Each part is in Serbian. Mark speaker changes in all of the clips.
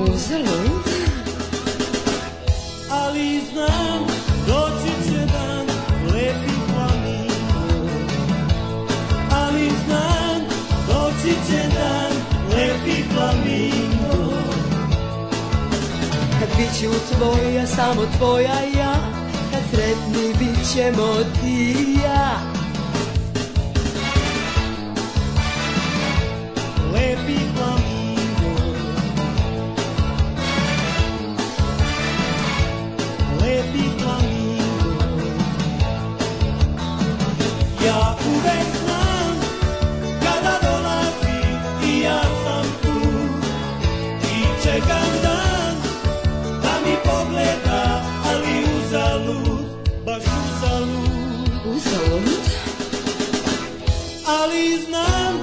Speaker 1: Uzalud?
Speaker 2: ali znam doći će dan lepih planina ali znam doći će dan lepih planina
Speaker 1: Kad bit ću tvoja, samo tvoja ja Kad sretni bit ćemo ti i ja
Speaker 2: lepi flamingo Lepi flamingo Ja uvek znam kada dolazi i ja sam tu I čekam dan da mi pogleda ali uzalud, baš uzalud
Speaker 1: Uzalud?
Speaker 2: ali znam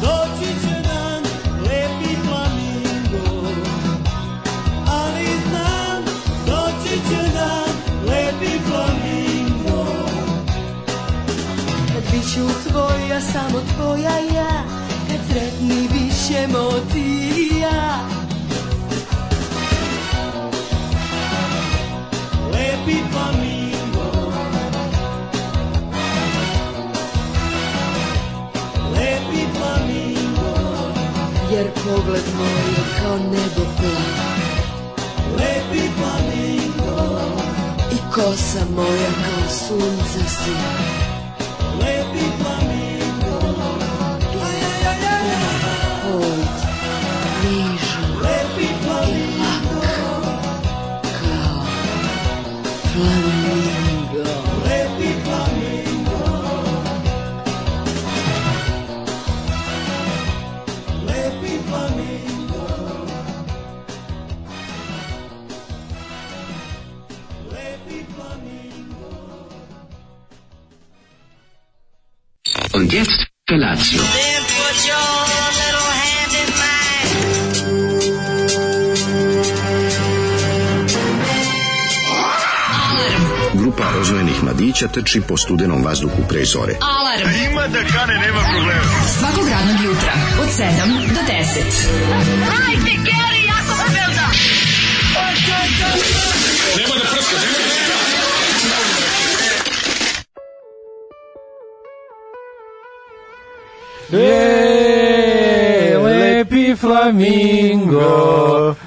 Speaker 2: doći će dan lepi flamingo ali znam doći će dan lepi flamingo
Speaker 1: Kad bit ću tvoja, samo tvoja ja Kad sretni bit ćemo ti i ja
Speaker 2: lepi flamingo lepi flamingo
Speaker 1: Jer pogled moj je kao nebo plav
Speaker 2: lepi flamingo
Speaker 1: I kosa moja kao sunce si
Speaker 2: lepi flamingo Aj, aj, aj, aj, aj.
Speaker 1: Hold, nižan
Speaker 2: lepi flamingo
Speaker 1: kao flamingo
Speaker 2: lepi flamingo lepi flamingo lepi flamingo
Speaker 3: Und jetzt Felatio.
Speaker 4: Then put your little hand in mine.
Speaker 5: Grupa rozvojenih mladića trči po studenom vazduhu pre zore.
Speaker 6: Alarm. A ima da kane, nema problema. Svakog radnog jutra, od 7 do 10. Hajde, Geri, jako se velda.
Speaker 7: E,
Speaker 8: lepi flamingo.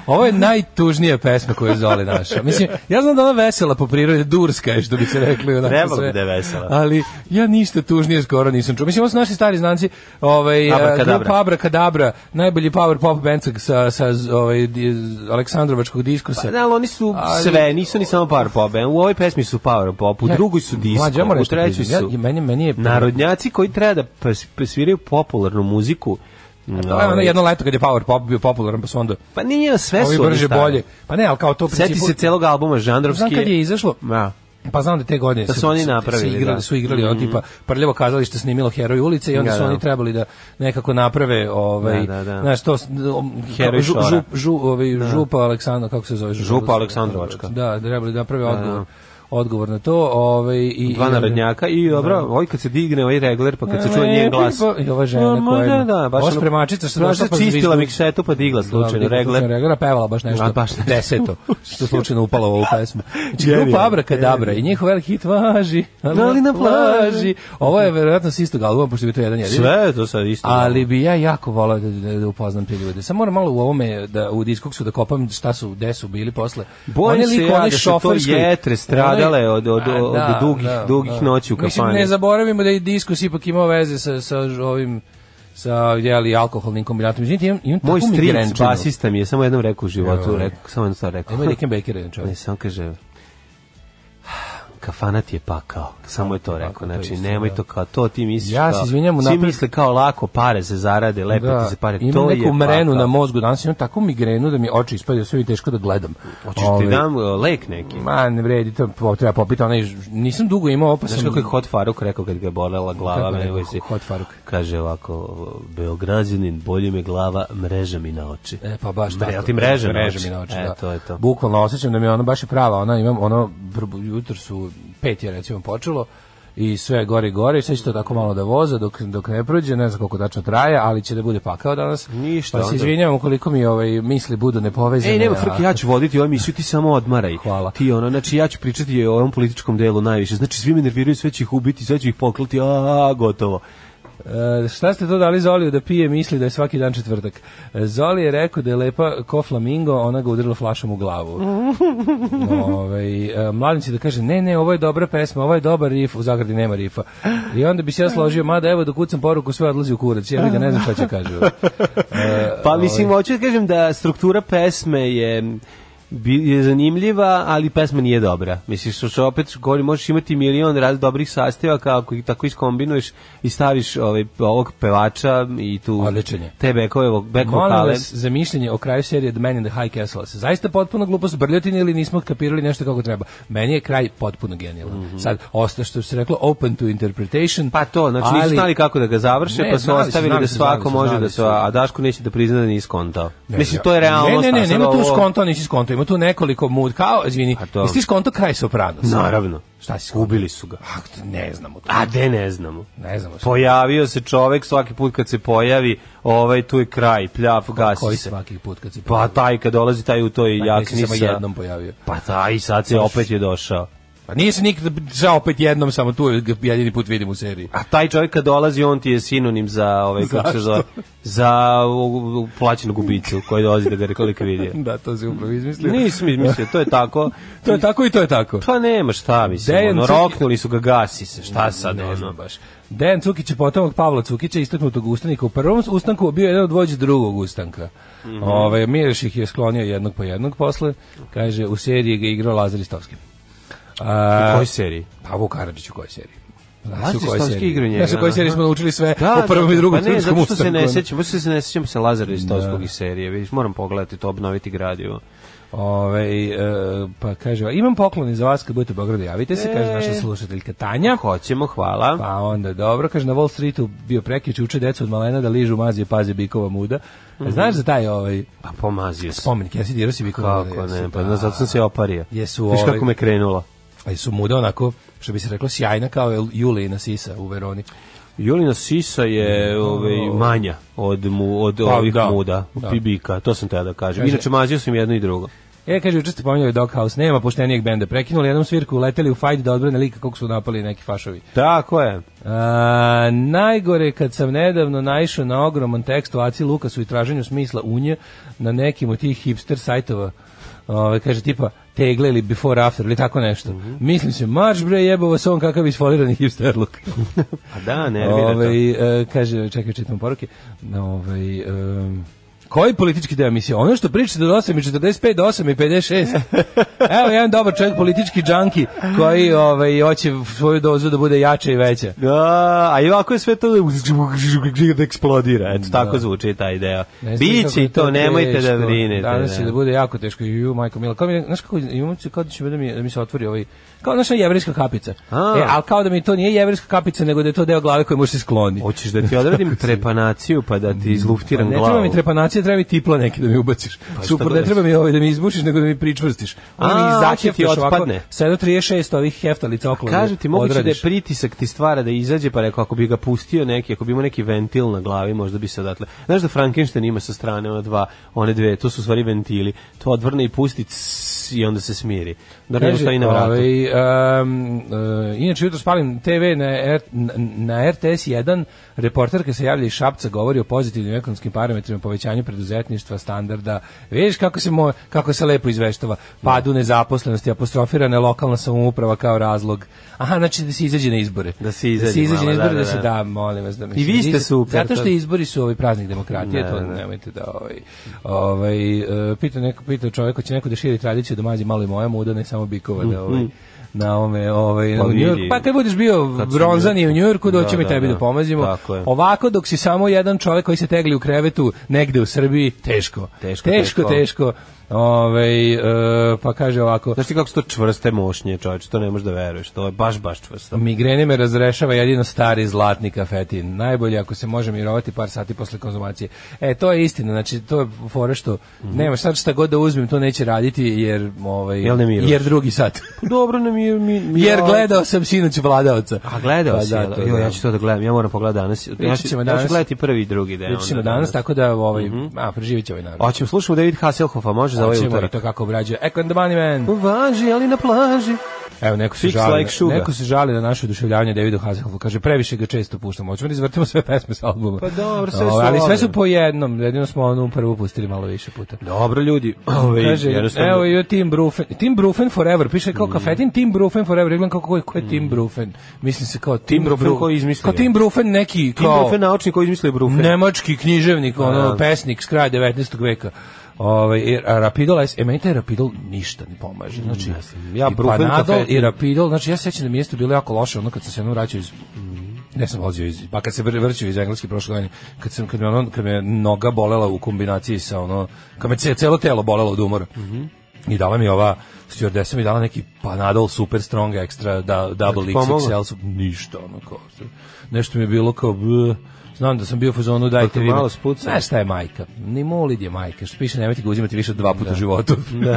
Speaker 7: Ovo je najtužnija pesma koju je Zoli našao. Mislim, ja znam da ona vesela po prirodi, durska je što bi se rekli. Onako
Speaker 8: Trebalo bi
Speaker 7: sve.
Speaker 8: da je vesela.
Speaker 7: Ali ja ništa tužnije skoro nisam čuo. Mislim, ovo su naši stari znanci, ovaj,
Speaker 8: Abrakadabra.
Speaker 7: grupa Abrakadabra, najbolji power pop band sa- sa, sa z- ovaj, di- z- Aleksandrovačkog diskusa.
Speaker 8: Da, Pa, ali oni su
Speaker 7: Ali-
Speaker 8: sve, nisu ni samo power pop. e. U ovoj pesmi su power pop, u
Speaker 7: Ja-
Speaker 8: drugoj su disco,
Speaker 7: Mlađe, ja moram
Speaker 8: u
Speaker 7: nešto
Speaker 8: trećoj
Speaker 7: priznam,
Speaker 8: su
Speaker 7: ja- meni- meni je-
Speaker 8: narodnjaci koji treba da pres- sviraju popularnu muziku. ovaj,
Speaker 7: To je ono jedno leto kad je power pop bio popularan, pa su onda
Speaker 8: Pa nije, sve
Speaker 7: ovi
Speaker 8: su oni
Speaker 7: brže
Speaker 8: stari.
Speaker 7: bolje. Pa ne, ali kao to u
Speaker 8: Sjeti
Speaker 7: principu-
Speaker 8: se celog albuma Žandrovski.
Speaker 7: Znam kad je izašlo.
Speaker 8: Da.
Speaker 7: Pa znam da te godine
Speaker 8: Da su oni napravili,
Speaker 7: su igrali,
Speaker 8: da. Mhm.
Speaker 7: su igrali ono tipa prljavo kazalište snimilo Heroj ulice i onda
Speaker 8: Da,
Speaker 7: su
Speaker 8: da.
Speaker 7: oni trebali da nekako naprave ovaj
Speaker 8: Da, da, da.
Speaker 7: znaš to
Speaker 8: Heroj
Speaker 7: Heroj žu,
Speaker 8: šora.
Speaker 7: žu, žu, ovaj, župa Aleksandra kako se zove
Speaker 8: Župa Aleksandrovačka.
Speaker 7: Da, trebali da naprave odgovor odgovor na to, ovaj i
Speaker 8: Dva
Speaker 7: i-
Speaker 8: narodnjaka i dobro, ovaj kad se digne ovaj regler pa kad se
Speaker 7: Ne,
Speaker 8: čuje njen glas.
Speaker 7: pa- i ova žena
Speaker 8: Ma, ma,
Speaker 7: koja-
Speaker 8: Da, da, baš.
Speaker 7: ova
Speaker 8: ono-
Speaker 7: spremačica što
Speaker 8: baš
Speaker 7: došla pa
Speaker 8: čistila
Speaker 7: zviždu.
Speaker 8: miksetu pa digla slučajno
Speaker 7: Da,
Speaker 8: regler.
Speaker 7: Regler, a pevala baš nešto.
Speaker 8: A, baš nešto.
Speaker 7: Deseto, što slučajno upalo u ovu pesmu. Znači,
Speaker 8: Genijalno,
Speaker 7: grupa Abrakadabra i njihov veliki hit važi, ali na plaži. Ovo je verovatno s istog albuma, pošto bi to jedan jedin.
Speaker 8: Sve je to sad isto.
Speaker 7: Ali bi ja jako volao da, da, da upoznam te ljude. Samo moram malo u ovome, da, u diskoksu da kopam šta su, gde su bili posle.
Speaker 8: Bojim
Speaker 7: Onaj
Speaker 8: se
Speaker 7: lik,
Speaker 8: ja
Speaker 7: onaj
Speaker 8: da su to
Speaker 7: šoferski-
Speaker 8: jetre stradale od- od-
Speaker 7: A,
Speaker 8: od dugih- dugih noći u
Speaker 7: Mislim,
Speaker 8: kafani.
Speaker 7: ne zaboravimo da je diskus ipak imao veze sa, sa ovim sa jeli, alkoholnim kombinatom. Izvinite, imam, imam
Speaker 8: Moj
Speaker 7: takvu
Speaker 8: stric,
Speaker 7: migrenčinu.
Speaker 8: basista mi je samo jednom rekao u životu, rekao, samo jednom stvar rekao.
Speaker 7: Nemoj Rickenbackera, jedan čovjek.
Speaker 8: Ne, samo kaže, kafana ti je pakao. Samo je to rekao,
Speaker 7: to je
Speaker 8: znači
Speaker 7: isto,
Speaker 8: nemoj to kao to, ti misliš
Speaker 7: Ja se
Speaker 8: kao-
Speaker 7: izvinjam
Speaker 8: svi
Speaker 7: unapred.
Speaker 8: misle kao lako pare se zarade, lepe ti se pare,
Speaker 7: imam
Speaker 8: to je pa
Speaker 7: neku mrenu
Speaker 8: pakao.
Speaker 7: na mozgu, danas imam takvu migrenu da mi oči ispadaju sve i teško da gledam.
Speaker 8: Hoćeš ti
Speaker 7: Ovaj,
Speaker 8: dam e, lek neki?
Speaker 7: Ma, ne vredi, to po- treba popiti, onaj, ž- nisam dugo imao, ovo, pa sam...
Speaker 8: Znaš kako je Hot Faruk rekao kad ga je bolela glava?
Speaker 7: Kako je
Speaker 8: nego
Speaker 7: rekao
Speaker 8: si-
Speaker 7: Hot Faruk?
Speaker 8: Kaže ovako, Beograđanin, bolje me glava, mreža mi na oči.
Speaker 7: E, pa baš
Speaker 8: Mre-
Speaker 7: tako.
Speaker 8: jel ti mreže na
Speaker 7: Mreže
Speaker 8: oči?
Speaker 7: mi na oči,
Speaker 8: E,
Speaker 7: da.
Speaker 8: to je to.
Speaker 7: ono, Bukvalno osjećam da mi je ona baš je prava, ona imam, ono, br- jutro su pet je recimo počelo, i sve gore i gore i sve će to tako malo da voza dok, dok ne prođe, ne znam koliko tačno traje, ali će da bude pakao danas.
Speaker 8: Ništa,
Speaker 7: Pa se
Speaker 8: onda.
Speaker 7: izvinjavam koliko mi ovaj, misli budu nepovezane.
Speaker 8: Ej, nema
Speaker 7: a-
Speaker 8: frke, ja ću voditi ovu emisiju, ti samo odmaraj.
Speaker 7: Hvala.
Speaker 8: Ti ono, znači ja ću pričati o ovom političkom delu najviše. Znači svi me nerviraju, sve ću ih ubiti, sve ću ih poklati, a gotovo.
Speaker 7: E, šta ste to dali Zoliju da pije misli da je svaki dan četvrtak? E, Zoli je rekao da je lepa ko flamingo, ona ga udarila flašom u glavu. Ovaj e, mladen će da kaže, ne, ne, ovo je dobra pesma, ovo je dobar rif, u zagradi nema rifa. I onda bi se ja složio, mada evo dok kucam poruku, sve odlazi u kurac, ja ga ne znam šta će kaže. E, ovaj.
Speaker 8: Pa mislim, hoću da kažem da struktura pesme je bi- je zanimljiva, ali pesma nije dobra. Misliš, što- što opet govori, možeš imati milion raz dobrih sastojaka ako ih tako iskombinuješ i staviš ovaj, ovog pevača i tu
Speaker 7: Odličenje.
Speaker 8: te bekove, ovog- bekove
Speaker 7: Molim
Speaker 8: kale.
Speaker 7: vas za mišljenje o kraju serije The Man in the High Castle. Se zaista potpuno glupost brljotin ili nismo kapirali nešto kako treba. Meni je kraj potpuno genijalan. Sad, osta što se reklo, open to interpretation.
Speaker 8: Mhm. Pa to, znači nisu
Speaker 7: ali-
Speaker 8: znali kako da ga završe,
Speaker 7: Ne,
Speaker 8: pa su
Speaker 7: znali su,
Speaker 8: ostavili
Speaker 7: znali
Speaker 8: da
Speaker 7: su,
Speaker 8: svako
Speaker 7: znali su,
Speaker 8: može
Speaker 7: znali
Speaker 8: da
Speaker 7: su.
Speaker 8: se, a Daško neće da prizna da nije skontao. Mislim, to
Speaker 7: Ne,
Speaker 8: je realnost.
Speaker 7: ne,
Speaker 8: a
Speaker 7: ne,
Speaker 8: sad
Speaker 7: nema tu
Speaker 8: ovo-
Speaker 7: skonto, nisi skonto. Ima tu nekoliko mood. Kao, izvini,
Speaker 8: A to-
Speaker 7: jesi ti skonto kraj Sopranos?
Speaker 8: Naravno.
Speaker 7: Šta si skonto?
Speaker 8: Ubili su ga.
Speaker 7: Ah, ne znamo to.
Speaker 8: A de ne znamo.
Speaker 7: Ne znamo.
Speaker 8: Pojavio se čovek svaki put kad se pojavi, ovaj tu je kraj, pljav, gasi
Speaker 7: Pa Koji
Speaker 8: se.
Speaker 7: svaki put kad se
Speaker 8: Pa taj kad dolazi taj u toj
Speaker 7: Pa, nisi
Speaker 8: jakni
Speaker 7: samo
Speaker 8: sa-
Speaker 7: jednom pojavio.
Speaker 8: Pa taj sad se opet je došao.
Speaker 7: Pa nije se nikad žao opet jednom, samo tu je ga jedini put vidim u seriji.
Speaker 8: A taj čovjek kad dolazi, on ti je sinonim za ovaj kako se zove, za u- u- plaćenog ubicu koji dolazi da ga reklika vidi.
Speaker 7: Da, to se upravo izmislio.
Speaker 8: Nisam mislio, to je tako.
Speaker 7: To je tako i to je tako.
Speaker 8: Pa nema šta, mislim,
Speaker 7: Dejan
Speaker 8: ono,
Speaker 7: Cukić-
Speaker 8: roknuli su ga, gasi se, šta sad,
Speaker 7: ne
Speaker 8: ono.
Speaker 7: znam baš. Dejan Cukić je potomak Pavla Cukića, istaknutog ustanika. U prvom ustanku bio je jedan od vođa drugog ustanka. Mm
Speaker 8: Mhm.
Speaker 7: Ove, Mireš ih je sklonio jednog po jednog posle. Kaže, u seriji ga je igrao Lazar Istovski. A,
Speaker 8: U kojoj seriji?
Speaker 7: Pa Vuk Karadžić u kojoj seriji? Znaš
Speaker 8: Lazar
Speaker 7: u kojoj
Speaker 8: Istovski
Speaker 7: seriji?
Speaker 8: igrao njega,
Speaker 7: Znaš u kojoj seriji
Speaker 8: aha.
Speaker 7: smo naučili sve o prvom i drugom
Speaker 8: pa ne,
Speaker 7: srpskom
Speaker 8: zato što se ne
Speaker 7: ustanku.
Speaker 8: sećam, baš se ne sećam se Lazara Istovskog iz serije, vidiš, moram pogledati to, obnoviti gradivo.
Speaker 7: Ove, e, pa kaže, imam poklon iz vas kad budete u Beogradu, javite se,
Speaker 8: E.
Speaker 7: kaže naša slušateljka Tanja.
Speaker 8: Hoćemo, hvala.
Speaker 7: Pa onda dobro, kaže na Wall Streetu bio prekič uče decu od malena da ližu mazije paze bikova muda. E,
Speaker 8: Mhm.
Speaker 7: Znaš za taj ovaj
Speaker 8: Pa pomazio sam.
Speaker 7: spomenik, jesi dirao si bikova muda?
Speaker 8: Kako
Speaker 7: jesi?
Speaker 8: ne, pa da, zato sam se opario.
Speaker 7: Jesu ovaj-
Speaker 8: Viš
Speaker 7: ove-
Speaker 8: kako me krenulo.
Speaker 7: A jesu muda onako, što bi se reklo, sjajna kao Julina Sisa u Veroni.
Speaker 8: Julina Sisa je ovaj, manja od, mu, od ovih
Speaker 7: Pa, da.
Speaker 8: muda,
Speaker 7: Da.
Speaker 8: pibika, to sam te da kažem.
Speaker 7: Kaže-
Speaker 8: Inače, mazio sam jedno i drugo.
Speaker 7: E, kaže, učestvo pominjali Doghouse, nema poštenijeg benda. Prekinuli jednom svirku, leteli u fajt da odbrane lika kako su napali neki fašovi.
Speaker 8: Tako je.
Speaker 7: A, najgore kad sam nedavno naišao na ogroman tekst o Aci Lukasu i traženju smisla unje na nekim od tih hipster sajtova. Ove, kaže tipa tegle ili before after ili tako nešto.
Speaker 8: Mhm.
Speaker 7: Mislim se, marš bre jebo vas on kakav isfolirani hipster luk. Pa
Speaker 8: A da, nervira to.
Speaker 7: Ove, e, kaže, čekaj, čitam poruke. Ove, em, koji politički deo emisije? Ono što pričate od 8 i 45 do 8 i 56. Evo jedan dobar čovjek, politički džanki, koji ovaj, hoće svoju dozu da bude jača i veća.
Speaker 8: Da, a i ovako je sve to da eksplodira. Eto, tako zvuči taj deo.
Speaker 7: Ne znam kako
Speaker 8: Biće
Speaker 7: je
Speaker 8: i
Speaker 7: to
Speaker 8: to, nemojte da
Speaker 7: teško.
Speaker 8: brinete.
Speaker 7: Danas će
Speaker 8: da.
Speaker 7: da bude jako teško. Ju, majko Mila, kao mi, znaš kako, imam se kao da će da mi, da mi se otvori ovaj, kao naša jevrijska kapica.
Speaker 8: A.
Speaker 7: E, ali kao da mi to nije jevrijska kapica, nego da je to deo glave koji može se skloni.
Speaker 8: Hoćeš da ti odradim trepanaciju pa da ti
Speaker 7: Pa
Speaker 8: izluftiram
Speaker 7: ne
Speaker 8: glavu? Pa
Speaker 7: treba mi trepanacija, treba mi tipla neki da mi ubaciš. Super, ne
Speaker 8: budeš?
Speaker 7: treba mi ovaj da mi izbušiš, nego da mi pričvrstiš. Ono
Speaker 8: A,
Speaker 7: mi
Speaker 8: hoće ti
Speaker 7: zaćeftaš ovako,
Speaker 8: otpadne.
Speaker 7: 736 ovih heftalica okolo.
Speaker 8: Kažu ti, moguće da je
Speaker 7: odradiš.
Speaker 8: pritisak ti stvara da izađe, pa rekao, ako bi ga pustio neki, ako bi imao neki ventil na glavi, možda bi se odatle... Znaš da Frankenstein ima sa strane ona dva, one dve, to su u stvari ventili, to odvrne i pusti cs, i onda se smiri. Da ne
Speaker 7: Kaže,
Speaker 8: stoji na vratu.
Speaker 7: ovaj, em, e, inače, jutro spalim TV na, R, na, na RTS 1, reporterka se javlja iz Šapca, govori o pozitivnim ekonomskim parametrima, povećanju preduzetništva, standarda. Vidiš kako se, mo, kako se lepo izveštava. Padu nezaposlenosti, apostrofirana je lokalna samouprava kao razlog. Aha, znači da se izađe na izbore.
Speaker 8: Da se izađe malo,
Speaker 7: na izbore, da,
Speaker 8: da, da,
Speaker 7: se
Speaker 8: da.
Speaker 7: da, molim vas. Da mislim,
Speaker 8: vi ste
Speaker 7: iza-
Speaker 8: super,
Speaker 7: Zato što
Speaker 8: to-
Speaker 7: izbori su ovaj praznik demokratije,
Speaker 8: Da,
Speaker 7: to
Speaker 8: da, da.
Speaker 7: nemojte da ovaj ovaj e, pita neko pita čovjek hoće neko da širi tradiciju da mazi malo i moja muda ne samo bikova da ovaj na ome ovaj
Speaker 8: Mhm. Pa
Speaker 7: u
Speaker 8: vidi.
Speaker 7: Njujorku. Pa kad budeš bio
Speaker 8: Kad si
Speaker 7: bronzani
Speaker 8: u
Speaker 7: u Njujorku doći
Speaker 8: Da,
Speaker 7: mi
Speaker 8: da,
Speaker 7: tebi da,
Speaker 8: da.
Speaker 7: pomazimo.
Speaker 8: Tako je.
Speaker 7: Ovako dok si samo jedan čovjek koji se tegli u krevetu negde u Srbiji, teško. teško.
Speaker 8: Teško, teško.
Speaker 7: teško. Ovaj, e, pa kaže ovako.
Speaker 8: Znaš ti kako su to čvrste mošnje, čovječ, to ne možeš da veruješ, to je baš, baš čvrsto.
Speaker 7: Migrene me razrešava jedino stari zlatni kafetin. Najbolje ako se može mirovati par sati posle konzumacije. E, to je istina, znači to je fora što nema sad šta god da uzmem, to neće raditi jer ovaj
Speaker 8: Mhm. Jel ne miruješ?
Speaker 7: jer drugi sat.
Speaker 8: Dobro nam nije mi, mi
Speaker 7: Jer gledao sam sinoć Vladaoca.
Speaker 8: A gledao
Speaker 7: Pa
Speaker 8: si,
Speaker 7: da,
Speaker 8: jel?
Speaker 7: to
Speaker 8: Jo,
Speaker 7: da.
Speaker 8: ja ću to da gledam, ja moram pogledati danas. Ja ću,
Speaker 7: ćemo
Speaker 8: ja ću
Speaker 7: danas.
Speaker 8: gledati prvi i drugi deo.
Speaker 7: Vidjet ćemo
Speaker 8: onda,
Speaker 7: danas, tako da ovaj, a, preživit će ovaj narod.
Speaker 8: Hoćemo, slušamo David Hasselhoffa, može za ovaj
Speaker 7: Hoćemo i
Speaker 8: utorak. Pa
Speaker 7: to kako obrađuje. Echo and the Bunny Man.
Speaker 8: Važi, ali na plaži.
Speaker 7: Evo, neko se,
Speaker 8: Fix
Speaker 7: žali,
Speaker 8: like sugar.
Speaker 7: neko se žali na naše oduševljavanje Davidu Hasselhoffu. Kaže, previše ga često puštamo. Hoćemo da izvrtimo sve pesme sa albuma.
Speaker 8: Pa dobro, sve
Speaker 7: Ovaj,
Speaker 8: su
Speaker 7: Ali sve
Speaker 8: dobre.
Speaker 7: su po jednom. Jedino smo onu prvu pustili malo više puta.
Speaker 8: Dobro, ljudi. Ove,
Speaker 7: Kaže, evo je Tim Brufen. Tim Brufen forever. Piše
Speaker 8: Mm.
Speaker 7: kao kafetin Tim Brufen forever. Ja Gledam kako ko je, ko je Tim Brufen. Mislim se kao Tim,
Speaker 8: Brufen
Speaker 7: Bru-
Speaker 8: ko je izmislio.
Speaker 7: Kao Tim Brufen neki
Speaker 8: Tim
Speaker 7: kao
Speaker 8: Brufen, naučnik koji izmislio Brufen.
Speaker 7: nemački književnik, ono pesnik s kraja 19. veka. Ovaj a Rapidol, S- e meni taj Rapidol ništa ne pomaže. Znači,
Speaker 8: Ja
Speaker 7: i
Speaker 8: Brufen
Speaker 7: Panadol
Speaker 8: kafetin.
Speaker 7: i Rapidol, znači ja se sećam da mi jeste bilo jako loše ono kad sam se jednom vraćao iz ne sam vozio iz, pa kad se vr- vraćao iz Engleske prošle godine, kad sam kad me ono, kad me noga bolela u kombinaciji sa ono, kad me ce- celo telo bolelo od umora. I dala mi ova stewardesa mi dala neki Panadol Super Strong Extra da, Double
Speaker 8: pomoglo?
Speaker 7: XXL su ništa ono kao. Nešto mi je bilo kao b, znam da sam bio u fazonu dajte
Speaker 8: te
Speaker 7: vi. me-
Speaker 8: malo spucao?
Speaker 7: Znaš šta je majka? Ni molid je majka. Što piše nemojte ga uzimati više od dva puta u životu.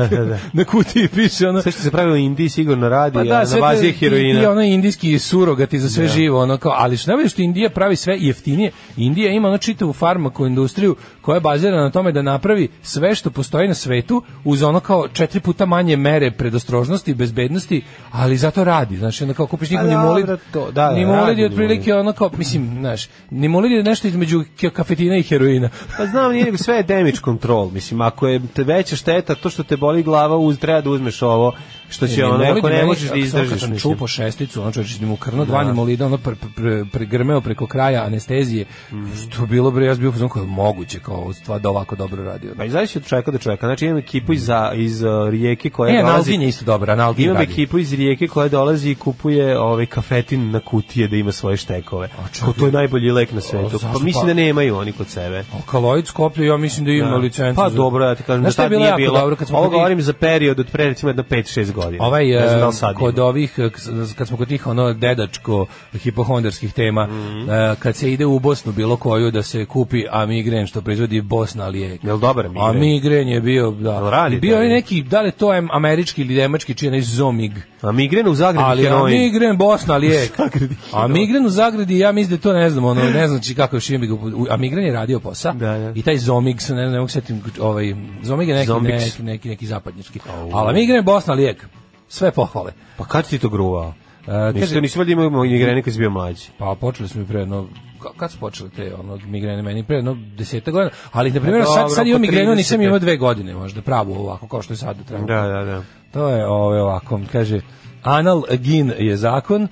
Speaker 7: Na kutiji piše ono
Speaker 8: Sve što se pravilo u Indiji sigurno radi,
Speaker 7: pa da,
Speaker 8: a na
Speaker 7: sve
Speaker 8: bazi
Speaker 7: te-
Speaker 8: je heroina.
Speaker 7: I, i ono indijski surogati za sve živo, ono kao, ali što najbolje što Indija pravi sve jeftinije. Indija ima ono čitavu farmaku industriju koja je bazirana na tome da napravi sve što postoji na svetu uz ono kao četiri puta manje mere predostrožnosti i bezbednosti, ali zato radi. Znači, onda kao kupiš njegov
Speaker 8: Pa
Speaker 7: nimolid,
Speaker 8: dobro, to- da, da,
Speaker 7: nimolid
Speaker 8: radi
Speaker 7: je otprilike ono kao, mislim, znaš, nimolid je nešto između ka- kafetina i heroina.
Speaker 8: Pa znam, nije nego sve je damage control. Mislim, ako je te veća šteta, to što te boli glava, uz, treba da uzmeš ovo, što će ono,
Speaker 7: Nimolid
Speaker 8: ako
Speaker 7: je
Speaker 8: ne
Speaker 7: E, meni-
Speaker 8: možeš da
Speaker 7: ako sam-
Speaker 8: izdržiš.
Speaker 7: Kad sam
Speaker 8: mislim.
Speaker 7: čupo šesticu, ono čovječe, mu krno, dva nimolida, ono pr, pr, pr, pregrmeo preko kraja anestezije,
Speaker 8: Mhm.
Speaker 7: što bilo bre, ja sam bio fazon kao moguće, kao stvar da ovako dobro radi.
Speaker 8: Pa
Speaker 7: Ono.
Speaker 8: i zavisi od čovjeka do čovjeka. Znači imam ekipu iz, iz uh, rijeke koja
Speaker 7: E,
Speaker 8: dolazi...
Speaker 7: Analgin je isto dobra, Analgin
Speaker 8: Imam
Speaker 7: radi.
Speaker 8: ekipu iz rijeke koja dolazi i kupuje ovaj kafetin na kutije da ima svoje štekove.
Speaker 7: čekaj.
Speaker 8: Ko to je najbolji lek na
Speaker 7: A,
Speaker 8: svetu.
Speaker 7: zašto
Speaker 8: Pa mislim
Speaker 7: pa-
Speaker 8: da nemaju oni kod sebe.
Speaker 7: Alkaloid Skoplje, ja mislim da ima licencu.
Speaker 8: Pa
Speaker 7: za-
Speaker 8: dobro, ja ti kažem da
Speaker 7: Znaš šta je
Speaker 8: tad
Speaker 7: bilo
Speaker 8: nije
Speaker 7: jako
Speaker 8: bilo.
Speaker 7: Dobro, kad smo
Speaker 8: Ovo
Speaker 7: kod tih-
Speaker 8: govorim za period od pre recimo jedno 5-6 godina.
Speaker 7: Ovaj
Speaker 8: ne znam da
Speaker 7: e,
Speaker 8: li sad
Speaker 7: kod
Speaker 8: ima.
Speaker 7: ovih e, k- kad smo kod tih ono dedačko hipohondarskih tema
Speaker 8: Mhm.
Speaker 7: e, kad se ide u Bosnu bilo koju da se kupi amigren što proizvodi Bosna ali je
Speaker 8: Jel dobar amigren?
Speaker 7: Amigren je bio da.
Speaker 8: Jel radi
Speaker 7: I bio
Speaker 8: taj?
Speaker 7: je neki da li je to am- američki ili nemački čiji je onaj Zomig.
Speaker 8: A migren u Zagrebu
Speaker 7: Ali
Speaker 8: heroin.
Speaker 7: Amigren Bosna lijek.
Speaker 8: Zagradi heroin.
Speaker 7: Amigren u Zagradi, ja mislim da je to ne znam, ono, ne znam či kako još imam. Amigren je radio posa
Speaker 8: Da, da.
Speaker 7: i taj Zomig, se ne, ne mogu setim, ovaj, Zomig je neki,
Speaker 8: Zombiks.
Speaker 7: neki, neki, neki zapadnjački. Ali Amigren je Bosna lijek. Sve pohvale.
Speaker 8: Pa kad si ti to gruvao?
Speaker 7: E,
Speaker 8: Nisi to
Speaker 7: kaže,
Speaker 8: nisi valjda imao migrene kad si bio mlađi.
Speaker 7: pa počeli smo i pre jedno, ka- kad su počeli te ono, migrene meni, pre jedno deseta godina, ali na primjer
Speaker 8: Pa
Speaker 7: sad,
Speaker 8: dobro,
Speaker 7: sad imam
Speaker 8: oko
Speaker 7: migrenu,
Speaker 8: 30.
Speaker 7: nisam imao dve godine možda, pravo ovako, kao što je sad trenutno.
Speaker 8: Da, da, da.
Speaker 7: To je ovaj ovako, kaže Analgin je zakon. E,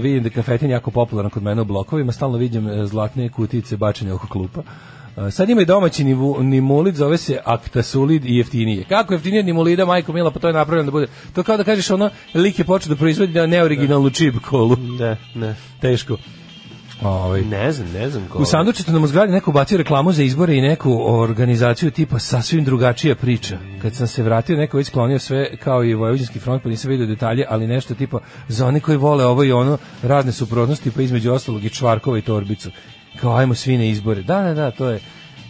Speaker 7: vidim da je kafetin jako popularan kod mene u blokovima. Stalno vidim e, zlatne kutice bačene oko klupa. E, sad ima i domaći nivu- nimolid, zove se aktasulid i jeftinije. Kako jeftinije od nimolida, majko mila, pa to je napravljeno da bude. To kao da kažeš ono, lik je počeo da proizvodi na neoriginalnu čip kolu.
Speaker 8: Ne, ne.
Speaker 7: Teško. Ovaj.
Speaker 8: Ne znam, ne znam ko.
Speaker 7: U sandučetu nam u zgradi neko bacio reklamu za izbore i neku organizaciju tipa sasvim drugačija priča. Kad sam se vratio, neko je već sklonio sve kao i Vojvođanski front, pa nisam vidio detalje, ali nešto tipa za one koji vole ovo i ono, razne suprotnosti, pa između ostalog i čvarkova i torbicu. Kao ajmo svi na izbore. Da, da, da, to je.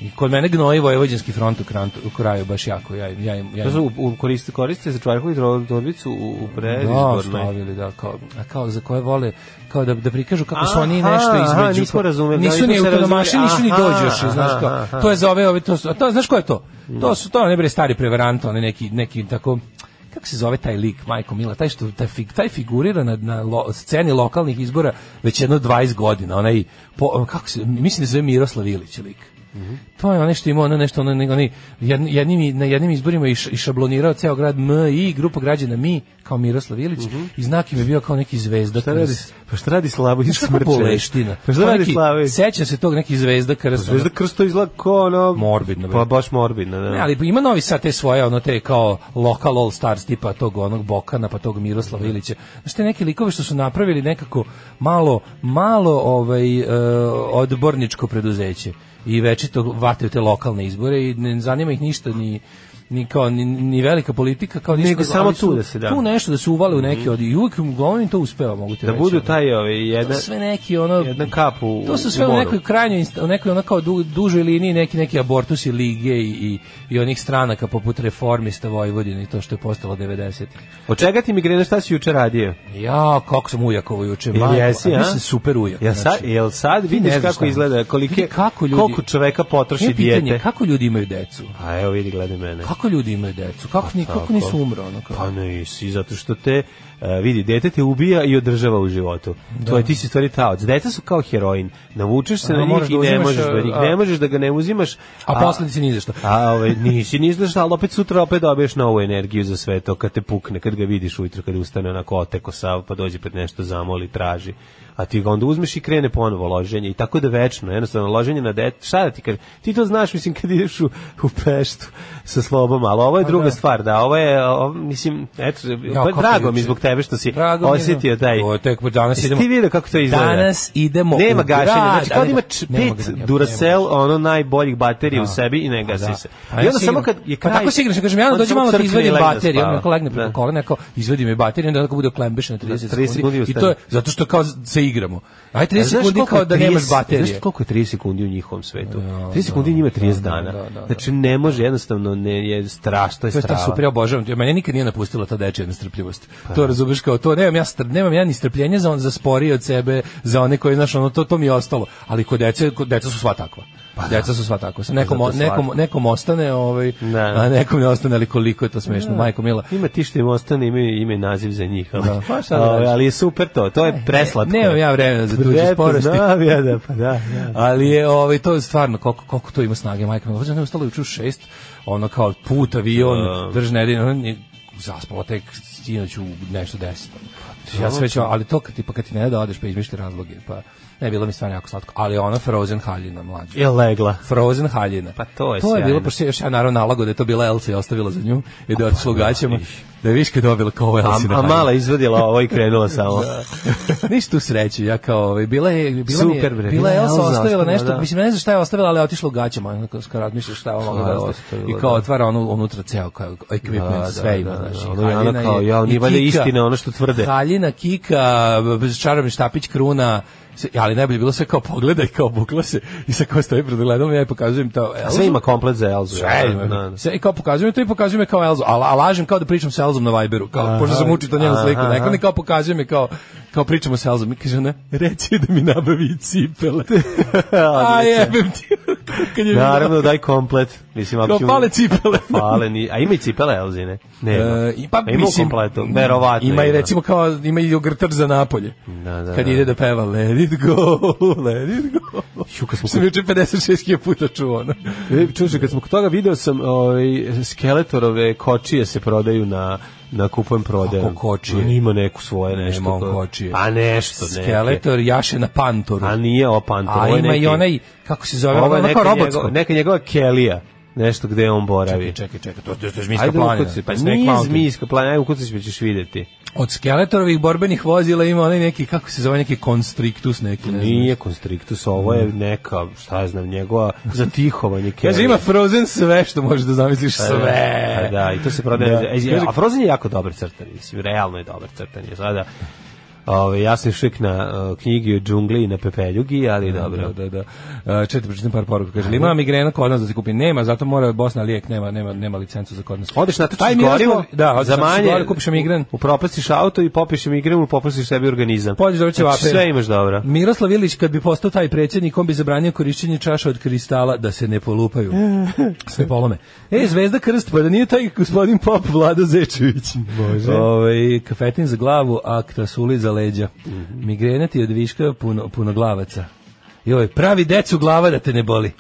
Speaker 7: I kod mene gnoji Vojvođanski front u, krantu, u kraju baš jako. Ja, im- ja, im- ja,
Speaker 8: To
Speaker 7: im-
Speaker 8: su u, u, koriste, koriste za čvarku i dro- torbicu u, u
Speaker 7: da,
Speaker 8: predizbornoj.
Speaker 7: stavili, da, kao, a kao za koje vole, kao da, da prikažu kako su
Speaker 8: Aha,
Speaker 7: oni nešto između.
Speaker 8: aha, nismo razumeli, da,
Speaker 7: Nisu
Speaker 8: nismo
Speaker 7: ni
Speaker 8: se
Speaker 7: autonomaši,
Speaker 8: razumeli.
Speaker 7: nisu ni
Speaker 8: Aha,
Speaker 7: dođoši, znaš
Speaker 8: aha, aha.
Speaker 7: kao. To je za ove, ove to su, a to, znaš ko je to? To su, to ne bre stari prevarant, one neki, neki tako, kako se zove taj lik, Majko Mila, taj što taj, fig, taj figurira na, na lo, sceni lokalnih izbora već jedno 20 godina, onaj po, kako se mislim da se zove Miroslav Ilić lik.
Speaker 8: Mhm.
Speaker 7: To je ono nešto imao, ono nešto, ono, nego oni jedn- jednim, i- na jednim izborima i, š- i šablonirao ceo grad M i grupa građana Mi, kao Miroslav Ilić, i znak im je bio kao neki zvezda.
Speaker 8: Mhm. Šta radi, pa šta radi Slavović
Speaker 7: Znaš kako
Speaker 8: Smrčević?
Speaker 7: boleština?
Speaker 8: Pa šta
Speaker 7: Kao
Speaker 8: radi
Speaker 7: neki-
Speaker 8: Slavović?
Speaker 7: Seća se tog neki zvezda krst.
Speaker 8: Zvezda Krsto izgleda ko ono...
Speaker 7: Morbidno, bre.
Speaker 8: Pa baš morbidno, da.
Speaker 7: Ne, ali ima novi sad te svoje, ono te kao local all stars tipa tog onog Bokana, pa tog Miroslava Ilića. Znaš te neke likove što su napravili nekako malo, malo ovaj, e, odborničko preduzeće i večito vataju te lokalne izbore i ne zanima ih ništa ni ni kao ni, ni velika politika kao ništa
Speaker 8: Nego
Speaker 7: nego,
Speaker 8: samo
Speaker 7: ali su
Speaker 8: tu da se da. Mhm.
Speaker 7: tu nešto da se uvale u neki od i uvek uglavnom im to uspeva mogu ti
Speaker 8: da
Speaker 7: reći
Speaker 8: budu
Speaker 7: ono.
Speaker 8: taj ovaj
Speaker 7: To
Speaker 8: jedan
Speaker 7: su sve neki ono
Speaker 8: jedna kap u
Speaker 7: to su sve u
Speaker 8: moru.
Speaker 7: nekoj krajnjoj inst- u nekoj onako du, dužoj liniji neki neki abortusi lige i, i, i onih stranaka poput reformista Vojvodine i to što je postalo 90
Speaker 8: Od čega ti migrena šta si juče radio?
Speaker 7: Ja, kako sam ujakovo juče,
Speaker 8: Jel
Speaker 7: majko,
Speaker 8: jesi,
Speaker 7: a
Speaker 8: a?
Speaker 7: mislim super ujak.
Speaker 8: Jel sad,
Speaker 7: znači.
Speaker 8: jel sad
Speaker 7: Ti ne
Speaker 8: vidiš
Speaker 7: znaš
Speaker 8: kako
Speaker 7: šta.
Speaker 8: izgleda, kolike,
Speaker 7: Vidi kako ljudi-
Speaker 8: koliko čoveka potroši
Speaker 7: Nije pitanje,
Speaker 8: dijete?
Speaker 7: kako ljudi imaju decu?
Speaker 8: A evo vidi, gledaj mene.
Speaker 7: Kako ljudi imaju decu? Kako, ni, kako
Speaker 8: Pa tako.
Speaker 7: nisu umro? Ono, kao?
Speaker 8: Pa nisi, zato što te, e, vidi, dete te ubija i održava u životu. To je, ti si stvari taoc. Deca su kao heroin. Navučeš se
Speaker 7: A,
Speaker 8: na
Speaker 7: moraš
Speaker 8: njih i
Speaker 7: da
Speaker 8: ne
Speaker 7: uzimaš,
Speaker 8: možeš da njih,
Speaker 7: a-
Speaker 8: ne možeš da ga ne uzimaš.
Speaker 7: a posledice ni za što.
Speaker 8: A ovaj, nisi ništa šta, ali opet sutra opet dobiješ novu energiju za sve to kad te pukne, kad ga vidiš ujutro, kad ustane onako oteko sav, pa dođe pred nešto zamoli, traži. A ti ga onda uzmeš i krene ponovo loženje i tako da večno, jednostavno loženje na dete, šta da ti kad, ti to znaš, mislim, kad ideš u, u peštu sa slobom, ali ovo je druga
Speaker 7: Pa da.
Speaker 8: stvar, da, ovo je, ovo, mislim, eto, pa
Speaker 7: kako
Speaker 8: drago mi
Speaker 7: juče.
Speaker 8: zbog tebe što si
Speaker 7: Drago mi je,
Speaker 8: osjetio
Speaker 7: da.
Speaker 8: taj...
Speaker 7: Ovo je tek danas
Speaker 8: Jesi
Speaker 7: idemo.
Speaker 8: ti vidio kako to izgleda?
Speaker 7: Danas idemo
Speaker 8: Nema
Speaker 7: u
Speaker 8: gašenja,
Speaker 7: grad,
Speaker 8: znači kao
Speaker 7: a
Speaker 8: da
Speaker 7: nema-
Speaker 8: ima č-
Speaker 7: nema
Speaker 8: pet
Speaker 7: ga, nema-
Speaker 8: Duracell,
Speaker 7: nema.
Speaker 8: ono najboljih baterija u
Speaker 7: Da.
Speaker 8: sebi i ne
Speaker 7: Pa
Speaker 8: gasi
Speaker 7: da.
Speaker 8: se.
Speaker 7: Pa
Speaker 8: I
Speaker 7: ja
Speaker 8: onda
Speaker 7: sigurno-
Speaker 8: samo kad je
Speaker 7: pa
Speaker 8: kraj-
Speaker 7: tako sigurno, kažem, ja
Speaker 8: onda
Speaker 7: dođi
Speaker 8: samo
Speaker 7: malo da
Speaker 8: crkne i
Speaker 7: izvadim
Speaker 8: legne da
Speaker 7: baterije,
Speaker 8: spava.
Speaker 7: on neko pa legne
Speaker 8: Da.
Speaker 7: preko kolena, rekao, izvadi mi baterije, onda tako bude klembeš na 30,
Speaker 8: 30 sekundi i
Speaker 7: sekundi. I to
Speaker 8: ustane.
Speaker 7: je, zato što kao se igramo. Aj 30
Speaker 8: A znaš
Speaker 7: sekundi
Speaker 8: koliko
Speaker 7: kao da
Speaker 8: je
Speaker 7: nemaš
Speaker 8: 30
Speaker 7: baterije.
Speaker 8: Znaš koliko je 30 sekundi u njihovom svetu? 30 sekundi njima je 30 dana.
Speaker 7: da, da, da.
Speaker 8: Znači ne može, jednostavno ne, je strašno, to je
Speaker 7: To je
Speaker 8: strava.
Speaker 7: tako super, ja obožavam. Mene nikad nije napustila ta dečija nestrpljivost. To razumeš kao to, nemam ja str, nemam ja ni strpljenja za on za sporije od sebe, za one koji znaš, ono to to mi je ostalo. Ali kod dece, kod deca su sva takva. deca su Pa sva takva. Sa nekom
Speaker 8: zato je
Speaker 7: nekom
Speaker 8: slatko.
Speaker 7: nekom ostane, ovaj,
Speaker 8: Da.
Speaker 7: a nekom ne ostane, ali koliko je to smešno, majko mila.
Speaker 8: Ima ti što im ostane, ima ime naziv za njih. Ali,
Speaker 7: Da, pa šta da
Speaker 8: ali,
Speaker 7: radiš? E,
Speaker 8: ali je super to, to je preslatko.
Speaker 7: Nemam ja vremena za tuđe
Speaker 8: Eto,
Speaker 7: sporosti.
Speaker 8: Znam ja da, pa da. da.
Speaker 7: Ali je ovaj to je stvarno koliko koliko to ima snage majka mi. Znači ostalo juče u 6. Ono kao put avion, drž nedelju, on je zaspala tek sinoć u nešto 10. Ja sam već, ali to kad ti, pa kad ti ne da odeš pa izmišljaš razloge, pa ne bilo mi stvarno jako slatko, ali ona Frozen haljina mlađa.
Speaker 8: Je legla.
Speaker 7: Frozen haljina.
Speaker 8: Pa to je
Speaker 7: To je
Speaker 8: sjajno. pa
Speaker 7: bilo, pošto je još ja naravno nalago da je to bila Elsa i ostavila za nju i da je otišla u gaćama, da je viška dobila kao ovo
Speaker 8: A,
Speaker 7: Elsa.
Speaker 8: a mala izvadila ovo i krenula samo.
Speaker 7: Ništa tu sreću, ja kao, ovaj, bila je, bila mi je-
Speaker 8: Super, bre,
Speaker 7: bila je Elsa ostavila
Speaker 8: ostavila,
Speaker 7: nešto,
Speaker 8: da.
Speaker 7: mislim, ne znam šta je ostavila, ali je otišla u gaćama, onako, kad razmišljaš šta je ono
Speaker 8: Šta je
Speaker 7: da ostavi.
Speaker 8: ostavila,
Speaker 7: I kao
Speaker 8: da.
Speaker 7: otvara ono unutra ceo, kao, ekvipment,
Speaker 8: Da, da,
Speaker 7: sve ima,
Speaker 8: da,
Speaker 7: znaš,
Speaker 8: da,
Speaker 7: i
Speaker 8: ono je ono
Speaker 7: haljina
Speaker 8: kao,
Speaker 7: je-
Speaker 8: jao,
Speaker 7: i
Speaker 8: nije valjda
Speaker 7: kika.
Speaker 8: istina ono što tvrde.
Speaker 7: Haljina, kika, čarobni štapić, kruna, sve- ali najbolje je bilo sve kao pogledaj, kao bukla se i sad kao stoji pred ogledom ja i pokazujem to.
Speaker 8: A
Speaker 7: Elzu.
Speaker 8: Sve ima komplet za Elzu.
Speaker 7: Sve,
Speaker 8: Da, da, da.
Speaker 7: sve i kao pokazujem to i pokazujem je kao Elzu, a, la- a lažem kao da pričam sa Elzom na Viberu, kao, pošto sam učito njenu sliku,
Speaker 8: aha,
Speaker 7: neka mi kao pokazujem je kao, kao pričamo sa Elzom i kaže ona, reći je da mi nabavi cipele. a jebem ti. Kad je
Speaker 8: Naravno, daj komplet. Mislim, ako
Speaker 7: Kao
Speaker 8: ćemo-
Speaker 7: fale cipele.
Speaker 8: Fale, ni, a ima i cipele Elzine? Ne,
Speaker 7: E, i pa,
Speaker 8: ima u
Speaker 7: mislim,
Speaker 8: kompletu, verovatno.
Speaker 7: Ima i recimo kao, ima i ogrtač za napolje.
Speaker 8: Da, da,
Speaker 7: Kad
Speaker 8: da.
Speaker 7: ide da peva Let it go, let it go.
Speaker 8: Ju, kad smo
Speaker 7: Sam
Speaker 8: kod-
Speaker 7: juče 56.000 puta čuo ono.
Speaker 8: E, Čuče, kad smo kod toga video sam ovaj, skeletorove kočije se prodaju na na kupujem prodaju.
Speaker 7: Kako kočije?
Speaker 8: On ima neku svoje nešto.
Speaker 7: Nema on
Speaker 8: to-
Speaker 7: kočije.
Speaker 8: Pa nešto, neke.
Speaker 7: Skeletor jaše na pantoru.
Speaker 8: A nije opan.
Speaker 7: A ima i onaj, kako se zove,
Speaker 8: Ovo
Speaker 7: ono
Speaker 8: je
Speaker 7: kao
Speaker 8: neka,
Speaker 7: robotsko.
Speaker 8: njegova, neka njegova Kelija. Nešto gde on boravi.
Speaker 7: Čekaj, Znači, čekaj, Pa to, to, to je Zmijska
Speaker 8: Ajde
Speaker 7: planina.
Speaker 8: ukuci, pa
Speaker 7: To je Snake
Speaker 8: nije
Speaker 7: Mountain.
Speaker 8: zmijska planina, ajde ukuci pa ćeš vidjeti.
Speaker 7: Od Skeletorovih borbenih vozila ima onaj neki, kako se zove, neki Constrictus neki. Ne znam.
Speaker 8: Nije Constrictus, ovo je neka, šta ja znam, njegova zatihovanje Kelija.
Speaker 7: Kaže, ima Frozen sve što možeš da zamisliš, sve.
Speaker 8: A Pa da, i to se prodaje.
Speaker 7: Da.
Speaker 8: E, A Frozen je jako dobar crtan, mislim, realno je dobar crtan. Je sada, Ove, ja sam šik na uh, knjigi o džungli i na pepeljugi, ali dobro.
Speaker 7: Da, da, da. Uh, čekaj, pročitam par poruka. Kaže, li ima migrena kod nas da se kupi? Nema, zato mora Bosna lijek, nema, nema, nema licencu za kod nas.
Speaker 8: Odeš na
Speaker 7: Taj
Speaker 8: tačku
Speaker 7: Miroslav-
Speaker 8: gorivo,
Speaker 7: da, odeš
Speaker 8: za
Speaker 7: na tačku
Speaker 8: manje,
Speaker 7: gorivo, kupiš migren.
Speaker 8: upropastiš auto i popiš migren, upropastiš sebi organizam.
Speaker 7: Pođeš dobro ćevape.
Speaker 8: Znači, sve imaš dobro.
Speaker 7: Miroslav Ilić kad bi postao taj predsjednik, on bi zabranio korišćenje čaša od kristala da se ne polupaju. Sve polome. E, Zvezda Krst, pa da nije taj gospodin Pop Vlado Zečević. Bože. Ove, kafetin za glavu, a krasuli za leđa. Migrena ti od viška puno, puno glavaca. Joj, pravi decu glava da te ne boli.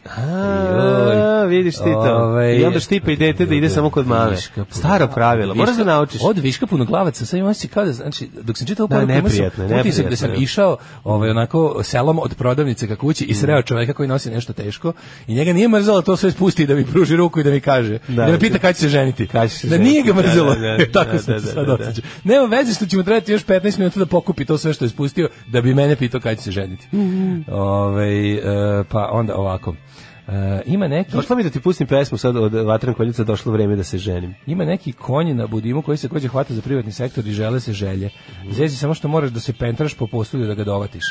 Speaker 8: A, vidiš ti to.
Speaker 7: Ovaj,
Speaker 8: I onda štipa i dete da ide samo kod mame.
Speaker 7: Viška puno-
Speaker 8: Staro pravilo, moraš da
Speaker 7: Viška-
Speaker 8: naučiš.
Speaker 7: Od viška punoglavaca, sad imam osjećaj kao da, znači, dok sam čitao
Speaker 8: Da,
Speaker 7: poruku, imao sam
Speaker 8: neprijatno je,
Speaker 7: utisak da sam
Speaker 8: neprijatno je. Mm.
Speaker 7: išao ovaj, onako selom od prodavnice ka kući i sreo čoveka koji nosi nešto teško i njega nije mrzalo to sve spusti da mi pruži ruku i da mi kaže, da, me pita kada će se ženiti.
Speaker 8: Kad će se
Speaker 7: da
Speaker 8: ženiti,
Speaker 7: nije ga
Speaker 8: da,
Speaker 7: mrzalo.
Speaker 8: da, da,
Speaker 7: Tako
Speaker 8: da,
Speaker 7: sam
Speaker 8: da,
Speaker 7: se
Speaker 8: da,
Speaker 7: sad
Speaker 8: da.
Speaker 7: osjećao. Nema veze što će mu trebati još 15 minuta da pokupi to sve što je
Speaker 8: Mm-hmm.
Speaker 7: spustio da bi mene pitao kada će se ženiti. Ovaj, e, pa onda ovako. E, ima neki
Speaker 8: Došlo mi da ti pustim pesmu sad od Vatran koljica, došlo vreme da se ženim.
Speaker 7: Ima neki konj na budimu koji se kođe hvata za privatni sektor i žele se želje. Zezi samo što moraš da se pentraš po posluju da ga dovatiš.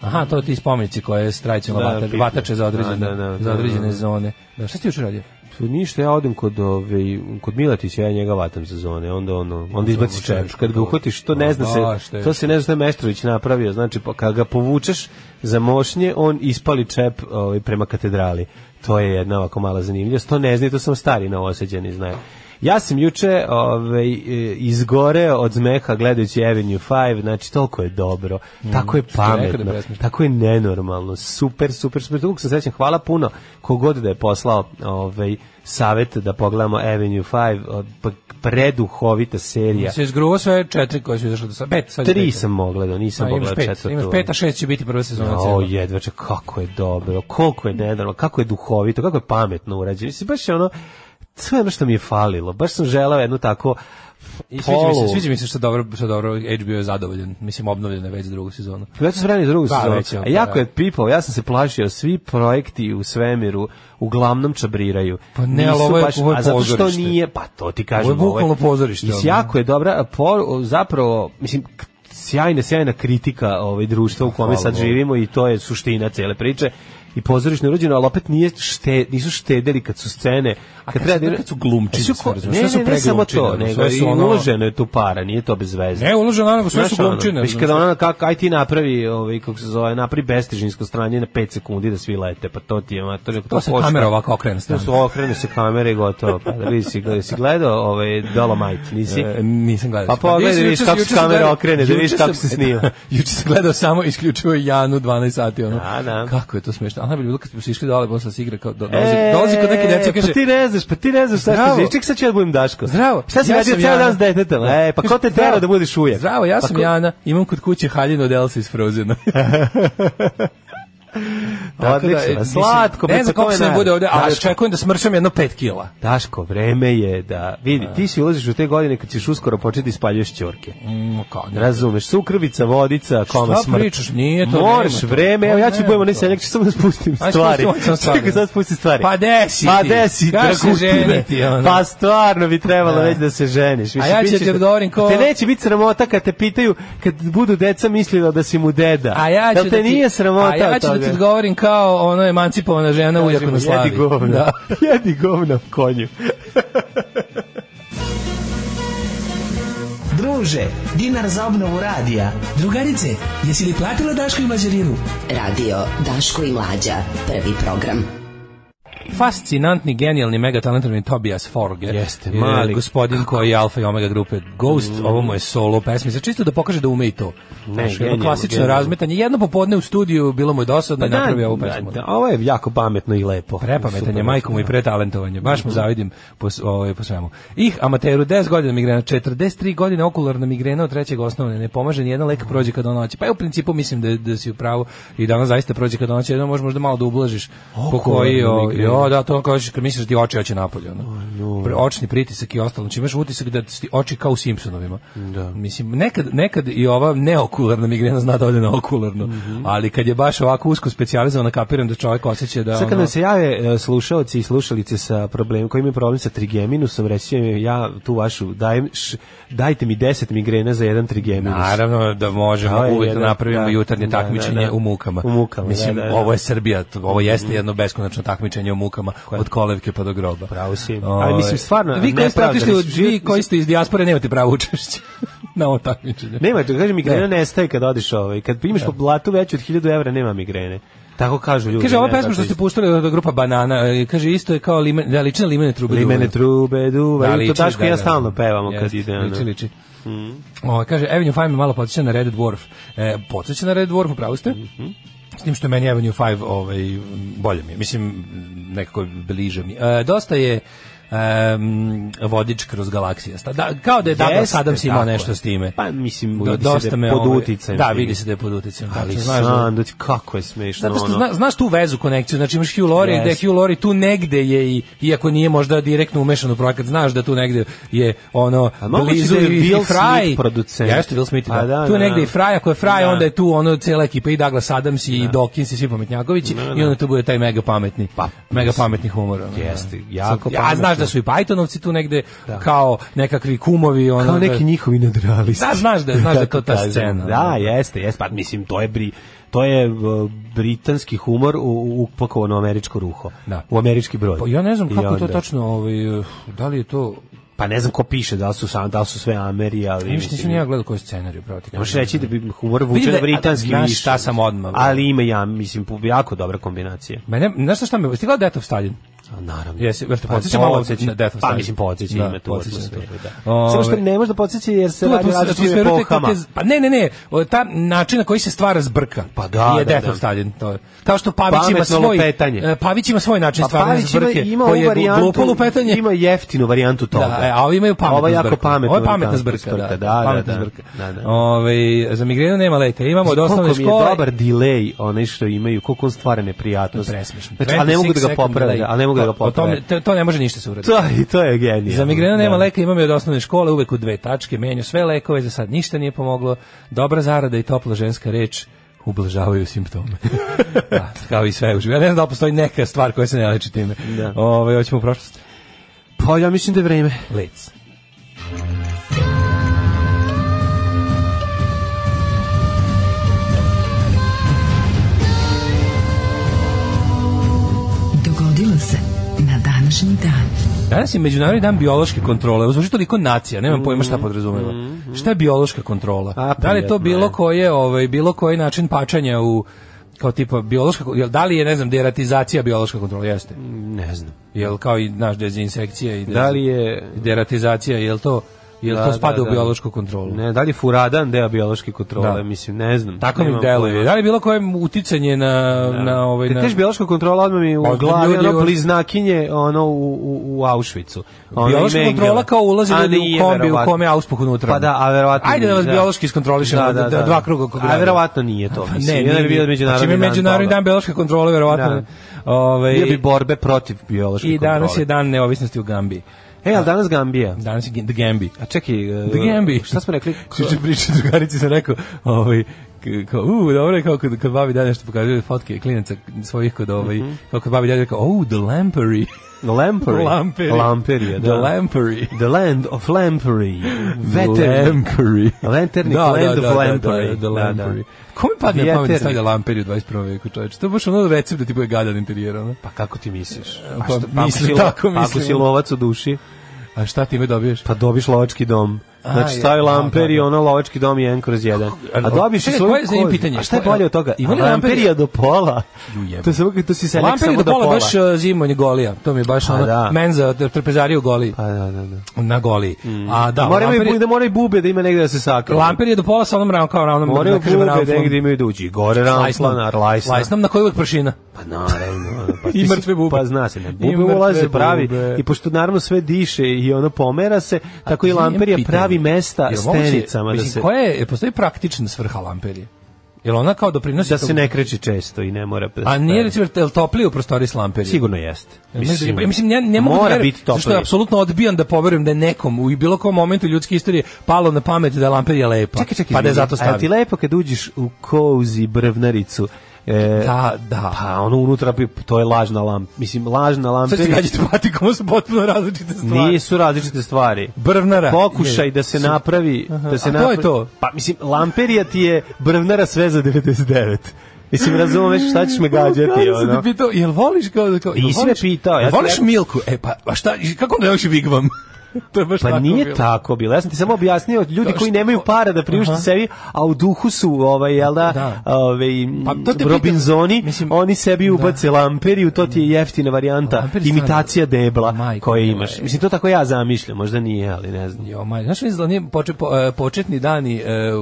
Speaker 7: Aha, to ti spomenici koje je strajcila
Speaker 8: Da,
Speaker 7: vata,
Speaker 8: pipi.
Speaker 7: vatače za određene,
Speaker 8: Da, da, da,
Speaker 7: za određene
Speaker 8: da, da.
Speaker 7: zone. Da, šta si juče radio?
Speaker 8: Pa Ništa, ja odem kod, ove, kod Milatića, ja njega vatam sa zone, onda, ono, onda izbaci čep. Kad ga uhvatiš, to ne zna
Speaker 7: Da,
Speaker 8: se,
Speaker 7: šta je?
Speaker 8: to se ne zna šta je Meštrović napravio, znači, pa kad ga povučeš za mošnje, on ispali čep ovaj, prema katedrali. To je jedna ovako mala zanimljivost, to ne zna, i to sam stari novoseđeni, znaju. Ja sam juče ovaj, e, izgoreo od zmeha gledajući Avenue 5, znači toliko je dobro, tako je
Speaker 7: je nekada
Speaker 8: pametno,
Speaker 7: besmišno.
Speaker 8: tako je nenormalno, super, super, super, tako sam srećan, hvala puno kogod da je poslao ovaj, savet da pogledamo Avenue 5, od- pa- preduhovita serija.
Speaker 7: Se izgruo sve četiri koje su izašle do sada. Pet, sad je
Speaker 8: Tri
Speaker 7: peta.
Speaker 8: sam ogledao, nisam
Speaker 7: A, imaš
Speaker 8: pogledao
Speaker 7: pet,
Speaker 8: četvrtu.
Speaker 7: Imaš pet, a šest će biti prva sezona.
Speaker 8: O, jedva čak, kako je dobro, koliko je nenormalno, kako je duhovito, kako je pametno urađeno. Mislim, baš je ono, sve ono što mi je falilo. Baš sam želeo jednu tako
Speaker 7: I sviđa mi
Speaker 8: polu...
Speaker 7: se, sviđa mi se što dobro, što dobro HBO je zadovoljan. Mislim, obnovljena je već drugu sezonu.
Speaker 8: Već su spremni za drugu
Speaker 7: ono. Da,
Speaker 8: sezonu.
Speaker 7: već je
Speaker 8: A
Speaker 7: ono,
Speaker 8: E, jako
Speaker 7: da.
Speaker 8: je pipao, ja sam se plašio, svi projekti u svemiru uglavnom čabriraju.
Speaker 7: Pa ne,
Speaker 8: Nisu
Speaker 7: ali ovo je- ovo je
Speaker 8: a zato što
Speaker 7: pozorište.
Speaker 8: nije, pa to ti kažem.
Speaker 7: Ovo je bukvalno pozorište,
Speaker 8: Mislim,
Speaker 7: ono.
Speaker 8: jako je dobra, e, por, zapravo, mislim, k- sjajna, sjajna kritika ovaj, društva u kome
Speaker 7: Pa, Hvala
Speaker 8: sad
Speaker 7: Bogu.
Speaker 8: živimo i to je suština cele priče i pozorišno je rođeno, ali opet nije šte, nisu štedeli kad su scene. Kad,
Speaker 7: kad su- kad su glumčine,
Speaker 8: Sve
Speaker 7: sve razumeš,
Speaker 8: ne,
Speaker 7: sve su
Speaker 8: ne, ne samo to,
Speaker 7: preglumčine,
Speaker 8: nego
Speaker 7: sve su
Speaker 8: i
Speaker 7: ono-
Speaker 8: uloženo je tu para, nije to bez veze.
Speaker 7: Ne, uloženo, naravno, sve su
Speaker 8: Znaš ono,
Speaker 7: glumčine.
Speaker 8: Mislim, kada ona, kako, aj ti napravi, ovaj, kako se zove, napravi bestižinsko stranje na 5 sekundi da svi lete, pa to ti je, ma, to, je-
Speaker 7: To se
Speaker 8: košta.
Speaker 7: kamera ovako okrene
Speaker 8: To
Speaker 7: stanu.
Speaker 8: su okrene se kamere i gotovo. Pa da vidi si, gledao, si gledao ovaj Dolomite, nisi?
Speaker 7: E, nisam gledao.
Speaker 8: Pa pogledaj,
Speaker 7: Nisam,
Speaker 8: vidiš
Speaker 7: juče
Speaker 8: kako
Speaker 7: sam-
Speaker 8: se
Speaker 7: juče sam
Speaker 8: kamera
Speaker 7: gledao-
Speaker 8: okrene, da
Speaker 7: juče
Speaker 8: vidiš kako
Speaker 7: sam-
Speaker 8: se snima.
Speaker 7: juče sam gledao samo isključivo Janu 12 sati ono.
Speaker 8: Da, da. E,
Speaker 7: Kako je to smešno. A najbolje bilo kad smo se išli dole posle se igra kao do, dolazi, dolazi kod neke dece i kaže
Speaker 8: Pa ti ne znaš, pa ti ne znaš šta
Speaker 7: Zdravo.
Speaker 8: ti znaš. Ček, sad ću ja da budem Daško.
Speaker 7: Zdravo.
Speaker 8: Šta si
Speaker 7: ja
Speaker 8: radio
Speaker 7: sam
Speaker 8: ceo
Speaker 7: Jana.
Speaker 8: dan s detetom? E, pa ko te
Speaker 7: Zdravo.
Speaker 8: tera da budiš ujak?
Speaker 7: Zdravo, ja
Speaker 8: Pa
Speaker 7: sam
Speaker 8: ko-
Speaker 7: Jana, imam kod kuće haljinu od Elsa iz Frozena. Tako da, e,
Speaker 8: Odlično, slatko.
Speaker 7: mislim,
Speaker 8: pa
Speaker 7: Ne znam
Speaker 8: to
Speaker 7: koliko
Speaker 8: je
Speaker 7: se ne
Speaker 8: naj-
Speaker 7: bude ovde, ali
Speaker 8: Daško,
Speaker 7: očekujem da smršam jedno 5 kila.
Speaker 8: Daško, vreme je da... Vidi, ti si ulaziš u te godine kad ćeš uskoro početi ispaljuješ ćorke.
Speaker 7: Mm, kao, ne.
Speaker 8: Razumeš, sukrvica, vodica, koma
Speaker 7: Šta
Speaker 8: smrt.
Speaker 7: pričaš? Nije to,
Speaker 8: Moraš
Speaker 7: nema to.
Speaker 8: vreme, evo ja ću
Speaker 7: Pa
Speaker 8: budem
Speaker 7: nema
Speaker 8: onaj
Speaker 7: to.
Speaker 8: seljak, ću samo da spustim
Speaker 7: Aj,
Speaker 8: stvari.
Speaker 7: spusti, on sam
Speaker 8: Čekaj, sad spusti stvari.
Speaker 7: Pa desi
Speaker 8: Pa
Speaker 7: ti.
Speaker 8: desi,
Speaker 7: Kaži se
Speaker 8: dragutine.
Speaker 7: ženi ti, ono.
Speaker 8: Pa stvarno bi trebalo
Speaker 7: Da.
Speaker 8: već da se ženiš. Mislim,
Speaker 7: ja ću
Speaker 8: bit će
Speaker 7: ti
Speaker 8: da-
Speaker 7: odgovorim ko-
Speaker 8: Te neće biti sramota kad te pitaju, kad budu deca mislila da si mu deda.
Speaker 7: A ja ću
Speaker 8: Jel te
Speaker 7: da ti,
Speaker 8: nije sramota
Speaker 7: A ja
Speaker 8: od
Speaker 7: ću da ti
Speaker 8: toga?
Speaker 7: odgovorim kao ono emancipovana žena u
Speaker 8: Kažemo,
Speaker 7: Jakonoslavi.
Speaker 8: Jedi govno.
Speaker 7: Da.
Speaker 8: Jedi govno konju.
Speaker 9: Druže, dinar za obnovu radija. Drugarice, jesi li platila Daško i Mađarinu?
Speaker 10: Radio Daško i Mlađa. Prvi program.
Speaker 7: Fascinantni, genijalni, megatalentovni Tobias Forge.
Speaker 8: Jeste,
Speaker 7: je
Speaker 8: mali. Mm.
Speaker 7: Gospodin koji je alfa i omega grupe Ghost, ovo mu je solo pesmi. Za čisto da pokaže da ume i to. Znaš, jedno
Speaker 8: genijalno,
Speaker 7: klasično
Speaker 8: genijalno.
Speaker 7: razmetanje. Jedno popodne u studiju, bilo mu je dosadno i napravio Pa ovu pesmu.
Speaker 8: Pa da, ovo je jako pametno i lepo.
Speaker 7: Prepametanje,
Speaker 8: Super.
Speaker 7: majkom i pretalentovanje. Baš mu zavidim po, s- ovaj, po svemu. Ih, amateru, 10 godina migrena, 43 godine okularna migrena od trećeg osnovne. Ne pomaže, nijedan lek prođe kad ona hoće. Pa ja u principu mislim da, da si u pravu i danas zaista prođe kad ona hoće. Jedno možeš možda malo da ublažiš. Po koji,
Speaker 8: Okularna
Speaker 7: o,
Speaker 8: migrena.
Speaker 7: jo, da, to kažeš kad misliš da ti oči hoće napolje. Ono. Pre- Očni pritisak i ostalo. Znači imaš utisak da ti oči kao u Simpsonovima. Mislim, nekad, nekad i ova neokularna migrena zna da ode na okularno.
Speaker 8: Mhm.
Speaker 7: Ali kad je baš ovako usko specijalizovana, kapiram da čovjek osjeća da...
Speaker 8: Sad kad
Speaker 7: ono-
Speaker 8: nam se jave e, slušaoci i slušalice sa problemom, koji imaju problem sa trigeminusom, reći će im, ja tu vašu, dajem, š, dajte mi 10 migrena za jedan trigeminus.
Speaker 7: Naravno da možemo
Speaker 8: To je
Speaker 7: uvek da
Speaker 8: jedan-
Speaker 7: napravimo
Speaker 8: da,
Speaker 7: jutarnje
Speaker 8: da,
Speaker 7: takmičenje
Speaker 8: da, da.
Speaker 7: u mukama.
Speaker 8: U mukama,
Speaker 7: Mislim,
Speaker 8: da, da, Mhm. da.
Speaker 7: ovo je Srbija, t- ovo jeste jedno beskonačno takmičenje u mukama od kolevke pa do groba.
Speaker 8: Pravo si.
Speaker 7: Ovaj,
Speaker 8: Ali mislim, stvarno,
Speaker 7: Vi koji, ste
Speaker 8: nepravda,
Speaker 7: otišli u-
Speaker 8: mislim,
Speaker 7: vi
Speaker 8: život-
Speaker 7: koji ste iz dijaspore nemate pravo učešće na ovo takmičenje.
Speaker 8: Nema, to kaže, migrena nestaje kad odiš ovaj. Kad imaš po blatu veću od 1000 evra, nema migrene. Tako kažu ljudi.
Speaker 7: Kaže, ova
Speaker 8: ne znam
Speaker 7: pesma što
Speaker 8: to
Speaker 7: ste
Speaker 8: isto.
Speaker 7: puštali od grupa Banana, e, kaže, isto je kao limen, da, lične limene trube.
Speaker 8: Limene
Speaker 7: duvaju.
Speaker 8: trube duva. Da,
Speaker 7: liči,
Speaker 8: to Daško i
Speaker 7: da, da.
Speaker 8: ja stalno pevamo kad
Speaker 7: Jeste,
Speaker 8: ide. ono.
Speaker 7: Liči, liči. O, Mm. kaže, Avenue 5 me malo podsjeća na Red Dwarf. E, podsjeća na Red Dwarf, upravo ste? S tim što je meni Avenue 5 ovaj, bolje mi je. Mislim, nekako bliže mi. je. E, dosta je um, vodič kroz galaksijasta. Da, kao da je Douglas
Speaker 8: Jeste,
Speaker 7: Adams imao
Speaker 8: tako
Speaker 7: nešto
Speaker 8: je.
Speaker 7: s time.
Speaker 8: Pa, mislim,
Speaker 7: Do-
Speaker 8: vidi se da je pod
Speaker 7: ovaj-
Speaker 8: uticajem
Speaker 7: Da,
Speaker 8: snimio.
Speaker 7: vidi se da je pod uticajem.
Speaker 8: Ali
Speaker 7: tačno, znaš da-
Speaker 8: sam, Znači, da ti- kako je smešno
Speaker 7: Zato što
Speaker 8: ono.
Speaker 7: zna, znaš tu vezu, konekciju, znači imaš Hugh Laurie,
Speaker 8: Yes.
Speaker 7: da je Hugh Laurie tu negde je, i, iako nije možda direktno umešan u projekat, znaš da tu negde je ono,
Speaker 8: A moguće
Speaker 7: blizu
Speaker 8: da je
Speaker 7: i, i
Speaker 8: Will
Speaker 7: Fry.
Speaker 8: Smith producent.
Speaker 7: Jeste Will Smith, da.
Speaker 8: Pa da,
Speaker 7: tu je
Speaker 8: da,
Speaker 7: negde
Speaker 8: da.
Speaker 7: i Fry, ako je Fry,
Speaker 8: Da.
Speaker 7: onda je tu ono cijela ekipa i Douglas Adams i Dawkins i svi pametnjakovići i onda tu bude taj mega pametni, mega pametni humor. ono,
Speaker 8: Pa, Jeste,
Speaker 7: da.
Speaker 8: jako
Speaker 7: A znaš
Speaker 8: pametno.
Speaker 7: da su i Pythonovci tu negde kao nekakvi kumovi. Ono,
Speaker 8: kao
Speaker 7: da-
Speaker 8: neki njihovi nadrealisti.
Speaker 7: Da, znaš da je- znaš da je to ta
Speaker 8: Tako kažem.
Speaker 7: scena. ono.
Speaker 8: Da, jeste, jeste, pa mislim to je bri to je uh, britanski humor u- u- upakovan u američko ruho.
Speaker 7: Da.
Speaker 8: U američki broj.
Speaker 7: Pa ja ne znam
Speaker 8: I
Speaker 7: kako je to
Speaker 8: onda-
Speaker 7: tačno, ovaj, eh, da li je to...
Speaker 8: Pa ne znam ko piše, da li su sam, da li su sve Ameri, ali
Speaker 7: Ništa nisam
Speaker 8: mislim-
Speaker 7: ni ja gledao koji scenarij, bravo ti
Speaker 8: Ne možeš
Speaker 7: kažem.
Speaker 8: reći da bi humor
Speaker 7: Vidi
Speaker 8: vuče
Speaker 7: da
Speaker 8: na
Speaker 7: je-
Speaker 8: britanski
Speaker 7: znaš
Speaker 8: više.
Speaker 7: šta sam odmah, bre.
Speaker 8: Ali ima ja, mislim, jako dobra kombinacija.
Speaker 7: Mene, znaš šta me, stigla Death of Stalin?
Speaker 8: A, naravno.
Speaker 7: Jesi, jel te
Speaker 8: Pa,
Speaker 7: podsjeća malo
Speaker 8: podsjeća.
Speaker 7: na Death of
Speaker 8: Pa
Speaker 7: Stalin?
Speaker 8: mislim podsjeća,
Speaker 7: Da,
Speaker 8: ima tu
Speaker 7: podsjeća na to.
Speaker 8: atmosferu. Da.
Speaker 7: Ove-
Speaker 8: Samo što ne može da podsjeća jer se
Speaker 7: Tu
Speaker 8: radi
Speaker 7: atmos-
Speaker 8: različitim
Speaker 7: atmosferu te
Speaker 8: epohama.
Speaker 7: kako ti- Pa ne, ne, ne, o, ta način na koji se stvara zbrka.
Speaker 8: Pa da,
Speaker 7: je
Speaker 8: da,
Speaker 7: Death
Speaker 8: da.
Speaker 7: of Stalin, to je. Kao što Pavić ima
Speaker 8: Pametno
Speaker 7: svoj
Speaker 8: lupetanje.
Speaker 7: e, Pavić ima svoj način
Speaker 8: Pa
Speaker 7: stvaranja
Speaker 8: Pavić ima,
Speaker 7: zbrke,
Speaker 8: ima
Speaker 7: koji
Speaker 8: ovu
Speaker 7: je glu-
Speaker 8: varijantu,
Speaker 7: glupo lupetanje.
Speaker 8: ima jeftinu varijantu toga.
Speaker 7: Da, e, a ovi imaju pametnu
Speaker 8: Ovo je jako
Speaker 7: zbrku.
Speaker 8: pametna.
Speaker 7: Ovo je pametna
Speaker 8: varijantu
Speaker 7: zbrka, da.
Speaker 8: da, da,
Speaker 7: pametna
Speaker 8: da,
Speaker 7: zbrka.
Speaker 8: da, da.
Speaker 7: Ovaj, za migrenu nema leka. Imamo od
Speaker 8: Koliko
Speaker 7: osnovne
Speaker 8: mi je
Speaker 7: škole.
Speaker 8: dobar delay onaj što imaju, koliko on stvara neprijatnost.
Speaker 7: Presmešno.
Speaker 8: Znači, a ne mogu da
Speaker 7: 26
Speaker 8: ga
Speaker 7: sekund
Speaker 8: poprave,
Speaker 7: delay.
Speaker 8: a ne mogu da ga
Speaker 7: O tome-
Speaker 8: poprave.
Speaker 7: To, to ne može ništa se uraditi.
Speaker 8: To, i to je genijalno.
Speaker 7: Za migrenu nema
Speaker 8: Da.
Speaker 7: leka, imam je od osnovne škole, uvek u dve tačke, menju sve lekove, za sad ništa nije pomoglo, dobra zarada i topla ženska reč ublažavaju simptome. da, kao i sve u životu. Ja ne znam da li postoji neka stvar koja se ne leči time.
Speaker 8: Da.
Speaker 7: Ove, hoćemo u prošlost.
Speaker 8: Pa ja mislim da je vreme.
Speaker 7: Lec.
Speaker 6: Dogodilo se na današnji dan.
Speaker 7: Danas je Međunarodni dan biološke kontrole. Zvuči toliko nacija, nemam pojma šta podrazumeva. Šta je biološka kontrola?
Speaker 8: Mm, A,
Speaker 7: da li je to
Speaker 8: prijatno
Speaker 7: bilo
Speaker 8: je.
Speaker 7: koje, ovaj, bilo koji način pačanja u kao tipa biološka, jel da li je, ne znam, deratizacija biološka kontrola? Jeste.
Speaker 8: Ne znam.
Speaker 7: Jel kao i naš dezinsekcija i dez-
Speaker 8: Da li je...
Speaker 7: deratizacija, jel to, jel
Speaker 8: Da,
Speaker 7: to spada
Speaker 8: da,
Speaker 7: u
Speaker 8: da.
Speaker 7: biološku kontrolu?
Speaker 8: Ne, da li je furadan deo biološke kontrole,
Speaker 7: Da.
Speaker 8: mislim, ne znam.
Speaker 7: Tako mi
Speaker 8: Nemam
Speaker 7: deluje.
Speaker 8: pojma.
Speaker 7: Da li je bilo koje uticanje na, na ovaj...
Speaker 8: Kad
Speaker 7: na-
Speaker 8: kažeš biološka kontrola, odmah mi u
Speaker 7: Pa,
Speaker 8: glavi
Speaker 7: ljudi
Speaker 8: ono
Speaker 7: u-
Speaker 8: bliznakinje ono u, u, u Auschwitzu. Ono
Speaker 7: Biološka
Speaker 8: ime
Speaker 7: kontrola
Speaker 8: Engela.
Speaker 7: kao ulazi
Speaker 8: A
Speaker 7: ljudi u
Speaker 8: nije,
Speaker 7: kombi u
Speaker 8: verovatno.
Speaker 7: kome je auspuh unutra.
Speaker 8: Pa da, a verovatno
Speaker 7: Ajde da vas
Speaker 8: nije,
Speaker 7: biološki iskontrolišemo da, dva kruga oko grada.
Speaker 8: A verovatno nije to.
Speaker 7: Pa
Speaker 8: mislim,
Speaker 7: ne,
Speaker 8: jedan
Speaker 7: nije.
Speaker 8: bi bio
Speaker 7: Znači,
Speaker 8: međunarodni
Speaker 7: ima
Speaker 8: dan.
Speaker 7: međunarodni dan biološke kontrole, verovatno. Ovaj,
Speaker 8: Bio bi borbe protiv biološke
Speaker 7: I
Speaker 8: kontrole.
Speaker 7: danas je dan neovisnosti u Gambiji.
Speaker 8: E, ali danas Gambija.
Speaker 7: Danas je G- The Gambi.
Speaker 8: A čekaj, e,
Speaker 7: The Gambi.
Speaker 8: šta smo rekli?
Speaker 7: Juče priče drugarici sam rekao, ovaj k- kao, u, dobro je kao kad, kad babi dalje nešto pokazuje fotke klinaca svojih kod ovaj, kao kad babi dalje rekao, oh, the lampery,
Speaker 8: Lampery.
Speaker 7: Lamperi.
Speaker 8: Lamperije, da.
Speaker 7: the lampery,
Speaker 8: The land of Lampery. Veteran.
Speaker 7: lampery,
Speaker 8: Lanternik,
Speaker 7: da,
Speaker 8: land
Speaker 7: da,
Speaker 8: of
Speaker 7: da, da,
Speaker 8: Lampery.
Speaker 7: da, the
Speaker 8: Da,
Speaker 7: lampery.
Speaker 8: da.
Speaker 7: Kome padne na pamet da
Speaker 8: Vjeternik.
Speaker 7: stavlja lamperiju u 21. veku, čoveče? To je baš ono recept da ti bude gadan interijer, ono.
Speaker 8: Pa kako ti misliš?
Speaker 7: Pa mislim,
Speaker 8: ako si lo-
Speaker 7: tako
Speaker 8: pa Ako
Speaker 7: mislim.
Speaker 8: si lovac u duši,
Speaker 7: A šta time dobiješ?
Speaker 8: pa dobiš lovački dom.
Speaker 7: A,
Speaker 8: Znači,
Speaker 7: je,
Speaker 8: stavi
Speaker 7: da,
Speaker 8: lamper
Speaker 7: da,
Speaker 8: i
Speaker 7: da.
Speaker 8: ono lovački dom je 1 kroz 1. A dobiješ i
Speaker 7: Čekaj,
Speaker 8: svoju
Speaker 7: koje je zanimljivo
Speaker 8: kožu.
Speaker 7: pitanje?
Speaker 8: A šta je
Speaker 7: Koje-
Speaker 8: bolje od toga?
Speaker 7: Ima li lamperija?
Speaker 8: lamperija do pola?
Speaker 7: Ju jebe.
Speaker 8: To se uvijek, to si se
Speaker 7: Lamper je
Speaker 8: samo
Speaker 7: do
Speaker 8: do
Speaker 7: pola
Speaker 8: pola.
Speaker 7: baš uh, zimon golija. To mi je baš
Speaker 8: Pa
Speaker 7: ono,
Speaker 8: da.
Speaker 7: menza, trpezarija u goliji.
Speaker 8: Pa da, da, da.
Speaker 7: Na goliji. A da,
Speaker 8: Mm. Moraju
Speaker 7: lamper
Speaker 8: i
Speaker 7: je-
Speaker 8: da moraju bube da ima negde da se sakrije.
Speaker 7: Lamper je do pola sa onom ravnom, kao ravnom,
Speaker 8: Moraju
Speaker 7: da kažem
Speaker 8: bube
Speaker 7: ravnom.
Speaker 8: negde imaju da uđi. Gore
Speaker 7: Lajsnom.
Speaker 8: ramflan, arlajsna.
Speaker 7: Lajsnom na kojoj uvek pršina.
Speaker 8: Pa naravno. ono, Pa,
Speaker 7: I
Speaker 8: ti si-
Speaker 7: mrtve bube.
Speaker 8: Pa zna se, ne.
Speaker 7: I
Speaker 8: Bube
Speaker 7: mrtve
Speaker 8: ulaze pravi
Speaker 7: bube.
Speaker 8: i pošto naravno sve diše i ono pomera se, tako i
Speaker 7: Imam
Speaker 8: lamperija
Speaker 7: pitanje.
Speaker 8: pravi mesta
Speaker 7: Jel moguće-
Speaker 8: stenicama da
Speaker 7: mislim,
Speaker 8: se...
Speaker 7: Koja je, postoji praktična svrha lamperije? Jel ona kao doprinosi
Speaker 8: da se
Speaker 7: tom-
Speaker 8: ne kreće često i ne mora
Speaker 7: A nije recimo jel topli u prostoriji s lamperije?
Speaker 8: sigurno jeste
Speaker 7: Mislim, mislim ne, ne mogu da
Speaker 8: mora
Speaker 7: verujem,
Speaker 8: biti
Speaker 7: zato što je
Speaker 8: toplije
Speaker 7: apsolutno odbijan da poverujem da je nekom u bilo kom momentu ljudske istorije palo na pamet da je lamperija lepa.
Speaker 8: čekaj čekaj
Speaker 7: pa da je zato
Speaker 8: izvini, a jel ti
Speaker 7: stavio.
Speaker 8: lepo kad uđeš u kozi brvnaricu e,
Speaker 7: Da, da.
Speaker 8: pa ono unutra bi- to je lažna lamp mislim lažna
Speaker 7: Sad ćete
Speaker 8: lamperija
Speaker 7: gađati patikom, su potpuno različite stvari.
Speaker 8: nisu različite stvari
Speaker 7: Brvnara.
Speaker 8: pokušaj
Speaker 7: Ne,
Speaker 8: da se
Speaker 7: su-
Speaker 8: napravi da se
Speaker 7: A to
Speaker 8: napravi
Speaker 7: je to?
Speaker 8: pa mislim lamperija ti je brvnara sve za 99 Mislim, razumem već šta ćeš me gađati,
Speaker 7: Kako sam te
Speaker 8: ono.
Speaker 7: pitao, jel voliš kao... kao jel
Speaker 8: Nisi me
Speaker 7: voliš-
Speaker 8: pitao, ja
Speaker 7: Jel
Speaker 8: sam
Speaker 7: voliš
Speaker 8: rekao-
Speaker 7: Milku? E pa, a šta, i kako ne voliš Big Bang? to je baš
Speaker 8: pa
Speaker 7: tako
Speaker 8: nije
Speaker 7: bilo.
Speaker 8: tako bilo. Ja sam ti samo objasnio ljudi
Speaker 7: Da,
Speaker 8: koji
Speaker 7: što-
Speaker 8: nemaju para da priušte
Speaker 7: Aha.
Speaker 8: sebi, a u duhu su ovaj jel da,
Speaker 7: Da.
Speaker 8: ovaj
Speaker 7: Pa to te
Speaker 8: Robinzoni,
Speaker 7: pitam, mislim-
Speaker 8: oni sebi ubace lamperiju, to ti je jeftina varijanta,
Speaker 7: Lamperi
Speaker 8: imitacija debla
Speaker 7: Majko
Speaker 8: koje
Speaker 7: moja.
Speaker 8: imaš. Mislim to tako ja zamišljam, možda nije, ali ne znam.
Speaker 7: Jo, maj, znaš, izgleda poče, po, e, početni dani e,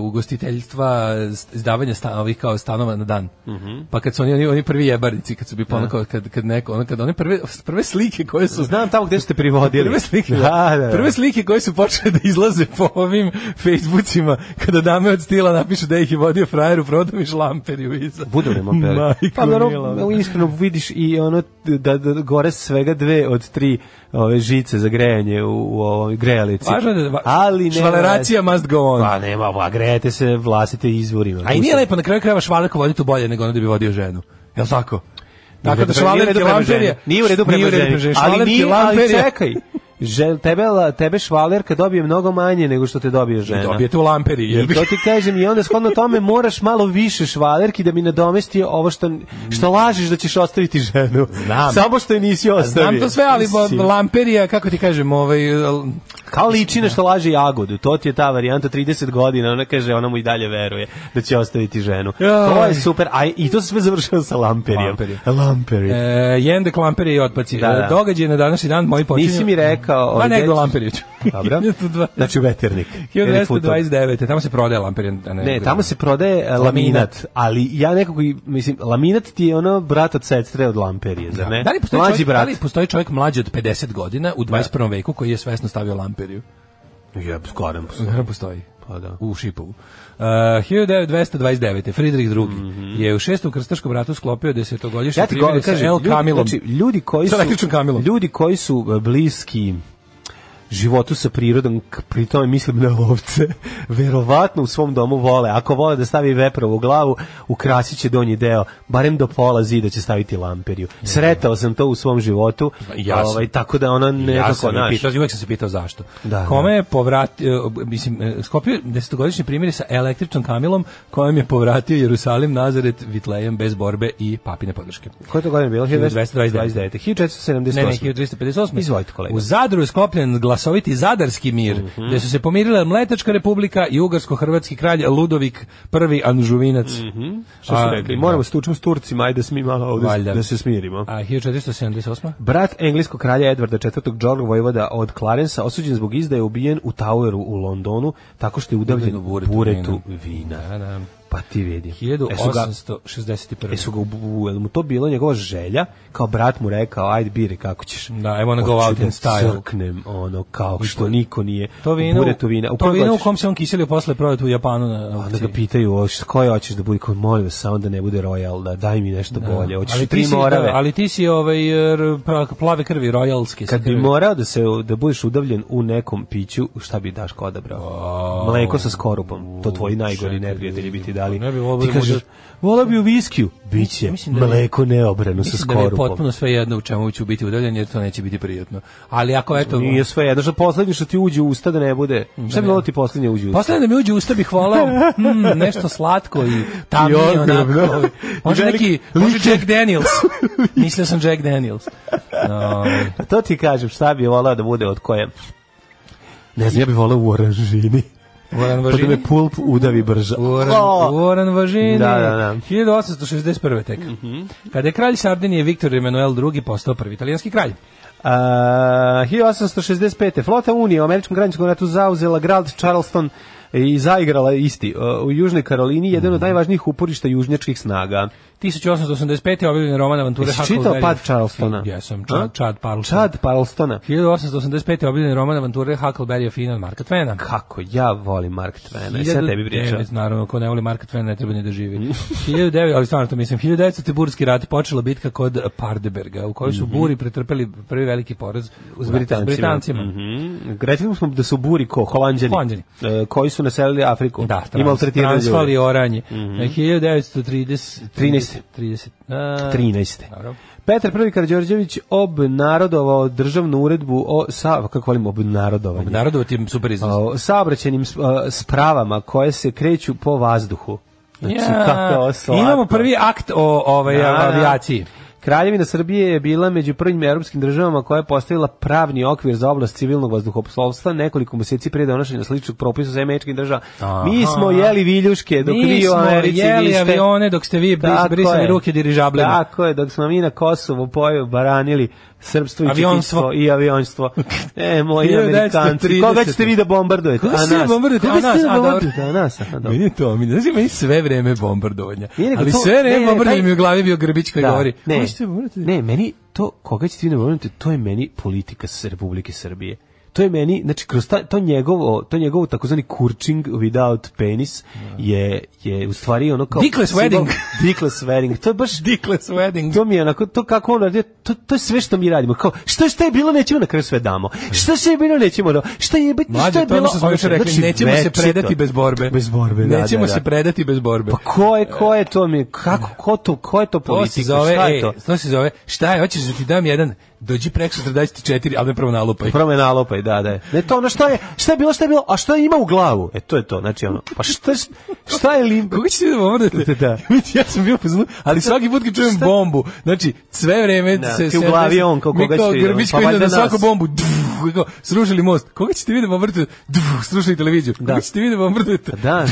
Speaker 7: ugostiteljstva s- izdavanja stanovih kao stanova na dan.
Speaker 8: Mhm.
Speaker 7: Pa kad su oni, oni, oni prvi jebarnici, kad su bi ponako, kad, kad neko, ono, kad one prve, prve slike koje su...
Speaker 8: Znam tamo gde su te privodili.
Speaker 7: Prve slike,
Speaker 8: Da, da, da.
Speaker 7: prve slike koje su počele da izlaze po ovim Facebookima, kada dame od stila napišu da ih je vodio frajer u prodom i šlamperiju iza.
Speaker 8: Budu ne moperi.
Speaker 7: Majko
Speaker 8: pa
Speaker 7: mila.
Speaker 8: naravno, iskreno vidiš i ono da, da, gore svega dve od tri ove žice za grejanje u, u ovoj grejalici.
Speaker 7: Važno je da... va-
Speaker 8: ali ne
Speaker 7: Švaleracija must go on.
Speaker 8: Pa nema, pa grejete se vlastite izvorima.
Speaker 7: A i nije lepo na kraju krajeva švalerku voditi bolje nego ono da bi vodio ženu. Jel tako? Tako da
Speaker 8: Nije u redu
Speaker 7: švalerke
Speaker 8: prema
Speaker 7: lamper
Speaker 8: ženi.
Speaker 7: je...
Speaker 8: Nije u redu prema ženi. Ali
Speaker 7: Švalerke
Speaker 8: nije, ali
Speaker 7: lamper je-
Speaker 8: čekaj. Žel, tebe, la- tebe švalerka dobije mnogo manje nego što te dobije žena.
Speaker 7: Dobijete u lamperi. Jer
Speaker 8: I
Speaker 7: bi...
Speaker 8: to ti kažem i onda shodno tome moraš malo više švalerki da mi nadomesti ovo što, što lažiš da ćeš ostaviti ženu.
Speaker 7: Znam.
Speaker 8: Samo što je nisi ostavio.
Speaker 7: Znam to sve, ali bo-
Speaker 8: Mislim,
Speaker 7: lamperija, kako ti kažem, ovaj, l-
Speaker 8: Kao ličina što laže jagodu, to ti je ta varijanta 30 godina, ona kaže, ona mu i dalje veruje da će ostaviti ženu. To je
Speaker 7: Jaj.
Speaker 8: super, a i to se sve završilo sa lamperijom.
Speaker 7: Lamperi.
Speaker 8: Lamperi.
Speaker 7: e, jendek lamperije i otpaci.
Speaker 8: Da, da.
Speaker 7: E, Događaj na današnji dan, moji počinju...
Speaker 8: Nisi mi rekao...
Speaker 7: Ma
Speaker 8: ovaj,
Speaker 7: nego
Speaker 8: gde-
Speaker 7: lamperiću.
Speaker 8: Dobro. Znači u veternik. Ili futon.
Speaker 7: 1229. Tamo se prodaje lamperija. a
Speaker 8: Ne, tamo se prodaje e, laminat,
Speaker 7: Laminat.
Speaker 8: ali ja nekako, i- mislim, laminat ti je ono brat od sestre od lamperije, zar ne?
Speaker 7: Da li postoji,
Speaker 8: Mlađi
Speaker 7: čovjek, da
Speaker 8: brat.
Speaker 7: li postoji čovjek mlađi od 50 godina u 21. veku koji je svesno stavio lamperiju?
Speaker 8: Je, skoro postoji.
Speaker 7: Naravno postoji.
Speaker 8: Pa da.
Speaker 7: U Šipovu. Uh, 1929. Fridrih II. je u šestom krstaškom ratu sklopio desetogodišnje
Speaker 8: Mhm. Ja ti go,
Speaker 7: primjere
Speaker 8: kažem,
Speaker 7: sa El
Speaker 8: ljudi,
Speaker 7: Kamilom.
Speaker 8: znači, ljudi koji su,
Speaker 7: Sa električnom Kamilom.
Speaker 8: ljudi koji su e, bliski životu sa prirodom, k- pri tome mislim na lovce, verovatno u svom domu vole. Ako vole da stavi veprovu glavu, ukrasit će donji deo, barem do pola zida će staviti lamperiju. Sretao sam to u svom životu,
Speaker 7: Mhm. Ja sam.
Speaker 8: ovaj, tako da ona nekako,
Speaker 7: ja sam je
Speaker 8: znaš,
Speaker 7: pitao, uvijek sam se pitao zašto.
Speaker 8: Da,
Speaker 7: Kome je povratio, e, mislim, e, sklopio desetogodišnji primjer sa električnom Kamilom kojem je povratio Jerusalim, Nazaret, Vitlejem bez borbe i papine podrške.
Speaker 8: Koje je to godine bilo?
Speaker 7: 1929.
Speaker 8: 1478.
Speaker 7: Ne, ne, 1358.
Speaker 8: Izvolite, kolega. Mhm.
Speaker 7: U Zadru je sklopljen glasoviti zadarski mir, gde su se pomirile Mletačka republika i Ugarsko-Hrvatski kralj Ludovik I Anžuvinac.
Speaker 8: Mhm. Što su
Speaker 7: A,
Speaker 8: rekli?
Speaker 7: da.
Speaker 8: Moramo stučiti s Turcima, ajde da mi malo ovde
Speaker 7: Valjda.
Speaker 8: da se smirimo. E,
Speaker 7: A 1478.
Speaker 8: Brat engleskog kralja Edvarda IV. George Vojvoda od Clarensa osuđen zbog izdaje ubijen u Toweru u Londonu tako što je udavljen
Speaker 7: u
Speaker 8: buretu,
Speaker 7: buretu
Speaker 8: vina.
Speaker 7: Da, da.
Speaker 8: Pa ti vidi. E su ga,
Speaker 7: 1861.
Speaker 8: e su ga ubu- jel mu to bilo njegova želja? Kao brat mu rekao, ajde bire kako ćeš.
Speaker 7: Da, I wanna go
Speaker 8: Hoću
Speaker 7: out
Speaker 8: da
Speaker 7: in style.
Speaker 8: crknem, ono, kao što niko nije.
Speaker 7: To vino,
Speaker 8: buretu vina. U
Speaker 7: to
Speaker 8: kojem
Speaker 7: vino u
Speaker 8: hoćeš?
Speaker 7: kom se on kiselio posle prodat u Japanu na
Speaker 8: onda
Speaker 7: aukciji.
Speaker 8: ga pitaju o, š- koje hoćeš da bude kao molim vas samo da ne bude royal da daj mi nešto bolje hoćeš
Speaker 7: ali
Speaker 8: tri
Speaker 7: ti si,
Speaker 8: morave
Speaker 7: da, ali ti si ovaj, r- pra- plave krvi, royalski.
Speaker 8: kad bi
Speaker 7: krvi.
Speaker 8: morao da se da budeš udavljen u nekom piću šta bi Daško odabrao mleko sa skorupom to tvoji najgori
Speaker 7: čekaj,
Speaker 8: neprijatelji bi ti
Speaker 7: vidim.
Speaker 8: dali
Speaker 7: Ne bi volao
Speaker 8: ti
Speaker 7: da
Speaker 8: kažeš
Speaker 7: budeš-
Speaker 8: volao bi u viskiju biće
Speaker 7: Mislim da je-
Speaker 8: mleko neobrano sa
Speaker 7: Mislim da mi je
Speaker 8: skorupom
Speaker 7: potpuno sve jedno u čemu ću biti udaljen, jer to neće biti prijatno. Ali ako eto...
Speaker 8: Nije sve jedno, što poslednje što ti uđe u usta da ne bude. Šta bi bilo ti poslednje uđe u usta?
Speaker 7: Poslednje da mi uđe u usta bih volao mm, nešto slatko i
Speaker 8: I
Speaker 7: tamnije
Speaker 8: ogromno.
Speaker 7: onako. Može
Speaker 8: I veliki-
Speaker 7: neki, može Jack Daniels. Mislio sam Jack Daniels. No,
Speaker 8: A Pa to ti kažem, šta bi volao da bude od koje? Ne znam, ja bih volao u oranžini.
Speaker 7: Goran
Speaker 8: Pa da
Speaker 7: Važini.
Speaker 8: me pulp udavi brže.
Speaker 7: Goran,
Speaker 8: O!
Speaker 7: Goran Važini.
Speaker 8: Da, da, da. Mhm.
Speaker 7: 1861. tek. Kada je kralj Sardinije Viktor Emanuel II postao prvi italijanski kralj.
Speaker 8: A, 1865. Flota Unije u američkom graničkom ratu zauzela grad Charleston i zaigrala isti. Uh, U Južnoj Karolini jedan od
Speaker 7: Mhm.
Speaker 8: najvažnijih uporišta južnjačkih snaga.
Speaker 7: 1885. je objavljen roman avanture
Speaker 8: Jesi
Speaker 7: Huckleberry.
Speaker 8: čitao Pad Charlestona?
Speaker 7: Jesam,
Speaker 8: A?
Speaker 7: Chad, Chad Charleston.
Speaker 8: Chad Parlstona.
Speaker 7: 1885. je objavljen roman avanture Huckleberry of Finn od Marka Twena.
Speaker 8: Kako ja volim Mark Twena. Sve tebi Mhm. pričao.
Speaker 7: 1909, Naravno, ko ne voli Marka Twena ne treba ni da živi. 1909, ali stvarno to mislim, 1900. Burski rat počela bitka kod Pardeberga, u kojoj su buri pretrpeli prvi veliki poraz
Speaker 8: S
Speaker 7: s
Speaker 8: Mhm. Britancima.
Speaker 7: S Britancima.
Speaker 8: Mhm. Rekli smo da su buri ko Holanđani,
Speaker 7: Holanđani.
Speaker 8: e, koji su naselili Afriku
Speaker 7: Da,
Speaker 8: i
Speaker 7: trans,
Speaker 8: maltretirali
Speaker 7: transfali
Speaker 8: ljude. Mhm.
Speaker 7: oranje. 1930...
Speaker 8: 13.
Speaker 7: 30, a,
Speaker 8: 13.
Speaker 7: Dobro.
Speaker 8: Petar I. Karađorđević obnarodovao državnu uredbu o sa, kako volim obnarodovanje.
Speaker 7: Narodovat je super iznos.
Speaker 8: O, saobraćenim s- a, spravama koje se kreću po vazduhu. Znači,
Speaker 7: Ja,
Speaker 8: kako slatko.
Speaker 7: Imamo prvi akt o ovaj,
Speaker 8: Da, da.
Speaker 7: avijaciji.
Speaker 8: Kraljevina Srbije je bila među prvim europskim državama koja je postavila pravni okvir za oblast civilnog vazduhoplovstva nekoliko meseci pre donošenja sličnog propisa za američkim državama. Mi smo jeli viljuške dok
Speaker 7: Mi
Speaker 8: vi u
Speaker 7: smo
Speaker 8: Americi
Speaker 7: jeli
Speaker 8: vi ste-
Speaker 7: avione dok ste vi bris-
Speaker 8: Tako
Speaker 7: brisali
Speaker 8: je.
Speaker 7: ruke dirižablima.
Speaker 8: Tako je, dok smo mi na Kosovu poju baranili srpstvo i
Speaker 7: Avionstvo.
Speaker 8: četništvo i avionstvo. E, moji
Speaker 7: 1930.
Speaker 8: Amerikanci, koga ćete vi da bombardujete?
Speaker 7: Koga
Speaker 8: A
Speaker 7: ćete
Speaker 8: nas.
Speaker 7: bombardujete?
Speaker 8: Koga
Speaker 7: A nas,
Speaker 8: ćete da
Speaker 7: a dobro.
Speaker 8: bombardujete? A nas, a dobro.
Speaker 7: Meni je to, mi znači meni sve vreme bombardovanja.
Speaker 8: Nije, nego
Speaker 7: Ali
Speaker 8: to-
Speaker 7: sve
Speaker 8: ne,
Speaker 7: vreme
Speaker 8: ne,
Speaker 7: bombardovanja
Speaker 8: taj-
Speaker 7: mi je u glavi bio Grbić koji govori.
Speaker 8: Ne,
Speaker 7: "Hoćete bombardovati?"
Speaker 8: ne, meni to, koga ćete vi da bombardujete, to je meni politika s Republike Srbije. To je meni, znači, kroz ta, to njegovo, to njegovo takozvani kurčing without penis je, je u stvari ono kao...
Speaker 7: Dickless wedding.
Speaker 8: Dickless wedding. To je baš
Speaker 7: Dickless wedding.
Speaker 8: to mi je onako, to kako on radi, to, to je sve što mi radimo. Kao, šta, šta je bilo, nećemo na kraju sve damo. Šta se je bilo, nećemo da, šta je, biti,
Speaker 7: Mlađe,
Speaker 8: šta je
Speaker 7: to je ono
Speaker 8: bilo.
Speaker 7: što smo
Speaker 8: ono
Speaker 7: juče rekli,
Speaker 8: znači,
Speaker 7: nećemo se
Speaker 8: večito.
Speaker 7: predati bez borbe.
Speaker 8: Bez borbe, da,
Speaker 7: Nećemo
Speaker 8: da, da.
Speaker 7: se predati bez borbe.
Speaker 8: Pa ko je, ko je to mi, kako, ko, to, ko je to
Speaker 7: To se
Speaker 8: politika,
Speaker 7: zove,
Speaker 8: šta je
Speaker 7: ej,
Speaker 8: to?
Speaker 7: to se zove, šta je, hoćeš da ti dam jedan, dođi prek sutra daći ti četiri, ali me prvo nalupaj.
Speaker 8: Prvo me nalopaj, da, da. Ne to ono šta je, šta je bilo, šta je bilo, a šta ima u glavu? E to je to, znači ono, pa šta, šta je lim...
Speaker 7: Koga ćete da bombardate?
Speaker 8: Da.
Speaker 7: ja sam bio poznu, ali svaki put kad čujem
Speaker 8: Šta?
Speaker 7: bombu, znači sve vreme
Speaker 8: Da,
Speaker 7: se...
Speaker 8: ti u
Speaker 7: se-
Speaker 8: glavi on kao
Speaker 7: mi
Speaker 8: koga ćete vidjeti,
Speaker 7: Grbić
Speaker 8: pa
Speaker 7: koji ide
Speaker 8: valjda
Speaker 7: na svaku
Speaker 8: nas.
Speaker 7: bombu, dvf, kao, srušili most. Koga ćete vidjeti bombardate? Dvf, srušili televiziju. Koga
Speaker 8: Da.
Speaker 7: ćete vidjeti bombardate?
Speaker 8: Da,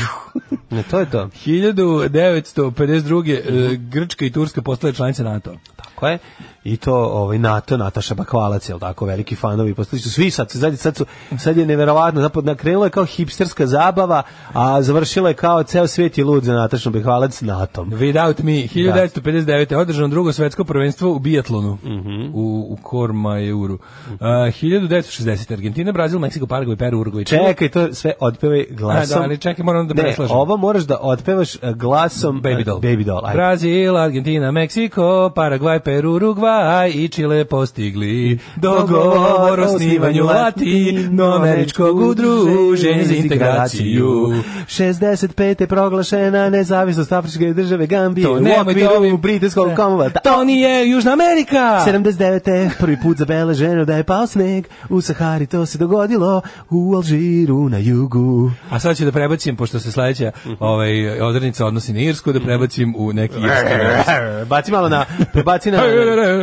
Speaker 8: ne, to je to.
Speaker 7: 1952. e,
Speaker 8: Mhm.
Speaker 7: Grčka i Turska postale članice NATO.
Speaker 8: Tako je. I to ovaj NATO, Nataša Bakvalac, je tako, veliki fanovi, postali su svi sad, sad, sad, su, sad je neverovatno, zapravo nakrenula je kao hipsterska zabava, a završila je kao ceo svet je lud za Natašu Bakvalac NATO.
Speaker 7: Without me, 1959. održano drugo svetsko prvenstvo u biatlonu
Speaker 8: Mhm.
Speaker 7: u, u Kormajeuru. Uh, 1960. Argentina, Brazil, Meksiko, Paragvaj, Peru, Uruguay. Čile.
Speaker 8: Čekaj, to sve otpevaj glasom.
Speaker 7: A, da, ali čekaj, moram da
Speaker 8: ne,
Speaker 7: preslažem.
Speaker 8: ovo moraš da otpevaš eh, glasom eh,
Speaker 7: Baby Doll.
Speaker 8: Baby doll ajde.
Speaker 7: Brazil, Argentina, Meksiko, Paragvaj, Peru, Urugvaj i Čile postigli dogovor o snivanju latinoameričkog udruženja za integraciju.
Speaker 8: 65. je proglašena nezavisnost Afričke države Gambije
Speaker 7: To
Speaker 8: u
Speaker 7: nemoj da
Speaker 8: okviru
Speaker 7: ovim-
Speaker 8: britanskog
Speaker 7: Ne.
Speaker 8: Commonwealtha.
Speaker 7: To nije Južna Amerika!
Speaker 8: 79. prvi put zabeleženo da je pao sneg u Sahari, to se dogodilo u Alžiru na jugu.
Speaker 7: A sad ću da prebacim, pošto se sledeća ovaj, odrednica odnosi na Irsku, da prebacim u neki irski vers.
Speaker 8: Baci malo na, baci na...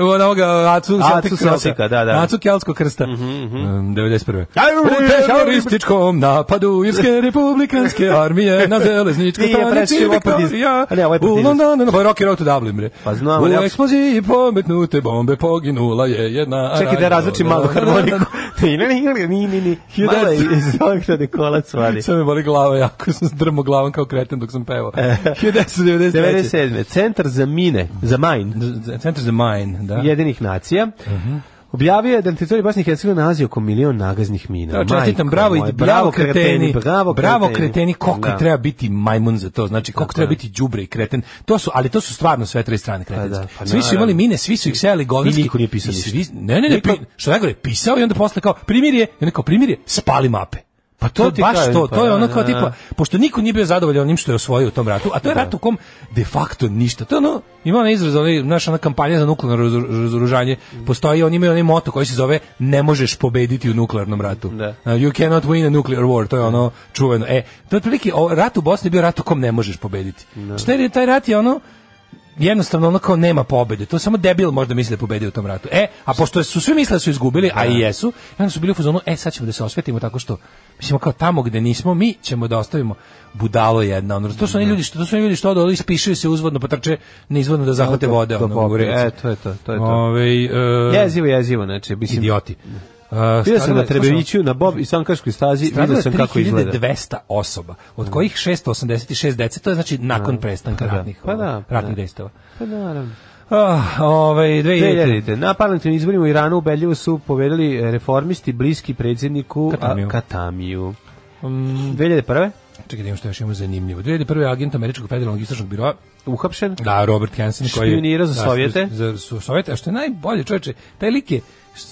Speaker 7: U onoga Acu,
Speaker 8: Acu
Speaker 7: Celtic Cresta.
Speaker 8: Celtica, da, Mhm, Ja, da.
Speaker 7: Acu Keltskog krsta. Mm, 91.
Speaker 8: Ajmo,
Speaker 7: U
Speaker 8: ajmo,
Speaker 7: terorističkom napadu Irske republikanske armije na Zelezničkoj
Speaker 8: Nije
Speaker 7: stanici
Speaker 8: prešio ovaj
Speaker 7: Viktorija.
Speaker 8: partizan. A ne, ovaj
Speaker 7: U
Speaker 8: partizan.
Speaker 7: Londonu, na Rocky Road to Dublin, bre.
Speaker 8: Pa znam, ali
Speaker 7: U
Speaker 8: ja-
Speaker 7: eksploziji pometnute bombe poginula je jedna...
Speaker 8: Čekaj da razlučim malo harmoniku. Ni, ni, ni, ni, ni. Malo je iz ovog da kolac vadi.
Speaker 7: Sve me boli glava, jako sam drmo glavom kao kreten dok sam pevao.
Speaker 8: E.
Speaker 7: 1993.
Speaker 8: 97. Centar za mine, za mine,
Speaker 7: Z- Centar za mine, da. Mhm.
Speaker 8: jedinih nacija. Objavio je da na teritoriji Bosne i Hercegovine nalazi oko milion nagaznih mina.
Speaker 7: Da, čestitam,
Speaker 8: Majko
Speaker 7: bravo, i
Speaker 8: moja,
Speaker 7: bravo kreteni,
Speaker 8: bravo
Speaker 7: bravo kreteni, koliko
Speaker 8: Da.
Speaker 7: treba biti majmun za to, znači koliko
Speaker 8: Tako
Speaker 7: treba
Speaker 8: je.
Speaker 7: biti đubre i kreten. To su, ali to su stvarno sve tri strane kretenske.
Speaker 8: Pa da, pa
Speaker 7: svi su
Speaker 8: naravno.
Speaker 7: imali mine, svi su ih sejali govnarski.
Speaker 8: I niko nije pisao
Speaker 7: I svi-
Speaker 8: ništa.
Speaker 7: Ne, ne, ne,
Speaker 8: Niko-
Speaker 7: pi- što najgore, pisao i onda posle kao primirje, i onda kao primirje, spali mape. Pa to,
Speaker 8: to
Speaker 7: je
Speaker 8: ti
Speaker 7: baš
Speaker 8: kažem,
Speaker 7: to,
Speaker 8: pa
Speaker 7: to je
Speaker 8: da,
Speaker 7: ono kao
Speaker 8: da,
Speaker 7: tipa,
Speaker 8: da.
Speaker 7: pošto niko nije bio zadovoljan onim što je osvojio u tom ratu, a to je rat u kom de facto ništa. To je ono, ima onaj izraz, onaj, znaš, ona kampanja za nuklearno razoru- razoružanje, postoji, oni imaju onaj moto koji se zove ne možeš pobediti u nuklearnom ratu.
Speaker 8: Da.
Speaker 7: Uh, You cannot win a nuclear war, to je ono čuveno. E, to je otprilike, o, rat u Bosni je bio rat u kom ne možeš pobediti. Šta je taj rat je ono, jednostavno ono kao nema pobede. To samo debil možda misli da pobedi u tom ratu. E, a pošto su svi mislili da su izgubili, a i jesu, i onda su bili u fazonu, e, sad ćemo da se osvetimo tako što, mislimo kao tamo gde nismo, mi ćemo da ostavimo budalo jedna. Ono, to su oni ljudi što, to su oni ljudi što odu, odu, ispišuju se uzvodno, pa trče nizvodno da zahvate
Speaker 8: Da,
Speaker 7: vode.
Speaker 8: da
Speaker 7: ono,
Speaker 8: popiju.
Speaker 7: u reci.
Speaker 8: E, to je to, to je to.
Speaker 7: Ovaj, e,
Speaker 8: Jezivo, jezivo, znači, mislim,
Speaker 7: idioti. Uh,
Speaker 8: Bio sam
Speaker 7: stavila
Speaker 8: na
Speaker 7: je-
Speaker 8: Trebeviću, na Bob i Sankaškoj stazi,
Speaker 7: Stradalo
Speaker 8: vidio
Speaker 7: je
Speaker 8: sam kako izgleda.
Speaker 7: 3200 osoba, od kojih 686 dece, to je znači nakon prestanka
Speaker 8: Pa da.
Speaker 7: ratnih,
Speaker 8: Pa da,
Speaker 7: ovaj,
Speaker 8: pa
Speaker 7: ratnih
Speaker 8: da.
Speaker 7: dejstava.
Speaker 8: Pa naravno.
Speaker 7: Ah, ovaj, 2000.
Speaker 8: 2000. Na parlamentarnim izborima u Iranu ubedljivo su povedali eh, reformisti bliski predsjedniku
Speaker 7: Katamiju.
Speaker 8: Katamiju. Mm. Katamiju. 2001.
Speaker 7: Čekaj, da vidim što još imamo zanimljivo. 2001. agent Američkog federalnog istražnog biroa,
Speaker 8: uhapšen.
Speaker 7: da, Robert Hansen, koji je...
Speaker 8: Špionirao za
Speaker 7: da,
Speaker 8: Sovjete.
Speaker 7: Za, za Sovjete, a što je najbolje, čovječe, taj lik je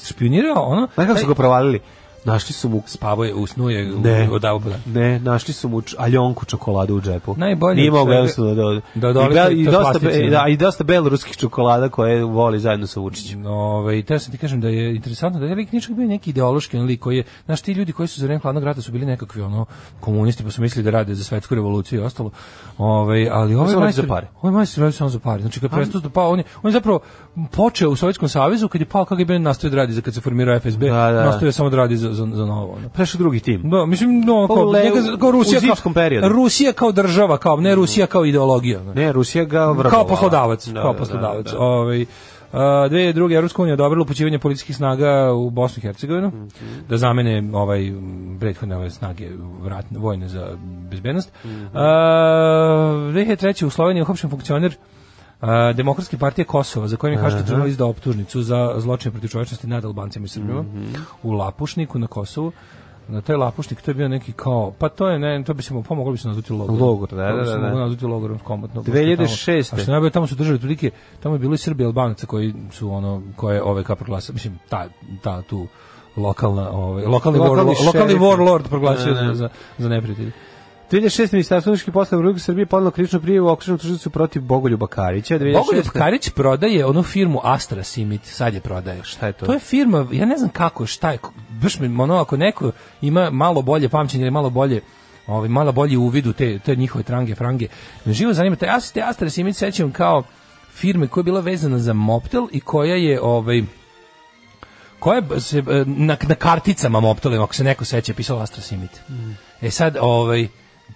Speaker 7: špionirao ono...
Speaker 8: Znaš kako
Speaker 7: taj-
Speaker 8: su ga provalili? Našli su mu
Speaker 7: spavo je usnuje
Speaker 8: Ne.
Speaker 7: u- od auta.
Speaker 8: Ne, našli su mu č- aljonku čokoladu u džepu.
Speaker 7: Najbolje
Speaker 8: Nije
Speaker 7: od
Speaker 8: mogao
Speaker 7: svega-
Speaker 8: jednostavno da...
Speaker 7: Da
Speaker 8: I
Speaker 7: odoli
Speaker 8: bel-
Speaker 7: toj-
Speaker 8: i,
Speaker 7: toj
Speaker 8: dosta,
Speaker 7: plastici,
Speaker 8: be-
Speaker 7: ne?
Speaker 8: da, I dosta beloruskih čokolada koje voli zajedno sa Vučićem.
Speaker 7: Ove, i teo sam ti kažem da je interesantno da je lik ničak bio neki ideološki on lik koji je, znaš, ti ljudi koji su za vreme hladnog rata su bili nekakvi ono komunisti pa su mislili da rade za svetsku revoluciju i ostalo. Ove, ali ovaj
Speaker 8: Samo radi
Speaker 7: majstor,
Speaker 8: za pare.
Speaker 7: ovaj majstor radi samo za pare. Znači kad prestao da pa on je, on je zapravo počeo u Sovjetskom savezu kad je pao KGB nastavio da radi za kad se formirao FSB,
Speaker 8: Da, da.
Speaker 7: nastavio je samo da radi za za, za novo. ono.
Speaker 8: Prešao drugi tim.
Speaker 7: Da, mislim, no,
Speaker 8: Pa u
Speaker 7: kao,
Speaker 8: le-
Speaker 7: njega- kao Rusija,
Speaker 8: u zimskom periodu.
Speaker 7: kao, Rusija kao država, kao, ne Rusija kao ideologija. znaš.
Speaker 8: Ne, Rusija ga vrbovala.
Speaker 7: Kao poslodavac,
Speaker 8: Da,
Speaker 7: kao
Speaker 8: da,
Speaker 7: poslodavac.
Speaker 8: da, da.
Speaker 7: Ovaj a, 2002. Evropska unija odobrila upućivanje policijskih snaga u Bosnu i Hercegovinu
Speaker 8: Mhm.
Speaker 7: da zamene ovaj m, prethodne ove snage vratne vojne za bezbednost.
Speaker 8: Mhm.
Speaker 7: A, 2003. u Sloveniji je uhapšen funkcioner a, Demokratske partije Kosova, za kojim je Haški tribunal izdao optužnicu za zločine protiv čovečnosti nad Albancima i Srbima
Speaker 8: Mhm.
Speaker 7: u Lapušniku na Kosovu. Na taj Lapušnik to je bio neki kao, pa to je ne, to bi se mu pomoglo bi se nazvati logor.
Speaker 8: Logor, da,
Speaker 7: To bi
Speaker 8: da,
Speaker 7: se
Speaker 8: da,
Speaker 7: moglo
Speaker 8: da.
Speaker 7: nazvati logorom komotno.
Speaker 8: 2006..
Speaker 7: A što je najbolje, tamo su držali prilike, tamo je bilo i Srbi i Albanaca koji su ono, koje ove OVK proglasa, mislim, ta, ta tu lokalna, ovaj, lokalni,
Speaker 8: Lokalni
Speaker 7: warlord, lokalni
Speaker 8: šerifi.
Speaker 7: warlord proglasio
Speaker 8: Ne, ne.
Speaker 7: za, za, za neprijatelj.
Speaker 8: 2006. Ministarstvo unutrašnjih poslova Republike Srbije podnelo krivičnu prijavu okružnom tužilacu protiv Bogoljuba Karića. 2006.
Speaker 7: Bogoljub Karić prodaje onu firmu Astra Simit, sad je prodaje.
Speaker 8: Šta je to?
Speaker 7: To je firma, ja ne znam kako, šta je, baš mi, ono, ako neko ima malo bolje pamćenje ili malo bolje ovaj malo bolji uvid u te, te njihove trange, frange. Me živo zanima, te, ja se te Astra Simit sećam kao firme koja je bila vezana za Moptel i koja je ovaj, koja je se, e, na, na karticama Moptelima, ako se neko seća, pisala Astra Simit.
Speaker 8: Mm.
Speaker 7: E sad, ovaj,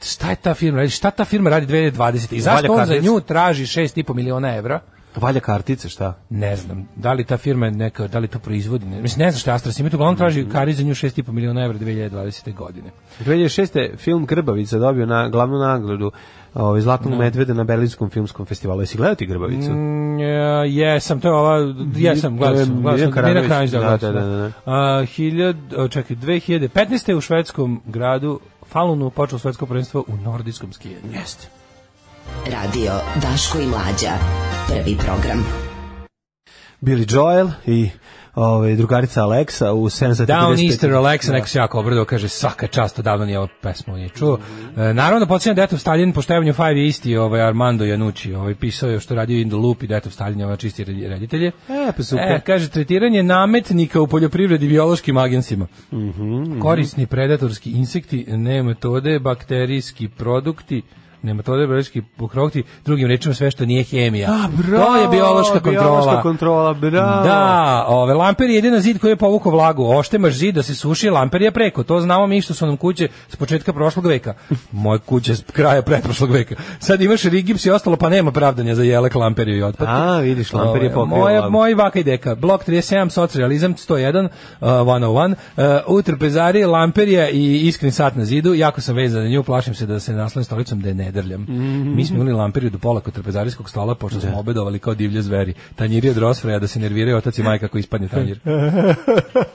Speaker 7: šta je ta firma radi? Šta ta firma radi 2020? I zašto
Speaker 8: Valja
Speaker 7: on za
Speaker 8: kartic.
Speaker 7: nju traži 6,5 miliona evra?
Speaker 8: Valja kartice, šta?
Speaker 7: Ne znam, da li ta firma je neka, da li to proizvodi, ne, mislim, ne znam šta je Astra Simit, uglavnom traži
Speaker 8: Mhm.
Speaker 7: kari za nju 6,5 miliona evra 2020. godine.
Speaker 8: 2006. film Grbavica dobio na glavnu nagradu ovaj, Zlatnog medveda na Berlinskom filmskom festivalu. Jesi gledao ti Grbavicu?
Speaker 7: Mm, ja, jesam, to je ova, jesam, gledao sam, gledao sam,
Speaker 8: Mirka
Speaker 7: Mira
Speaker 8: Karanović,
Speaker 7: Kranić, da,
Speaker 8: da,
Speaker 7: gledao sam,
Speaker 8: da, da, da.
Speaker 7: A, hiljad, o, čekaj, 2015. u švedskom gradu Falunu počelo svetsko prvenstvo u nordijskom skijenju. Jeste.
Speaker 10: Radio Daško i Mlađa. Prvi program.
Speaker 8: Billy Joel i ovaj, drugarica Alexa u 7 sati
Speaker 7: Down
Speaker 8: 55.
Speaker 7: Easter Alexa, neko se jako obrdao, kaže svaka čast, odavno nije ovo pesmu nije čuo. E, naravno, podsjećam da Etov Stalin po števanju Five je isti ovaj, Armando Janucci, ovaj, pisao je što je radio In the Loop i da Etov Stalin je ovaj čisti redi- reditelje.
Speaker 8: E, pa super.
Speaker 7: E, kaže, tretiranje nametnika u poljoprivredi biološkim agencima.
Speaker 8: Mhm,
Speaker 7: Korisni predatorski insekti, nematode, bakterijski produkti, nematode, biološki produkti, drugim rečima sve što nije hemija. to je biološka kontrola.
Speaker 8: Biološka kontrola, bravo.
Speaker 7: Da, ove, lamper je jedina zid koji je povukao vlagu. Oštemaš zid da se suši, lamper je preko. To znamo mi što su nam kuće s početka prošlog veka. Moje kuće s kraja pretprošlog veka. Sad imaš rigips i ostalo, pa nema pravdanja za jelek, lamperiju i otpad.
Speaker 8: A, vidiš, Lamper je
Speaker 7: Ove,
Speaker 8: pokrio
Speaker 7: Ovaj, Moja,
Speaker 8: lagu.
Speaker 7: moj vaka i deka. Blok 37, socrealizam 101, uh, 101. Uh, u trpezari, lamperija i iskren sat na zidu. Jako sam vezan na nju, plašim se da se naslovim stolicom da je ne drljam.
Speaker 8: Mhm.
Speaker 7: Mi smo imali lamperiju do pola kod trpezarijskog stola, pošto smo obedovali kao divlje zveri. Tanjiri od rosfraja da se nerviraju otac i majka ako ispadne tanjir.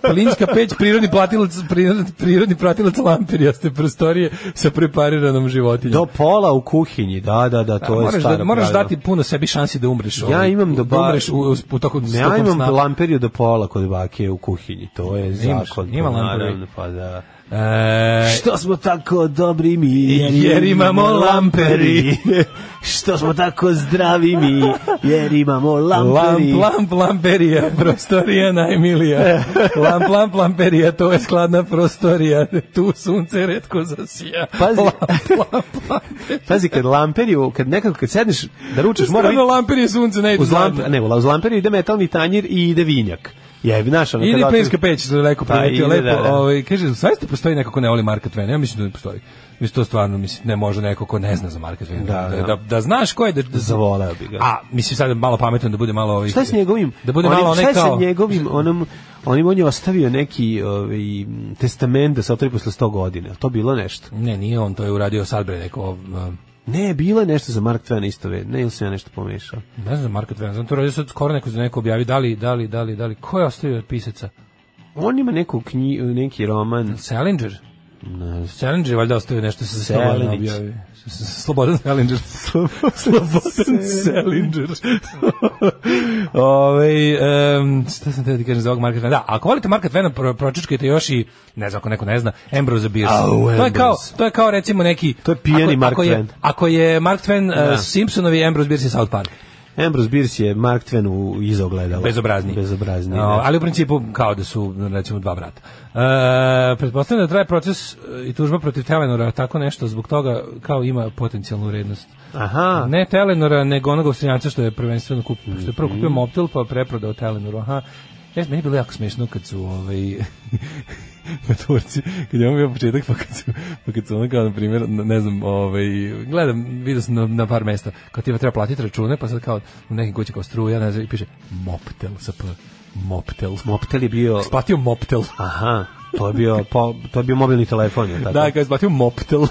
Speaker 7: Plinska peć, prirodni, platilac, prirodni, prirodni pratilac lamperijaste prostorije sa prepariranom životinjom.
Speaker 8: Do pola u kuhinji, da, da, da, to je
Speaker 7: moraš,
Speaker 8: staro
Speaker 7: da, moraš
Speaker 8: pravilo.
Speaker 7: dati puno sebi šansi da umreš.
Speaker 8: Ja
Speaker 7: ovaj,
Speaker 8: imam
Speaker 7: da
Speaker 8: do ba...
Speaker 7: umreš u, u, u toku,
Speaker 8: ja
Speaker 7: tokom
Speaker 8: imam
Speaker 7: sna.
Speaker 8: lamperiju do pola kod bake u kuhinji, to je
Speaker 7: Imaš,
Speaker 8: zakon.
Speaker 7: ima
Speaker 8: pa
Speaker 7: lamperiju.
Speaker 8: naravno, Pa da.
Speaker 7: E,
Speaker 8: Što smo tako dobri mi,
Speaker 7: Jer imamo lamperi.
Speaker 8: Što smo tako zdravi mi, jer imamo lamperi.
Speaker 7: Lamp, lamp, lamperija, prostorija najmilija. Lamp, lamp, lamperija, to je skladna prostorija. Tu sunce redko zasija.
Speaker 8: Pazi.
Speaker 7: Lamp, lamp, lamperija.
Speaker 8: Pazi, kad lamperiju, kad nekako, kad sedneš da ručaš, mora biti...
Speaker 7: Stvarno lamperije sunce ne ide
Speaker 8: Uz, lamp,
Speaker 7: zajedno.
Speaker 8: ne, uz lamperiju ide metalni tanjir i ide vinjak. ono, Ja bi našao.
Speaker 7: Ili plinska peć, što je rekao,
Speaker 8: Pa,
Speaker 7: primetio
Speaker 8: ide,
Speaker 7: lepo.
Speaker 8: da, da.
Speaker 7: Ovaj, kaže, zaista postoji neko ko ne voli Marka Tvena? Ja mislim da ne postoji. Mislim, to stvarno, mislim, ne može neko ko ne zna za Marka Tvena.
Speaker 8: Da, da.
Speaker 7: da, da znaš ko je, da, da
Speaker 8: Zavoleo bi ga.
Speaker 7: A, mislim, sad malo pametan da bude malo... Ovaj,
Speaker 8: Šta je s njegovim?
Speaker 7: Da bude
Speaker 8: onim-
Speaker 7: malo onaj
Speaker 8: Šta je sa
Speaker 7: kao...
Speaker 8: njegovim onom onim on je ostavio neki ovaj testament da se otvori posle 100 godina. Jel To bilo nešto.
Speaker 7: Ne, nije on, to je uradio sad bre neko... um,
Speaker 8: Ne, bilo je nešto za Mark Twain isto, ve- ne ili sam ja nešto pomešao.
Speaker 7: Ne znam Marka Tvena, znam to uradio sad skoro neko za neko objavi, da li, da li, da li, da li, ko je ostavio od pisaca?
Speaker 8: On ima neku knji, neki roman.
Speaker 7: Salinger? Ne. Selindžer je valjda ostavio nešto sa Slobodan
Speaker 8: Selinić.
Speaker 7: objavi. Slobodan Selindžer. Slobodan Selindžer. Ove, um, šta sam teo ti kažem za ovog Marka Tvena? Da, ako volite Marka Tvena, pro, pročičkajte još i, ne znam ako neko ne zna, Ambrose Bierce.
Speaker 8: Au,
Speaker 7: to, je kao,
Speaker 8: Ambrose.
Speaker 7: to je kao recimo neki...
Speaker 8: To je pijeni
Speaker 7: ako,
Speaker 8: Mark
Speaker 7: ako je,
Speaker 8: Twain.
Speaker 7: Ako je Mark Twain uh,
Speaker 8: Da.
Speaker 7: Simpsonovi, Ambrose Bierce je South Park.
Speaker 8: Ambrose Bierce je Mark Twain u izogledalo.
Speaker 7: Bezobrazni.
Speaker 8: Bezobrazni.
Speaker 7: No,
Speaker 8: da.
Speaker 7: ali u principu kao da su recimo dva brata. E, pretpostavljam da traje proces e, i tužba protiv Telenora, tako nešto zbog toga kao ima potencijalnu vrednost.
Speaker 8: Aha. Mhm.
Speaker 7: Ne Telenora, nego onog Austrijanca što je prvenstveno kupio, što je prvo kupio Mobtel pa preprodao Telenoru. Aha. Ja, meni je bilo jako smiješno kad su ovaj na Turci, kad je on bio početak, pa kad su, pa kad su ono kao, na primjer, n- ne znam, ovaj, gledam, vidio sam na, na par mesta, kao ti treba platiti račune, pa sad kao u nekim kući kao struja, ne znam, i piše Moptel sa P, Moptel.
Speaker 8: Moptel je bio...
Speaker 7: Isplatio Moptel.
Speaker 8: Aha, to je bio, po, to je bio mobilni telefon, je li tako?
Speaker 7: Da, kao isplatio Moptel.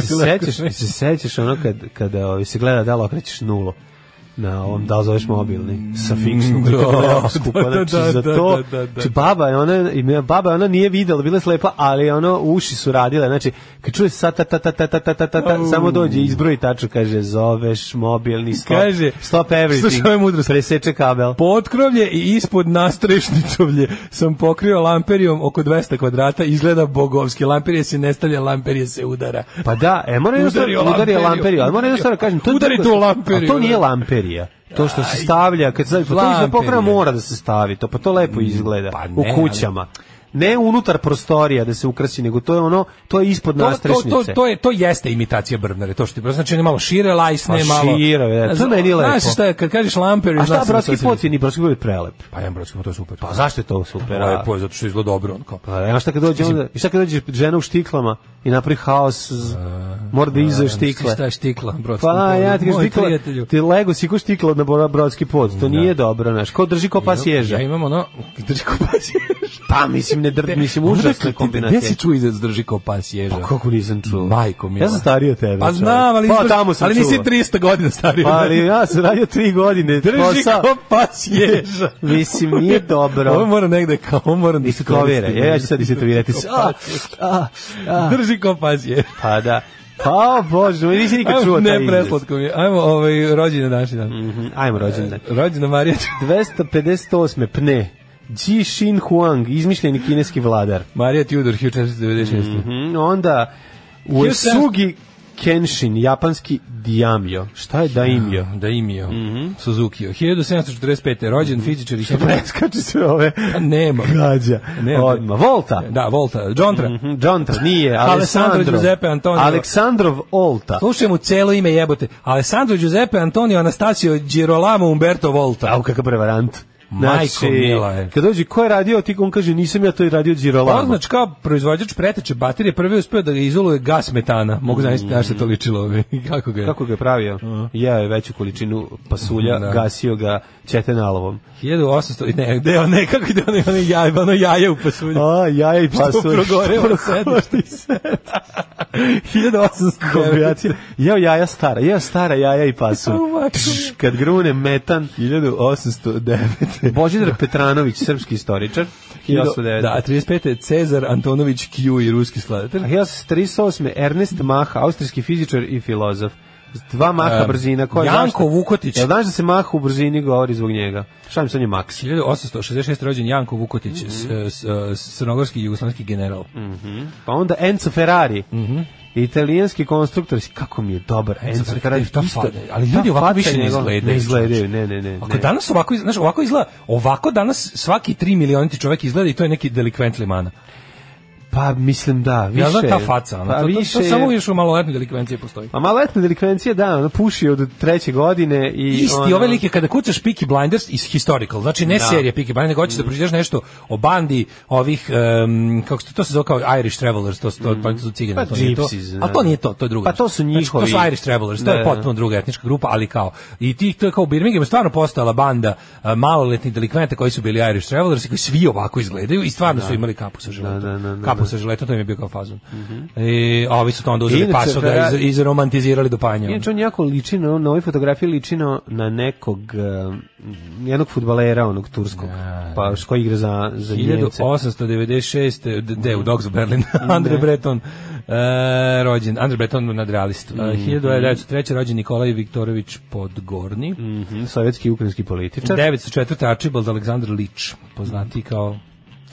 Speaker 8: se sećaš, se sećaš ono kad, kada ovaj, se gleda da li okrećeš nulo na ovom, da li zoveš mobilni sa fiksnom
Speaker 7: Da,
Speaker 8: da, da,
Speaker 7: da,
Speaker 8: skupa, znači
Speaker 7: da,
Speaker 8: za
Speaker 7: da,
Speaker 8: to
Speaker 7: da, da, da.
Speaker 8: znači, baba je ona, i me- baba je ona nije videla, bila je slepa, ali ono uši su radile, znači kad čuješ sa ta ta ta ta ta ta ta, ta, ta samo dođe izbroji taču, kaže zoveš mobilni, stop,
Speaker 7: Kaže,
Speaker 8: stop
Speaker 7: slušaj, ovo je
Speaker 8: everything,
Speaker 7: mudrost.
Speaker 8: preseče kabel
Speaker 7: Potkrovlje i ispod nastrešničovlje sam pokrio lamperijom oko 200 kvadrata, izgleda bogovski. Lamperije se ne stavlja, lamperije se udara.
Speaker 8: Pa da, e, mora jedno
Speaker 7: Udari
Speaker 8: stvar,
Speaker 7: o
Speaker 8: udari
Speaker 7: lamperiju.
Speaker 8: lamperiju, ali mora jedno stvar da kažem, to, je
Speaker 7: Udari
Speaker 8: drugo-
Speaker 7: tu lamperiju,
Speaker 8: A to nije
Speaker 7: da.
Speaker 8: lamperija. To što se stavlja, kad se stavlja, pa to izgleda
Speaker 7: Lamperija.
Speaker 8: pokraj mora da se stavi, to pa to lepo izgleda
Speaker 7: pa ne,
Speaker 8: u kućama. Ne unutar prostorija da se ukrasi, nego to je ono, to je ispod
Speaker 7: To, to,
Speaker 8: nastrešnice.
Speaker 7: to, to, je, to jeste imitacija Brvnare, to što ti znači on je malo šire lajsne,
Speaker 8: Pa
Speaker 7: malo...
Speaker 8: šire, je, to
Speaker 7: Znaš,
Speaker 8: meni je lepo.
Speaker 7: Znaš šta, je, kad kažeš lamperiju...
Speaker 8: A
Speaker 7: znaš
Speaker 8: šta,
Speaker 7: sam
Speaker 8: bratski
Speaker 7: se-
Speaker 8: pot je ni bratski pot je prelep.
Speaker 7: Pa ja bratski pot, to je super.
Speaker 8: Pa zašto je to super? a?
Speaker 7: Lepo je, zato što izgleda dobro. On, kao.
Speaker 8: Pa, a šta kad dođe onda, i šta kad dođe žena u štiklama i napravi haos, z- mora da izve štikle.
Speaker 7: Šta je štikla, brodski
Speaker 8: Pa
Speaker 7: pot?
Speaker 8: ja ti kažem,
Speaker 7: Moj
Speaker 8: štikla,
Speaker 7: prijatelju.
Speaker 8: ti lego si ko štikla na Bora- brodski pod, to nije dobro, znaš, ko drži ko pas ježa.
Speaker 7: Ja imam ono, drži ko pas ježa.
Speaker 8: Pa mislim ne drd, mislim
Speaker 7: pa
Speaker 8: užasne kombinacije.
Speaker 7: Gde si čuo izraz drži ko pas ježa?
Speaker 8: Pa kako nisam čuo?
Speaker 7: Majko mila.
Speaker 8: Ja sam stariji od tebe.
Speaker 7: Pa
Speaker 8: čovek.
Speaker 7: znam, ali,
Speaker 8: pa,
Speaker 7: izgleda-
Speaker 8: tamo sam
Speaker 7: ali
Speaker 8: čuo.
Speaker 7: nisi 300 godina stariji.
Speaker 8: Pa,
Speaker 7: od
Speaker 8: ali pa
Speaker 7: mene.
Speaker 8: ja sam radio tri godine.
Speaker 7: drži
Speaker 8: posao.
Speaker 7: ko pas ježa.
Speaker 8: Mislim, nije
Speaker 7: Ovo
Speaker 8: dobro.
Speaker 7: mora negde kao, ovo moram da
Speaker 8: Istovira.
Speaker 7: iskoristim.
Speaker 8: Ja, ja ću E, sad isetovirati se. A, a, a.
Speaker 7: Drži ko pas ježa.
Speaker 8: Pa da. Pa, o Bože, moj, nisi nikad čuo taj
Speaker 7: Ne,
Speaker 8: izraz.
Speaker 7: preslatko mi je. Ajmo, ovaj, rođene naši dan.
Speaker 8: Mhm, Ajmo, rođendan.
Speaker 7: Rođena Marija.
Speaker 8: 258. Pne. Ji Xin Huang, izmišljeni kineski vladar.
Speaker 7: Marija Tudor, 1496.
Speaker 8: Mhm, onda Uesugi Kenshin, japanski Diamio. Šta je Daimio?
Speaker 7: Da imio. Mm
Speaker 8: Mhm.
Speaker 7: -hmm. Suzuki. 1745. Rođen fizičar i hemijski.
Speaker 8: Preskače se ove
Speaker 7: Nema.
Speaker 8: gađa.
Speaker 7: Ne,
Speaker 8: Odmah. Volta.
Speaker 7: Da, Volta. Džontra. Mm
Speaker 8: Mhm, John Tra- nije,
Speaker 7: Alessandro
Speaker 8: Alessandro
Speaker 7: Giuseppe Antonio.
Speaker 8: Aleksandrov Olta.
Speaker 7: Slušaj mu celo ime jebote. Alessandro Giuseppe Antonio Anastasio Girolamo Umberto Volta.
Speaker 8: Au, kakav prevarant. Znači,
Speaker 7: Majko mila e. je.
Speaker 8: Kad dođe, ko je radio, ti on kaže, nisam ja to je radio Girolamo.
Speaker 7: Poznač znači kao proizvođač preteče baterije, prvi je uspeo da ga izoluje gas metana. Mogu zamisliti da se to ličilo. ovaj, Kako ga je?
Speaker 8: Mhm. Kako ga je pravio? Ja je veću količinu pasulja,
Speaker 7: Da.
Speaker 8: gasio ga četenalovom.
Speaker 7: 1800... Ne, gde on, ne, kako ide ono, ono jaje, ono jaje u pasulju.
Speaker 8: A, jaja i
Speaker 7: Što
Speaker 8: pasulj.
Speaker 7: progorelo sedište. 1800...
Speaker 8: Kombinacija. Jeo jaja stara, jeo stara jaja i pasulj.
Speaker 7: Au, majko.
Speaker 8: Tš, Kad grune metan. 1809. Božidar Petranović, srpski istoričar. 1809.
Speaker 7: Da, 35. je Cezar Antonović Q i ruski skladatelj.
Speaker 8: A 1838. Ernest Mach, austrijski fizičar i filozof. Dva maha
Speaker 7: E,
Speaker 8: brzina. Ko je
Speaker 7: Janko
Speaker 8: zašto-
Speaker 7: Vukotić.
Speaker 8: Jel znaš da se maha u brzini govori zbog njega? Šta mi sad je Max?
Speaker 7: 1866. rođen Janko Vukotić,
Speaker 8: Mhm.
Speaker 7: mm crnogorski i jugoslovenski general. Mhm.
Speaker 8: Pa onda Enzo Ferrari. Italijanski konstruktor, kako mi je dobar Enzo,
Speaker 7: Ferrari,
Speaker 8: Ferrari,
Speaker 7: ta
Speaker 8: isto-
Speaker 7: faca, ali ljudi
Speaker 8: ta
Speaker 7: ovako
Speaker 8: faca
Speaker 7: više ne
Speaker 8: njegova-
Speaker 7: izgledaju,
Speaker 8: Ne izgledaju, ne, ne, ne.
Speaker 7: Ako
Speaker 8: ne.
Speaker 7: danas ovako, iz- znaš, ovako izgleda, ovako danas svaki 3 milioniti čovjek izgleda i to je neki delikvent limana.
Speaker 8: Pa mislim da, više.
Speaker 7: ja znam ta
Speaker 8: je.
Speaker 7: faca, ono,
Speaker 8: pa
Speaker 7: to, to,
Speaker 8: više
Speaker 7: to,
Speaker 8: je.
Speaker 7: samo još u maloletnoj delikvenciji postoji.
Speaker 8: A maloletna delikvencija, da, ono, puši od treće godine i...
Speaker 7: Isti
Speaker 8: ono-
Speaker 7: ove like kada kucaš Peaky Blinders iz historical, znači ne
Speaker 8: Da. Mm.
Speaker 7: serija Peaky Blinders, nego hoćeš da pročitaš nešto o bandi ovih em, kako se to se zove kao Irish Travelers, to su to pa su cigani,
Speaker 8: Pa
Speaker 7: to nije to.
Speaker 8: Gypsies,
Speaker 7: A
Speaker 8: da.
Speaker 7: to nije to, to je druga.
Speaker 8: Pa to su
Speaker 7: Znači, to su
Speaker 8: njihovi-
Speaker 7: Irish Travelers, to
Speaker 8: Da,
Speaker 7: je
Speaker 8: da.
Speaker 7: potpuno druga etnička grupa, ali kao i ti to je kao u Birminghamu stvarno postojala banda e, maloletnih delikventa koji su bili Irish Travelers i koji svi ovako izgledaju i stvarno su imali kapu sa životom.
Speaker 8: da, da, da,
Speaker 7: kapu sa žiletom, to im je bio kao fazon. I a ovi su to onda uzeli
Speaker 8: Inače,
Speaker 7: pasoga
Speaker 8: Ferrari-
Speaker 7: iz, izromantizirali do panja.
Speaker 8: Inače, on jako liči, na, na ovoj fotografiji liči na, na nekog, em, jednog futbalera, onog turskog, pa s koji igra za, za Njemce.
Speaker 7: 1896. d- De, u Dogs Berlin. Andre Breton e, rođen. Andre Breton nadrealist.
Speaker 8: Mhm.
Speaker 7: Mm 1903. rođen Nikolaj Viktorović Podgorni.
Speaker 8: Mhm, Sovjetski i ukrajinski političar.
Speaker 7: 904. Archibald Aleksandar Lič, poznati
Speaker 8: Mhm.
Speaker 7: kao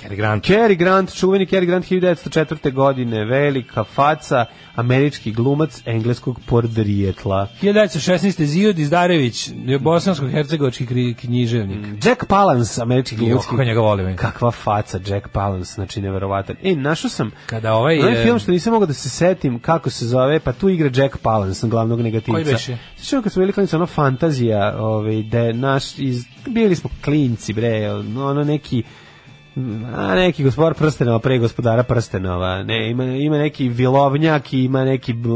Speaker 7: Cary Grant.
Speaker 8: Cary Grant, čuveni Cary Grant 1904. godine, velika faca, američki glumac engleskog podrijetla.
Speaker 7: 1916. Zijod Izdarević, bosansko-hercegovački kri- književnik.
Speaker 8: Jack Palance, američki
Speaker 7: Jo,
Speaker 8: glumac.
Speaker 7: kako njega volim.
Speaker 8: Kakva faca Jack Palance, znači neverovatan. E, našao sam
Speaker 7: Kada ovaj...
Speaker 8: onaj
Speaker 7: e,
Speaker 8: film što nisam mogao da se setim kako se zove, pa tu igra Jack Palance, glavnog negativca.
Speaker 7: Koji beše?
Speaker 8: Sjećam se kad smo bili klinici, ono fantazija, ovaj, da je naš, iz, bili smo klinci, bre, ono neki a neki gospodar prstenova pre gospodara prstenova ne ima ima neki vilovnjak i ima neki b,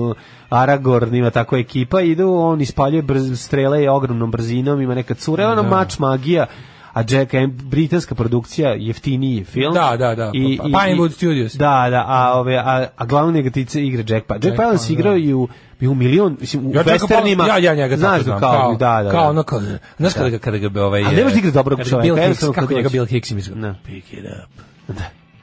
Speaker 8: Aragorn ima tako ekipa idu on ispaljuje brz, strele i ogromnom brzinom ima neka cura ono mač magija a Jack em, britanska produkcija jeftiniji film
Speaker 7: Da, da, da, pa- Pinewood Studios.
Speaker 8: da da a ove a, a glavni negativice igra Jack pa Jack,
Speaker 7: Jack
Speaker 8: Palance
Speaker 7: Palance,
Speaker 8: igrao i u i u milion mislim u
Speaker 7: Ja čekam pola-
Speaker 8: westernima
Speaker 7: ja, ja njega
Speaker 8: znaš
Speaker 7: tako znam,
Speaker 8: kao, da, da,
Speaker 7: kao
Speaker 8: da.
Speaker 7: ono kao, znaš kada ga, kada ga bi ovaj...
Speaker 8: A ne možeš da igraš dobrog
Speaker 7: kada bi
Speaker 8: čoveka,
Speaker 7: Bill Hicks,
Speaker 8: jednostavno
Speaker 7: kako
Speaker 8: kad
Speaker 7: njega
Speaker 8: dođe.
Speaker 7: Bill Hicks im izgleda.
Speaker 8: Da.
Speaker 7: Pick it up.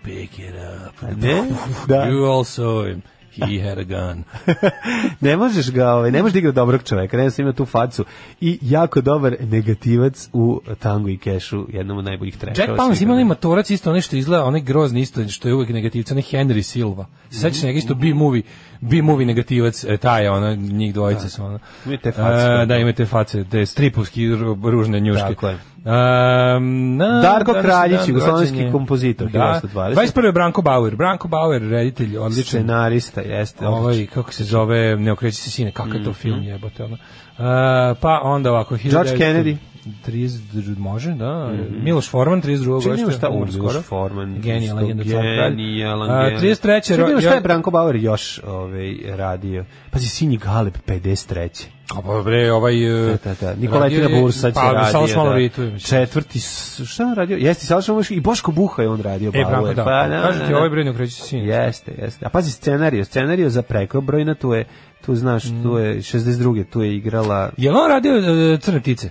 Speaker 7: Pick it up.
Speaker 8: ne da
Speaker 7: You also him. He had a gun.
Speaker 8: ne možeš ga, ovaj, ne možeš da igra dobrog čoveka, ne ima tu facu. I jako dobar negativac u Tango i Kešu, jednom od najboljih trešova.
Speaker 7: Jack Palance ima onaj matorac isto onaj što izgleda, onaj grozni isto što je uvek negativac, onaj Henry Silva. Se Sećaš njega isto B-movie, B-movie negativac, e, taj je ono, njih dvojica su ono.
Speaker 8: Imaju te face,
Speaker 7: E, da, imaju te face, te stripovski ru- ružne njuške.
Speaker 8: Tako je.
Speaker 7: Um, na,
Speaker 8: Darko
Speaker 7: današnji
Speaker 8: Kraljić,
Speaker 7: dan
Speaker 8: jugoslovenski
Speaker 7: rođen je-
Speaker 8: kompozitor,
Speaker 7: Da,
Speaker 8: 1920.
Speaker 7: 21. Branko Bauer. Branko Bauer, reditelj, odličan.
Speaker 8: Scenarista, jeste. odličan.
Speaker 7: Ovaj, kako se zove, ne okreći se sine, kakav je to film jebote. Ono. E, pa onda ovako,
Speaker 8: Mhm. George Kennedy. Mhm.
Speaker 7: 30, može, da. Miloš Forman, 32.
Speaker 8: Čini mi
Speaker 7: godište,
Speaker 8: šta
Speaker 7: umro
Speaker 8: umro
Speaker 7: skoro.
Speaker 8: skoro. Forman.
Speaker 7: Genijalan,
Speaker 8: isto
Speaker 7: legenda, car kralj.
Speaker 8: Genijalan,
Speaker 7: A,
Speaker 8: genijalan.
Speaker 7: 33.
Speaker 8: Čekaj,
Speaker 7: ro-
Speaker 8: šta je
Speaker 7: jo-
Speaker 8: Branko Bauer još ovaj, radio? Pazi, Sinji Galeb, 53.
Speaker 7: A pa bre, ovaj... e,
Speaker 8: Da, da. Nikoletina
Speaker 7: radio je-
Speaker 8: Bursa će
Speaker 7: pa,
Speaker 8: radio.
Speaker 7: Samo malo
Speaker 8: da.
Speaker 7: rituje, mislim.
Speaker 8: Četvrti, s- šta je on radio? Jeste, Salaš Šalomon i Boško Buha je on radio.
Speaker 7: E, Branko,
Speaker 8: Bauer.
Speaker 7: da.
Speaker 8: Pa, da,
Speaker 7: Kažu ti,
Speaker 8: da, da.
Speaker 7: ovaj bre, ne okreći se sine.
Speaker 8: Jeste, jeste. A pazi scenarijo, scenarijo za prekobrojna tu je tu znaš,
Speaker 7: Mm.
Speaker 8: tu je 62. tu je igrala
Speaker 7: Je li on radio e, Crne ptice?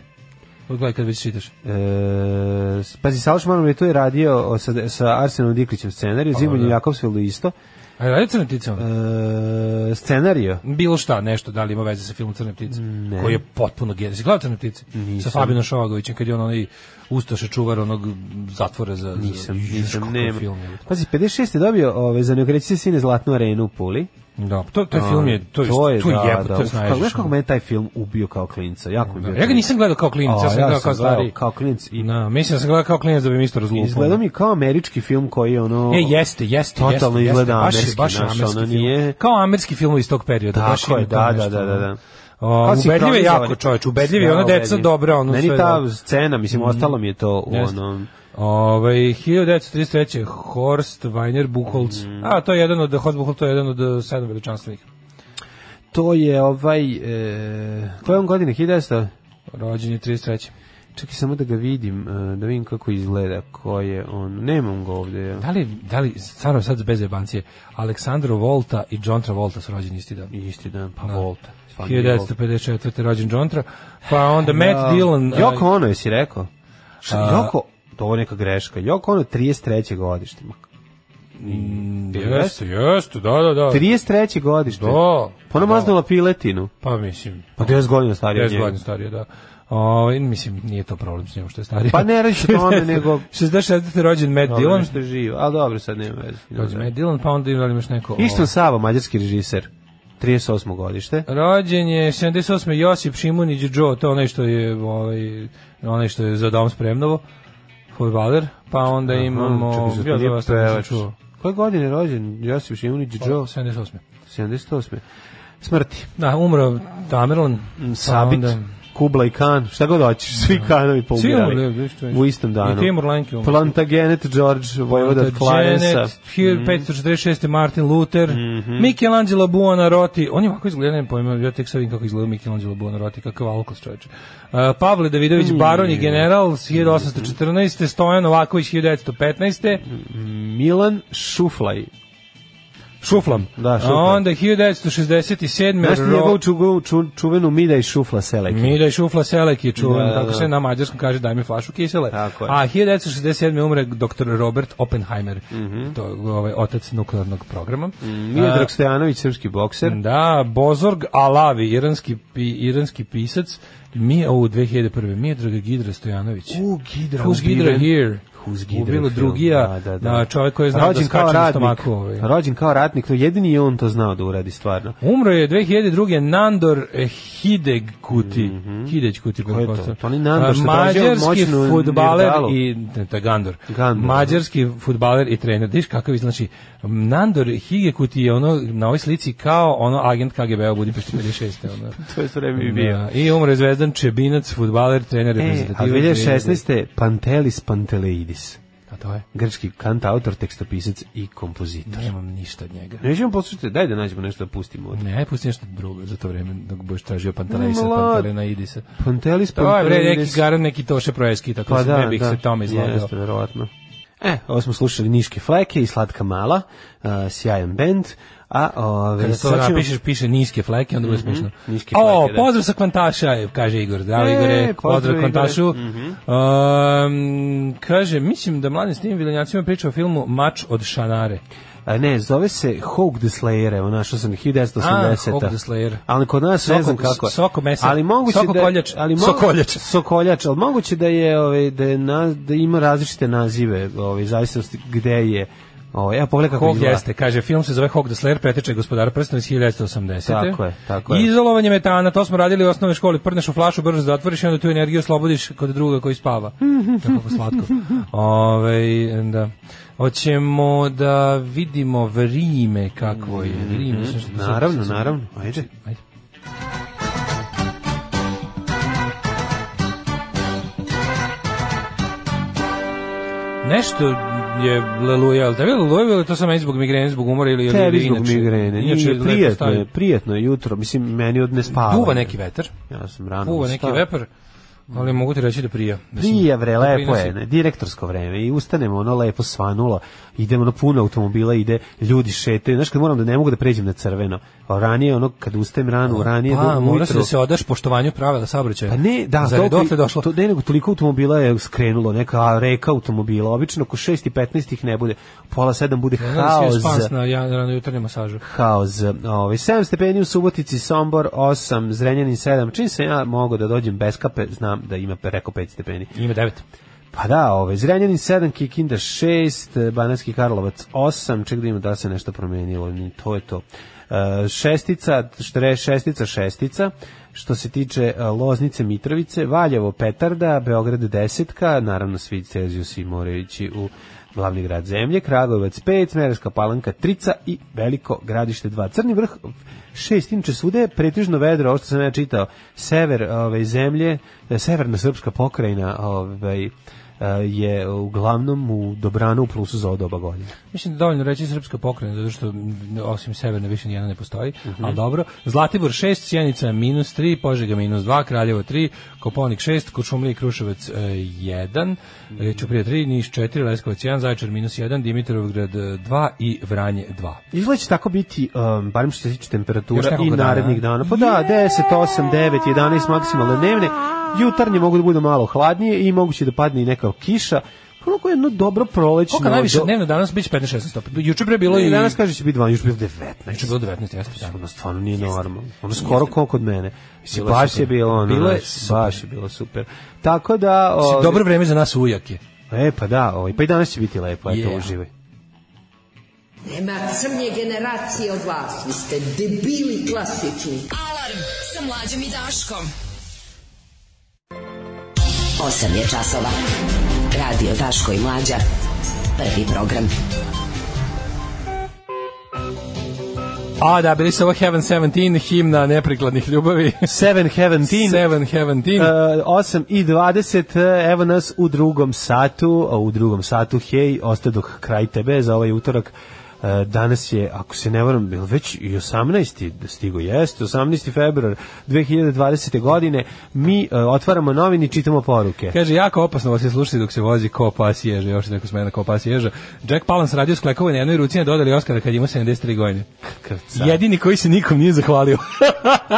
Speaker 7: Odgledaj kad već čitaš.
Speaker 8: e, pazi Salaš Manom je tu je radio o- sa, sa Arsenom Diklićem scenariju,
Speaker 7: Pa,
Speaker 8: Zimonju Jakovsvelu isto.
Speaker 7: A je radio Crne ptice on?
Speaker 8: E, scenariju.
Speaker 7: Bilo šta, nešto, da li ima veze sa filmom Crne ptice,
Speaker 8: Ne.
Speaker 7: koji je potpuno genijalni. Si gledao Crne ptice? Sa Fabinom Šovagovićem, kad je on onaj ustaša čuvar onog zatvora za... za-
Speaker 8: Nisam,
Speaker 7: Juš,
Speaker 8: nisam,
Speaker 7: kakav
Speaker 8: nema.
Speaker 7: film je.
Speaker 8: Pazi, 56. je dobio ove, za neokreći sine Zlatnu arenu u Puli.
Speaker 7: Da, to, to je film je, to je, to je, to je jebo, to je
Speaker 8: Kako- Pa Znaš
Speaker 7: snaježiš.
Speaker 8: kako me je taj film ubio kao klinca? Jako mi je bio
Speaker 7: ono. Ja ga
Speaker 8: tužno.
Speaker 7: nisam gledao kao klinac, ja
Speaker 8: A,
Speaker 7: sam gledao kao stari.
Speaker 8: Kao klinac i
Speaker 7: Na, mislim da sam gledao kao klinac da bi mi isto razlupao.
Speaker 8: Izgleda mi kao američki film koji je ono...
Speaker 7: E, jeste, jeste,
Speaker 8: Totalno
Speaker 7: jeste,
Speaker 8: izgleda
Speaker 7: jeste.
Speaker 8: američki,
Speaker 7: baš, je-
Speaker 8: znaš,
Speaker 7: baš je američki
Speaker 8: ono
Speaker 7: film.
Speaker 8: nije-
Speaker 7: Kao američki film iz tog perioda.
Speaker 8: Tako
Speaker 7: baš ima
Speaker 8: je,
Speaker 7: to
Speaker 8: da,
Speaker 7: nešto,
Speaker 8: da, da,
Speaker 7: ono.
Speaker 8: da.
Speaker 7: O,
Speaker 8: Kao
Speaker 7: ubedljiv je
Speaker 8: sinhronizovani.
Speaker 7: jako čovječ, ubedljiv je,
Speaker 8: Da,
Speaker 7: ono deca
Speaker 8: ubedljiv.
Speaker 7: dobra, ono
Speaker 8: Meni
Speaker 7: sve
Speaker 8: ta
Speaker 7: dobro. Mm.
Speaker 8: scena, mislim, ostalo mi je to ono, u
Speaker 7: Jeste.
Speaker 8: onom...
Speaker 7: Ovaj 1933. Horst Weiner Buchholz.
Speaker 8: Mhm.
Speaker 7: A to je jedan od Horst Buchholz, to je jedan od eh, sedam veličanstvenih.
Speaker 8: To je ovaj... E, koje on godine? 1900?
Speaker 7: Rođen je 33.
Speaker 8: Čekaj samo da ga vidim, e, da vidim kako izgleda, ko je on... Nemam ga ovde. Ja.
Speaker 7: Da li, da li, stvarno sad bez jebancije, Aleksandro Volta i John Travolta su rođeni isti dan.
Speaker 8: Isti dan, pa
Speaker 7: Da.
Speaker 8: Volta. Svaki je Volta.
Speaker 7: 1954. rođen John Tra, pa onda Matt Dillon. eh,
Speaker 8: Joko ono, jesi rekao? Šta,
Speaker 7: A-
Speaker 8: Joko... To je neka greška. Joko ono 33. godište. ma,
Speaker 7: Mm, eh, Jeste, jeste, da, da, da.
Speaker 8: 33. godište.
Speaker 7: Da.
Speaker 8: Pa ona maznula piletinu.
Speaker 7: Pa mislim,
Speaker 8: Pa 10 godina starije od
Speaker 7: 10
Speaker 8: njega.
Speaker 7: godina starije, da. Ovaj mislim, nije to problem s njim što je stariji.
Speaker 8: Pa ne radi se o tome, nego-
Speaker 7: 66. rođen Matt
Speaker 8: Dobro,
Speaker 7: Dillon.
Speaker 8: nešto je živo, ali dobro, sad nema veze.
Speaker 7: Rođen Matt Dillon, pa onda ima imaš neko...
Speaker 8: Išton Sava, mađarski režiser, 38. godište.
Speaker 7: Rođen je 78. Josip Šimunić Đo, to onaj što je ovaj onaj što je za dom spremnovo. Fudbaler, pa onda imamo
Speaker 8: Čekaj, zar to
Speaker 7: Ja,
Speaker 8: nije
Speaker 7: dva, sam nisam
Speaker 8: pevač?
Speaker 7: čuo. Pa,
Speaker 8: Koje godine je rođen Josip Šimunić Đo?
Speaker 7: 78.
Speaker 8: 78. Smrti.
Speaker 7: Da, umro Tamerlan, pa
Speaker 8: Mm, Sabit,
Speaker 7: onda-
Speaker 8: Kublai Khan, šta god hoćeš, svi Khanovi
Speaker 7: Svi
Speaker 8: poumirali.
Speaker 7: umrli, što je-
Speaker 8: U istom
Speaker 7: I
Speaker 8: danu.
Speaker 7: Timur Lenki umro.
Speaker 8: Plantagenet George, vojvoda od Clarensa.
Speaker 7: Plantagenet,
Speaker 8: Mm.
Speaker 7: 546. Martin Luther,
Speaker 8: Mhm.
Speaker 7: Michelangelo Buonarroti, on je ovako izgleda, ne pojma, ja tek sad vidim kako izgleda Michelangelo Buonarroti, kakav alkos čovječe. Uh, Pavle Davidović Baron i general,
Speaker 8: Mhm.
Speaker 7: s 1814. Stojan Novaković, 1915.
Speaker 8: Milan Šuflaj,
Speaker 7: Šuflam.
Speaker 8: Da,
Speaker 7: A
Speaker 8: šuflam.
Speaker 7: onda 1967.
Speaker 8: Znaš ti
Speaker 7: Ro-
Speaker 8: njegovu čugu, ču, čuvenu Mida i Šufla Seleki?
Speaker 7: Mi da je šufla seleki čuvan,
Speaker 8: Da,
Speaker 7: kako
Speaker 8: da.
Speaker 7: se na mađarskom kaže daj mi flašu kisele.
Speaker 8: Tako je.
Speaker 7: A 1967. umre dr. Robert Oppenheimer,
Speaker 8: Mhm.
Speaker 7: to je ovaj, otac nuklearnog programa. A,
Speaker 8: Miodrag Stojanović, srpski bokser.
Speaker 7: Da, Bozorg Alavi, iranski, pi, iranski pisac, mi, u 2001. Miodrag Gidra Stojanović.
Speaker 8: U, Gidra,
Speaker 7: Who's Gidra
Speaker 8: ubiven.
Speaker 7: here?
Speaker 8: Who's Gidra
Speaker 7: Ubilo
Speaker 8: film,
Speaker 7: drugija,
Speaker 8: da, da, da.
Speaker 7: čovjek koji je znao
Speaker 8: Rođen
Speaker 7: da
Speaker 8: kao
Speaker 7: skače na
Speaker 8: ratnik.
Speaker 7: stomaku. Ovaj.
Speaker 8: Rođen kao ratnik, no jedini je on to znao da uradi stvarno.
Speaker 7: Umro je 2002. Nandor eh, Hidegkuti. Mm Hidegkuti.
Speaker 8: Mhm. Ko je to? To ni Nandor što tražio
Speaker 7: Mađarski
Speaker 8: moćnu
Speaker 7: futbaler
Speaker 8: Nirdalu.
Speaker 7: i... Ne, to je Gandor.
Speaker 8: Gandor,
Speaker 7: Mađarski futbaler i trener. Diš kakav je, znači, Nandor Hidegkuti je ono, na ovoj slici kao ono agent KGB-a u Budimpešti 56. Ono.
Speaker 8: To je sve vreme i bio.
Speaker 7: Da, I umro je Zvezdan Čebinac, futbaler, trener,
Speaker 8: E, a
Speaker 7: reprezentativac.
Speaker 8: 2016. Pantelis Panteleidis.
Speaker 7: A to je?
Speaker 8: Grčki kant, autor, tekstopisac i kompozitor.
Speaker 7: Nemam ništa od njega.
Speaker 8: Nećemo poslušati, daj da nađemo nešto da pustimo. od-
Speaker 7: Ne, pusti nešto drugo za to vreme dok budeš tražio Pantalejsa,
Speaker 8: Mlad.
Speaker 7: Pantalena Idisa.
Speaker 8: Pantelis
Speaker 7: To je bre neki
Speaker 8: Panteleidis.
Speaker 7: garan neki Toše Projeski, tako da,
Speaker 8: Pa da,
Speaker 7: ne bih
Speaker 8: da.
Speaker 7: se tome izlagao.
Speaker 8: Jeste, verovatno. E, ovo smo slušali Niške fleke i Slatka mala, a, sjajan bend, a ove,
Speaker 7: Kada to
Speaker 8: sad ćemo- Mhm,
Speaker 7: napišeš, piše niske fleke, onda bude smiješno.
Speaker 8: niske
Speaker 7: O,
Speaker 8: fleke, da.
Speaker 7: pozdrav sa Kvantaša, kaže Igor. Zdravo,
Speaker 8: E,
Speaker 7: Igore,
Speaker 8: pozdrav,
Speaker 7: pozdrav Kvantašu.
Speaker 8: Igore. Mhm.
Speaker 7: Um, kaže, mislim da mladim s tim viljanjacima priča o filmu Mač od Šanare.
Speaker 8: A ne, zove se Hawk the Slayer, evo našao sam 1980.
Speaker 7: A, Hawk the Slayer.
Speaker 8: Ali kod nas ne
Speaker 7: Soko-
Speaker 8: znam kako. je.
Speaker 7: soko mesa.
Speaker 8: Ali moguće
Speaker 7: Soko
Speaker 8: da
Speaker 7: koljač.
Speaker 8: Ali mogu-
Speaker 7: Sokoljač.
Speaker 8: Sokoljač, ali moguće da je ovaj da je na, da ima različite nazive, ovaj zavisnosti gde je. Ovaj, evo pogledaj kako
Speaker 7: Hog
Speaker 8: izgleda.
Speaker 7: jeste, kaže, film se zove Hog the Slayer, preteče gospodara prstena iz 1980.
Speaker 8: Tako je, tako je.
Speaker 7: Izolovanje metana, to smo radili u osnovnoj školi, prdneš u flašu, brzo zatvoriš i onda tu energiju oslobodiš kod druga koji spava. Tako slatko. Ove, da. Hoćemo da vidimo vrime kakvo je. Vrime, mm
Speaker 8: Mhm, Naravno, naravno. Ajde.
Speaker 7: znači, Ajde. Nešto je leluja, ali tebi je leluja ili to sam meni zbog migrene, zbog umora ili, ili
Speaker 8: Tebi
Speaker 7: ili
Speaker 8: zbog
Speaker 7: inače?
Speaker 8: migrene.
Speaker 7: Inače
Speaker 8: Nije,
Speaker 7: lepo
Speaker 8: prijetno
Speaker 7: stavi.
Speaker 8: je, prijetno je jutro. Mislim, meni od ne spava.
Speaker 7: Duva neki vetar,
Speaker 8: Ja sam rano
Speaker 7: duva neki
Speaker 8: ustao.
Speaker 7: vepar, ali mogu ti reći da prija. Mislim,
Speaker 8: Prije vre,
Speaker 7: to
Speaker 8: lepo je,
Speaker 7: prinosi.
Speaker 8: ne, direktorsko vreme i ustanemo, ono lepo svanulo, idemo ono puno automobila, ide, ljudi šetaju, znaš kad moram da ne mogu da pređem na crveno, a ranije ono kad ustajem rano, ranije
Speaker 7: Pa,
Speaker 8: do
Speaker 7: mora se
Speaker 8: ujutru,
Speaker 7: da se odaš poštovanju pravila saobraćaja.
Speaker 8: Pa ne, da,
Speaker 7: Zar je
Speaker 8: toliko-
Speaker 7: dotle došlo?
Speaker 8: To, ne, nego toliko automobila je skrenulo, neka reka automobila, obično oko 6 i 15 ih ne bude, pola 7 bude
Speaker 7: Ne znam da si
Speaker 8: haos.
Speaker 7: spans na ja, rano jutarnjem masažu.
Speaker 8: Haos. Ovaj 7 stepeni u Subotici, Sombor 8, Zrenjanin 7. Čim sam ja mogao da dođem bez kape, znam da ima preko 5 stepeni.
Speaker 7: Ima devet.
Speaker 8: Pa da, ovaj, Zrenjanin 7, Kikinda 6, Banatski Karlovac 8, ček da ima da li se nešto promenilo, ni to je to. E, šestica, štre, šestica, šestica, što se tiče e, Loznice, Mitrovice, Valjevo, Petarda, Beograd desetka, naravno svi Celzijusi moraju ići u glavni grad zemlje, Kragovac 5, Smereska palanka trica i Veliko gradište 2. Crni vrh 6, inače svuda je pretežno vedro, ovo što sam ja čitao, sever ove, zemlje, e, severna srpska pokrajina, ovaj, e, je uglavnom u dobrano u plusu za ovo doba godine.
Speaker 7: Mislim da je dovoljno reći srpska pokrena, zato što m, osim severne više nijedna ne postoji,
Speaker 8: Mhm.
Speaker 7: ali dobro. Zlatibor 6, Sjenica minus 3, Požega minus 2, Kraljevo 3, Koponik 6, Kočumlija i Kruševac 1, e, Ćuprija 3, Niš 4, Leskovac 1, Zaječar minus 1, Dimitrovgrad 2 i Vranje 2.
Speaker 8: Izgleda će tako biti, um, barem što se tiče
Speaker 7: Još
Speaker 8: temperatura i
Speaker 7: nekoliko dana.
Speaker 8: narednih dana. Pa da, 10, 8, 9, 11 maksimalne dnevne. Jutarnje mogu da bude malo hladnije i moguće da padne i neka kiša. Onako jedno dobro prolećno.
Speaker 7: Koliko najviše
Speaker 8: do-
Speaker 7: dnevno danas biće 15-16 stopinja? Juče pre bilo
Speaker 8: Ne,
Speaker 7: i...
Speaker 8: Danas kaže će biti 12, još bilo 19.
Speaker 7: Juče bilo 19, jeste da.
Speaker 8: Ono stvarno nije normalno. Ono skoro koliko kod mene. Mislim, baš je
Speaker 7: super.
Speaker 8: bilo ono.
Speaker 7: Bilo je
Speaker 8: znači,
Speaker 7: super.
Speaker 8: Baš je bilo super. Tako da...
Speaker 7: Mislim,
Speaker 8: ovaj,
Speaker 7: Dobro vreme za nas ujake.
Speaker 8: E, pa da, ovaj, pa i danas će biti lepo. Eto,
Speaker 7: Yeah.
Speaker 8: uživaj.
Speaker 10: Nema crnje generacije od vas, vi ste debili klasični.
Speaker 6: Alarm sa mlađom i Daškom.
Speaker 10: 8 je časova. Radio Daško i Mlađa. Prvi program.
Speaker 7: A da, bili se ovo Heaven 17, himna neprikladnih ljubavi.
Speaker 8: 7 Heaven Teen.
Speaker 7: 7 Heaven
Speaker 8: E,
Speaker 7: 17.
Speaker 8: 8 i 20, e, evo nas u drugom satu, a u drugom satu, hej, ostadoh kraj tebe za ovaj utorak. E, E, danas je, ako se ne varam, bil već i 18. stigo jeste, 18. februar 2020. godine, mi e, otvaramo novini i čitamo poruke.
Speaker 7: Kaže, jako opasno vas je slušati dok se vozi ko pas ježa, još neko smena ko pas ježa. Jack Palance radio sklekovo na jednoj ruci, ne dodali Oscara kad ima 73 godine.
Speaker 8: Krca.
Speaker 7: Jedini koji se nikom nije zahvalio.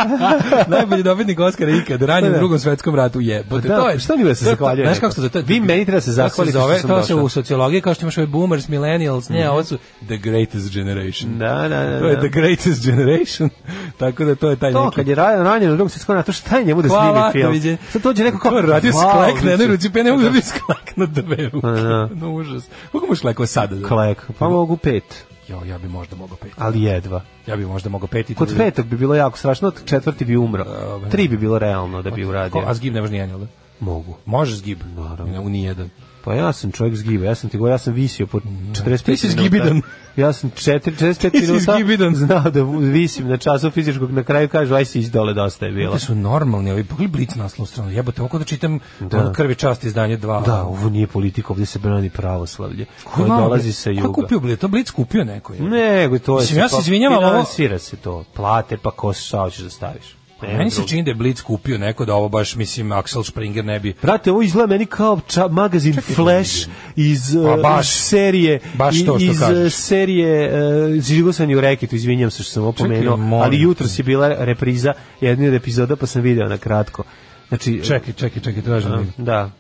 Speaker 7: Najbolji dobitnik Oscara ikad, ranjen u drugom svetskom ratu jebote.
Speaker 8: Pa Da,
Speaker 7: to je.
Speaker 8: šta mi da se
Speaker 7: to je-
Speaker 8: zahvaljuje
Speaker 7: Znaš
Speaker 8: neko?
Speaker 7: kako se to, to je-
Speaker 8: Vi meni treba se
Speaker 7: to
Speaker 8: zahvaliti što
Speaker 7: zove,
Speaker 8: sam
Speaker 7: to se
Speaker 8: došao. Mhm.
Speaker 7: u sociologiji kao što imaš ove boomers, millennials, ne, ovo su the greatest generation.
Speaker 8: Da, da, da.
Speaker 7: To je
Speaker 8: da.
Speaker 7: the greatest generation. Tako da to je taj
Speaker 8: To,
Speaker 7: neki
Speaker 8: kad je ranjen, ranjen u drugom svjetskom ratu, šta je njemu da snimi
Speaker 7: Hvala,
Speaker 8: film?
Speaker 7: doviđenja.
Speaker 8: Sad dođe neko kao...
Speaker 7: Ko radi
Speaker 8: Hvala,
Speaker 7: sklek na jednoj
Speaker 8: Vice.
Speaker 7: ruci, pa ja ne mogu da bi sklek na dve ruke.
Speaker 8: Pa da.
Speaker 7: No, užas. Mogu mu šlekova sada? Da?
Speaker 8: Klek, pa mogu pet,
Speaker 7: Jo, ja bi možda mogao pet.
Speaker 8: ali jedva.
Speaker 7: Ja bi možda mogao pet i to
Speaker 8: Kod
Speaker 7: bi-
Speaker 8: petog bi bilo jako strašno, od četvrti bi umro.
Speaker 7: Dobro.
Speaker 8: Tri bi bilo realno da bi
Speaker 7: Ko-
Speaker 8: uradio.
Speaker 7: A zgib ne možeš nijedan, jel da?
Speaker 8: Mogu.
Speaker 7: Možeš zgib?
Speaker 8: Naravno.
Speaker 7: U nijedan.
Speaker 8: Pa ja sam čovjek zgiba, ja sam ti govorio, ja sam visio po 45
Speaker 7: Ti si
Speaker 8: minuta.
Speaker 7: zgibidan.
Speaker 8: Ja sam 4, 45
Speaker 7: Ti si
Speaker 8: minuta
Speaker 7: zgibidan.
Speaker 8: znao da visim na času fizičkog, na kraju kažu, aj si ići dole, dosta je bilo.
Speaker 7: Da su normalni, ovi pogledaj blic naslovnu stranu. Jebote, ovo kao da čitam ono krvi čast izdanje ono, 2.
Speaker 8: Da, ovo nije politika, ovdje se brani pravoslavlje. Koje dolazi sa juga.
Speaker 7: Ko kupio blic? To blic kupio neko je.
Speaker 8: Nego, to je...
Speaker 7: Mislim, ja se
Speaker 8: pa
Speaker 7: izvinjavam, ovo-
Speaker 8: Finansira se to. Plate, pa ko šta hoćeš da staviš. Nema
Speaker 7: Pa Meni se
Speaker 8: drugo.
Speaker 7: čini da je Blitz kupio neko da ovo baš, mislim, Axel Springer ne bi
Speaker 8: Brate, ovo izgleda meni kao ča, magazin Flash iz,
Speaker 7: Pa
Speaker 8: eh,
Speaker 7: baš.
Speaker 8: iz serije
Speaker 7: Baš to što
Speaker 8: iz eh,
Speaker 7: kažeš.
Speaker 8: serije uh, Žigo sam i u reketu, izvinjam se što sam opomenuo,
Speaker 7: molim
Speaker 8: ali
Speaker 7: te.
Speaker 8: jutro si bila repriza jedne od epizoda pa sam video na kratko. Znači,
Speaker 7: Čekaj, čekaj, čekaj, tražim.
Speaker 8: a,
Speaker 7: da-
Speaker 8: da.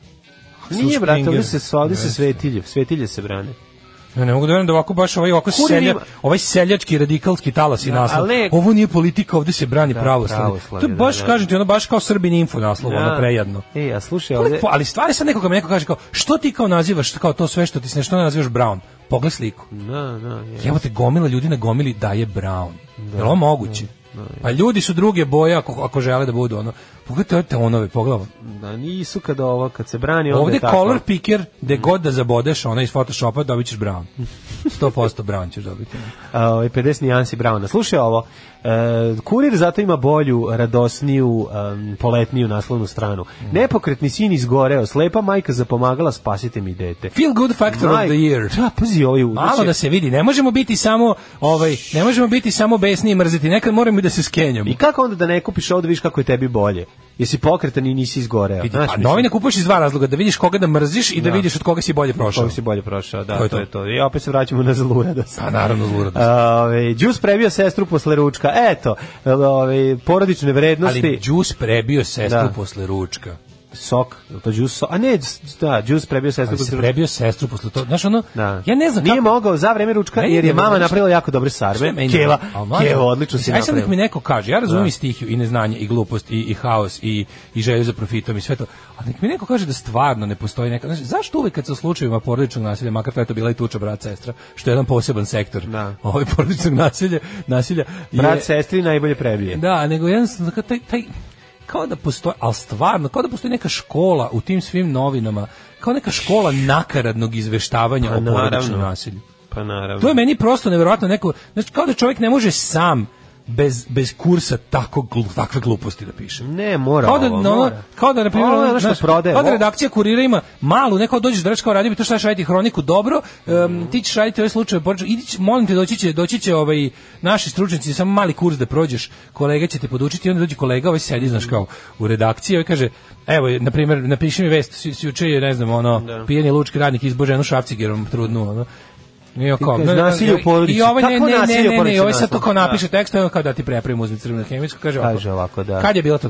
Speaker 7: Axel
Speaker 8: Nije, brate, ovdje
Speaker 7: Springer.
Speaker 8: se, sva- ovdje se
Speaker 7: Ne.
Speaker 8: svetilje, svetilje se brane.
Speaker 7: Ja ne mogu da verujem da ovako baš ovaj, ovako
Speaker 8: Kurir
Speaker 7: selja,
Speaker 8: ima-
Speaker 7: ovaj seljački radikalski talas i
Speaker 8: Da,
Speaker 7: naslov.
Speaker 8: ali-
Speaker 7: Ovo nije politika, ovdje se brani
Speaker 8: Da,
Speaker 7: pravoslavlje.
Speaker 8: pravoslavlje,
Speaker 7: To je
Speaker 8: da,
Speaker 7: baš,
Speaker 8: da.
Speaker 7: kažem ti, ono baš kao Srbin info naslov, ono
Speaker 8: Da.
Speaker 7: prejedno.
Speaker 8: E, a slušaj, ovdje...
Speaker 7: Ali stvari sad nekoga mi neko kaže kao, što ti kao nazivaš, kao to sve što ti se nešto ne nazivaš brown? Pogled sliku.
Speaker 8: Da, da, je.
Speaker 7: Evo te gomila ljudi na gomili daje brown. Da. Je li ovo moguće? Pa ljudi su druge boje ako, ako žele da budu ono. Pogledajte ove teonove, pogledaj.
Speaker 8: Da, nisu kada ovo, kad se brani, onda
Speaker 7: Ovde
Speaker 8: je tako.
Speaker 7: color picker, gde god da zabodeš ona iz Photoshopa, dobit ćeš brown. 100% brown ćeš dobiti.
Speaker 8: A, ovaj 50 nijansi Brauna. Slušaj ovo, e, kurir zato ima bolju, radosniju, em, poletniju naslovnu stranu. Nepokretni sin izgoreo, slepa majka zapomagala, spasite mi dete.
Speaker 7: Feel good factor of
Speaker 8: Maj-
Speaker 7: the year.
Speaker 8: Da, pazi ovaj u-
Speaker 7: Malo
Speaker 8: znači-
Speaker 7: da se vidi, ne možemo biti samo ovaj, ne možemo biti samo besni i mrziti, nekad moramo i da se skenjamo.
Speaker 8: I kako onda da ne kupiš ovo da vidiš kako je tebi bolje? Jesi pokretan i nisi izgoreo.
Speaker 7: Vidi,
Speaker 8: Znaš,
Speaker 7: pa,
Speaker 8: mislim,
Speaker 7: novine kupuješ iz dva razloga, da vidiš koga da mrziš i da,
Speaker 8: Da.
Speaker 7: vidiš od koga si bolje prošao.
Speaker 8: kako si bolje prošao, da,
Speaker 7: To
Speaker 8: to
Speaker 7: je
Speaker 8: je
Speaker 7: to.
Speaker 8: to. I opet se vraćamo na zluradost.
Speaker 7: Pa naravno, zluradost.
Speaker 8: Ove, Đus prebio sestru posle ručka. Eto, ove, porodične vrednosti.
Speaker 7: Ali Đus prebio sestru
Speaker 8: Da.
Speaker 7: posle ručka.
Speaker 8: sok, je li to džus sok? A ne, dž- da, džus prebio sestru.
Speaker 7: Ali se
Speaker 8: posle-
Speaker 7: prebio sestru posle toga. Znaš ono,
Speaker 8: Da.
Speaker 7: ja ne znam
Speaker 8: Nije
Speaker 7: kako-
Speaker 8: mogao za vreme ručka
Speaker 7: Ne,
Speaker 8: jer je
Speaker 7: ne, ne,
Speaker 8: mama
Speaker 7: ne,
Speaker 8: napravila jako dobre sarme.
Speaker 7: Sve meni
Speaker 8: Keva,
Speaker 7: dobro. A mlađe,
Speaker 8: Keva, odlično si
Speaker 7: Aj sad nek mi
Speaker 8: napravila.
Speaker 7: neko kaže, ja razumijem
Speaker 8: Da.
Speaker 7: i stihiju i neznanje i glupost i, i haos i, i želju za profitom i sve to, a nek mi neko kaže da stvarno ne postoji neka, znači, zašto uvek kad se u slučajevima porodičnog nasilja, makar to je to bila i tuča brat sestra, što je jedan poseban sektor
Speaker 8: Da.
Speaker 7: ovaj porodičnog nasilja, nasilja je-
Speaker 8: Brat sestri najbolje prebije.
Speaker 7: da, nego jednostavno kao taj, taj kao da postoji, ali stvarno, kao da postoji neka škola u tim svim novinama, kao neka škola nakaradnog izveštavanja o porodičnom
Speaker 8: Pa naravno.
Speaker 7: nasilju.
Speaker 8: Pa naravno.
Speaker 7: To je meni prosto neverovatno neko, znači kao da čovjek ne može sam bez, bez kursa tako glu- takve gluposti da piše.
Speaker 8: Ne, mora
Speaker 7: Kao da,
Speaker 8: ovo,
Speaker 7: ono-
Speaker 8: mora.
Speaker 7: kao da na primjer,
Speaker 8: Ovo je
Speaker 7: ono,
Speaker 8: ono što
Speaker 7: znaš,
Speaker 8: prodaje,
Speaker 7: kao da
Speaker 8: ovo-
Speaker 7: redakcija kurira ima malu, neko dođeš da reče kao radi bi to šta ćeš raditi hroniku dobro, em, ti ćeš raditi ove slučaje, poruču, idi, ć- molim te doći će, doći će ovaj, naši stručnjaci, samo mali kurs da prođeš, kolega će te podučiti, i onda dođe kolega, ovaj sedi, znaš kao, u redakciji, ovaj kaže, evo, na primjer, napiši mi vest, si, si juče je, ne znam, ono, pijeni lučki radnik izbo ženu šrafcigerom trudnu, ono, i ovo kao,
Speaker 8: Ti kažeš, nasilje u porodici.
Speaker 7: I ovaj ne, ne,
Speaker 8: Kako
Speaker 7: ne,
Speaker 8: nasilje u
Speaker 7: ne, ne,
Speaker 8: porodici
Speaker 7: i ovaj sad
Speaker 8: naslov?
Speaker 7: to kao
Speaker 8: Da.
Speaker 7: napiše tekst, evo kao da ti prepravim uzmi crvenu hemijsku, kaže ovako.
Speaker 8: Kaže ovako, da.
Speaker 7: Kad je bilo to?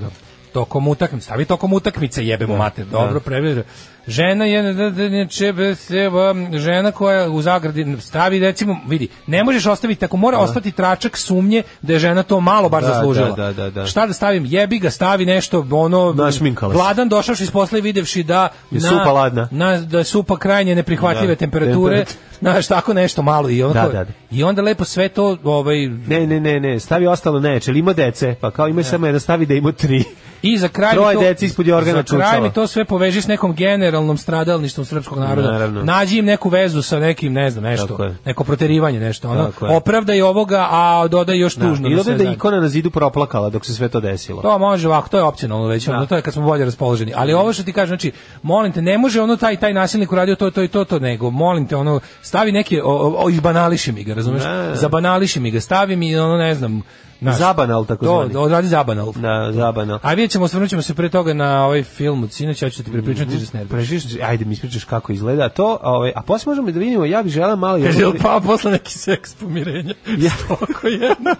Speaker 7: Tokom utakmice, stavi tokom utakmice, jebemo mater, dobro, prevedeno. Žena je, da, da, ne, če, be, se, ba, žena koja u zagradi stavi, recimo, vidi, ne možeš ostaviti, tako mora ostati tračak sumnje da je žena to malo baš
Speaker 8: Da,
Speaker 7: zaslužila.
Speaker 8: da, da, da, da.
Speaker 7: Šta da stavim, jebi ga, stavi nešto, ono,
Speaker 8: Našminkala se.
Speaker 7: vladan došavši iz posla i videvši da
Speaker 8: Je supa ladna.
Speaker 7: na, da je supa krajnje neprihvatljive
Speaker 8: Da,
Speaker 7: temperature,
Speaker 8: temperat-
Speaker 7: znaš, tako nešto malo i onda,
Speaker 8: Da, da, da.
Speaker 7: i onda lepo sve to, ovaj,
Speaker 8: Ne, ne, ne, ne, stavi ostalo neče, ili ima dece, pa kao ima samo jedna, stavi da ima tri.
Speaker 7: I za kraj
Speaker 8: Troje
Speaker 7: mi to,
Speaker 8: dece ispod jorgana
Speaker 7: za kraj
Speaker 8: čučava.
Speaker 7: mi to sve poveži s nekom generalnom stradalništvom srpskog naroda.
Speaker 8: Naravno.
Speaker 7: Nađi im neku vezu sa nekim, ne znam,
Speaker 8: Tako
Speaker 7: nešto,
Speaker 8: je.
Speaker 7: neko proterivanje, nešto. Ono,
Speaker 8: Tako je.
Speaker 7: opravdaj ovoga, a dodaj još tužno.
Speaker 8: I
Speaker 7: na
Speaker 8: dobro je
Speaker 7: sve
Speaker 8: da je
Speaker 7: zajedno.
Speaker 8: ikona na zidu proplakala dok se sve to desilo.
Speaker 7: To može ovako, to je opcionalno već, ono, to je kad smo bolje raspoloženi. Ali ovo što ti kažem, znači, molim te, ne može ono taj taj nasilnik uradio to, to i to, to, nego, molim te, ono, stavi neke, o, o, o izbanališi mi ga, razumeš?
Speaker 8: Ne.
Speaker 7: Zabanališi mi ga, stavi mi, ono, ne znam, znaš,
Speaker 8: Zabanal, tako
Speaker 7: to,
Speaker 8: zvani.
Speaker 7: odradi zabanal.
Speaker 8: Da, zabano.
Speaker 7: A vidjet ćemo, osvrnut ćemo se pre toga na ovaj film od sinoć, ja ću ti prepričati, mm -hmm.
Speaker 8: Prežiš, ajde mi ispričaš kako izgleda a to, a, ovaj, a posle možemo i da vidimo, ja bih želeo malo...
Speaker 7: Kaže, jel pa posle neki seks pomirenja? Ja. Stoko jedno.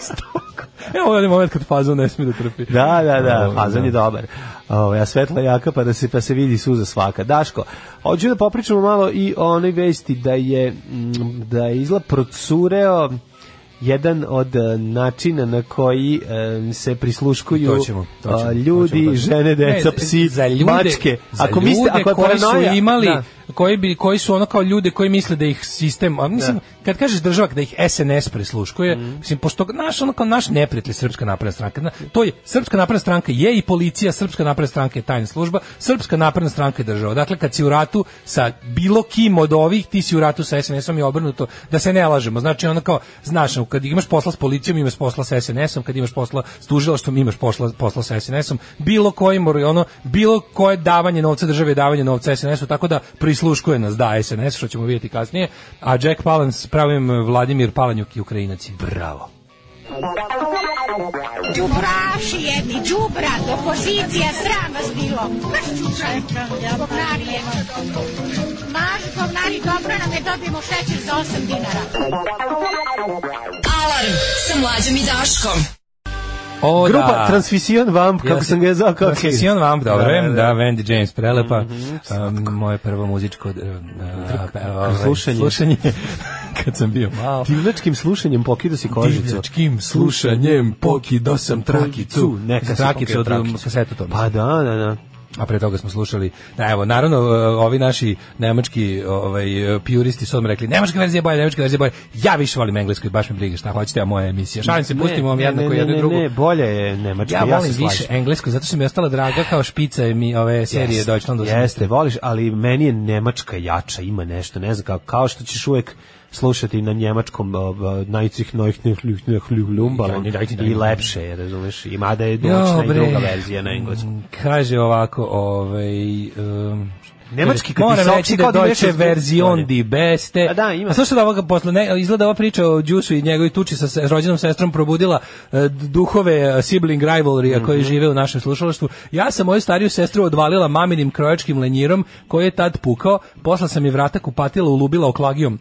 Speaker 7: Stoko. Evo ovaj moment kad fazon ne smije da trpi.
Speaker 8: Da, da, da,
Speaker 7: Ovo,
Speaker 8: fazan je dobar. Ovaj a svetla jaka pa da se pa se vidi suza svaka. Daško, hoću da popričamo malo i o onoj vesti da je mm, da je izla procureo jedan od e, načina na koji e, se prisluškuju
Speaker 7: To ćemo, to ćemo,
Speaker 8: a,
Speaker 7: to ćemo
Speaker 8: ljudi,
Speaker 7: tačno.
Speaker 8: žene, deca,
Speaker 7: Ne,
Speaker 8: psi,
Speaker 7: za ljude,
Speaker 8: mačke.
Speaker 7: Za ako ljude mislite, ako
Speaker 8: je
Speaker 7: koji
Speaker 8: paranoja-
Speaker 7: su imali,
Speaker 8: Da.
Speaker 7: koji, bi, koji su ono kao ljude koji misle da ih sistem, a mislim, kad kažeš država da ih SNS prisluškuje,
Speaker 8: Mhm.
Speaker 7: mislim, pošto naš, ono kao naš neprijatelj Srpska napredna stranka, na- to je, Srpska napredna stranka je i policija, Srpska napredna stranka je tajna služba, Srpska napredna stranka je država. Dakle, kad si u ratu sa bilo kim od ovih, ti si u ratu sa SNS-om i obrnuto, da se ne lažemo. Znači, ono kao, znaš, kad imaš posla s policijom, imaš posla sa SNS-om, kad imaš posla s tužilaštvom, imaš posla, posla sa SNS-om, bilo kojim, or- ono, bilo koje davanje novca države, je davanje novca SNS-u, tako da prisluškuje nas, da, SNS, što ćemo vidjeti kasnije, a Jack Palan s pravim eh, Vladimir Palanjuk i Ukrajinac. Bravo.
Speaker 11: Đubraši jedni, đubrat, opozicija, sram vas bilo. Maš čučaj, govnari jedno. Maš govnari, dobro nam je, dobijemo šećer za 8 dinara.
Speaker 6: Alarm sa mlađom i Daškom.
Speaker 7: O,
Speaker 8: Grupa
Speaker 7: da.
Speaker 8: Transvision Vamp, kako
Speaker 7: Ja
Speaker 8: sam ga zvao, kako je-
Speaker 7: Transvision Vamp, dobro, da,
Speaker 8: Da, Mhm, da.
Speaker 7: Wendy James, prelepa, um, moje prvo muzičko uh,
Speaker 8: slušanje.
Speaker 7: ovaj, slušanje kad sam bio malo.
Speaker 8: Divljačkim slušanjem pokida si kožicu.
Speaker 7: Divljačkim slušanjem pokidao sam trakicu.
Speaker 8: Neka si
Speaker 7: trakicu
Speaker 8: pokidao
Speaker 7: od
Speaker 8: trakicu.
Speaker 7: kasetu to.
Speaker 8: Pa da, da, da.
Speaker 7: A pre toga smo slušali, da evo, naravno e, ovi naši nemački ovaj e, puristi su odmah rekli nemačka verzija je bolja, nemačka verzija je bolja. Ja više volim englesku i baš mi briga šta hoćete, a moja emisija. Šalim se, pustimo vam
Speaker 8: Ne,
Speaker 7: jednako
Speaker 8: ne, ne,
Speaker 7: jednu i
Speaker 8: ne,
Speaker 7: drugu.
Speaker 8: Ne, bolje je Nemačka,
Speaker 7: Ja
Speaker 8: ja,
Speaker 7: volim
Speaker 8: se
Speaker 7: više
Speaker 8: slažem.
Speaker 7: englesku, zato što mi je ostala draga kao špica mi ove serije
Speaker 8: Jeste,
Speaker 7: Deutschland.
Speaker 8: Jeste, voliš, ali meni je Nemačka jača, ima nešto, ne znam, kao, kao što ćeš uvek slušati na njemačkom najcih nojih ljumbalom
Speaker 7: Ja, ne, dajte,
Speaker 8: i
Speaker 7: dajte.
Speaker 8: lepše je, razumeš, i mada je
Speaker 7: Jo,
Speaker 8: dočna i
Speaker 7: bre.
Speaker 8: druga verzija na engleskom.
Speaker 7: Mm, Kaže ovako, ovaj... Um,
Speaker 8: Nemački, kad ti
Speaker 7: moram
Speaker 8: saopšti
Speaker 7: reći
Speaker 8: kao
Speaker 7: da
Speaker 8: da
Speaker 7: Deutsche
Speaker 8: nešto
Speaker 7: version
Speaker 8: bolje.
Speaker 7: di beste.
Speaker 8: A da, ima.
Speaker 7: A slušaj da ovoga posle, ne, izgleda ova priča o Đusu i njegovoj tuči sa se, rođenom sestrom probudila e, duhove e, sibling
Speaker 8: Mhm.
Speaker 7: rivalry koji žive u našem slušalaštvu. Ja sam moju stariju sestru odvalila maminim krojačkim lenjirom koji je tad pukao, posla sam je vrata kupatila ulubila oklagijom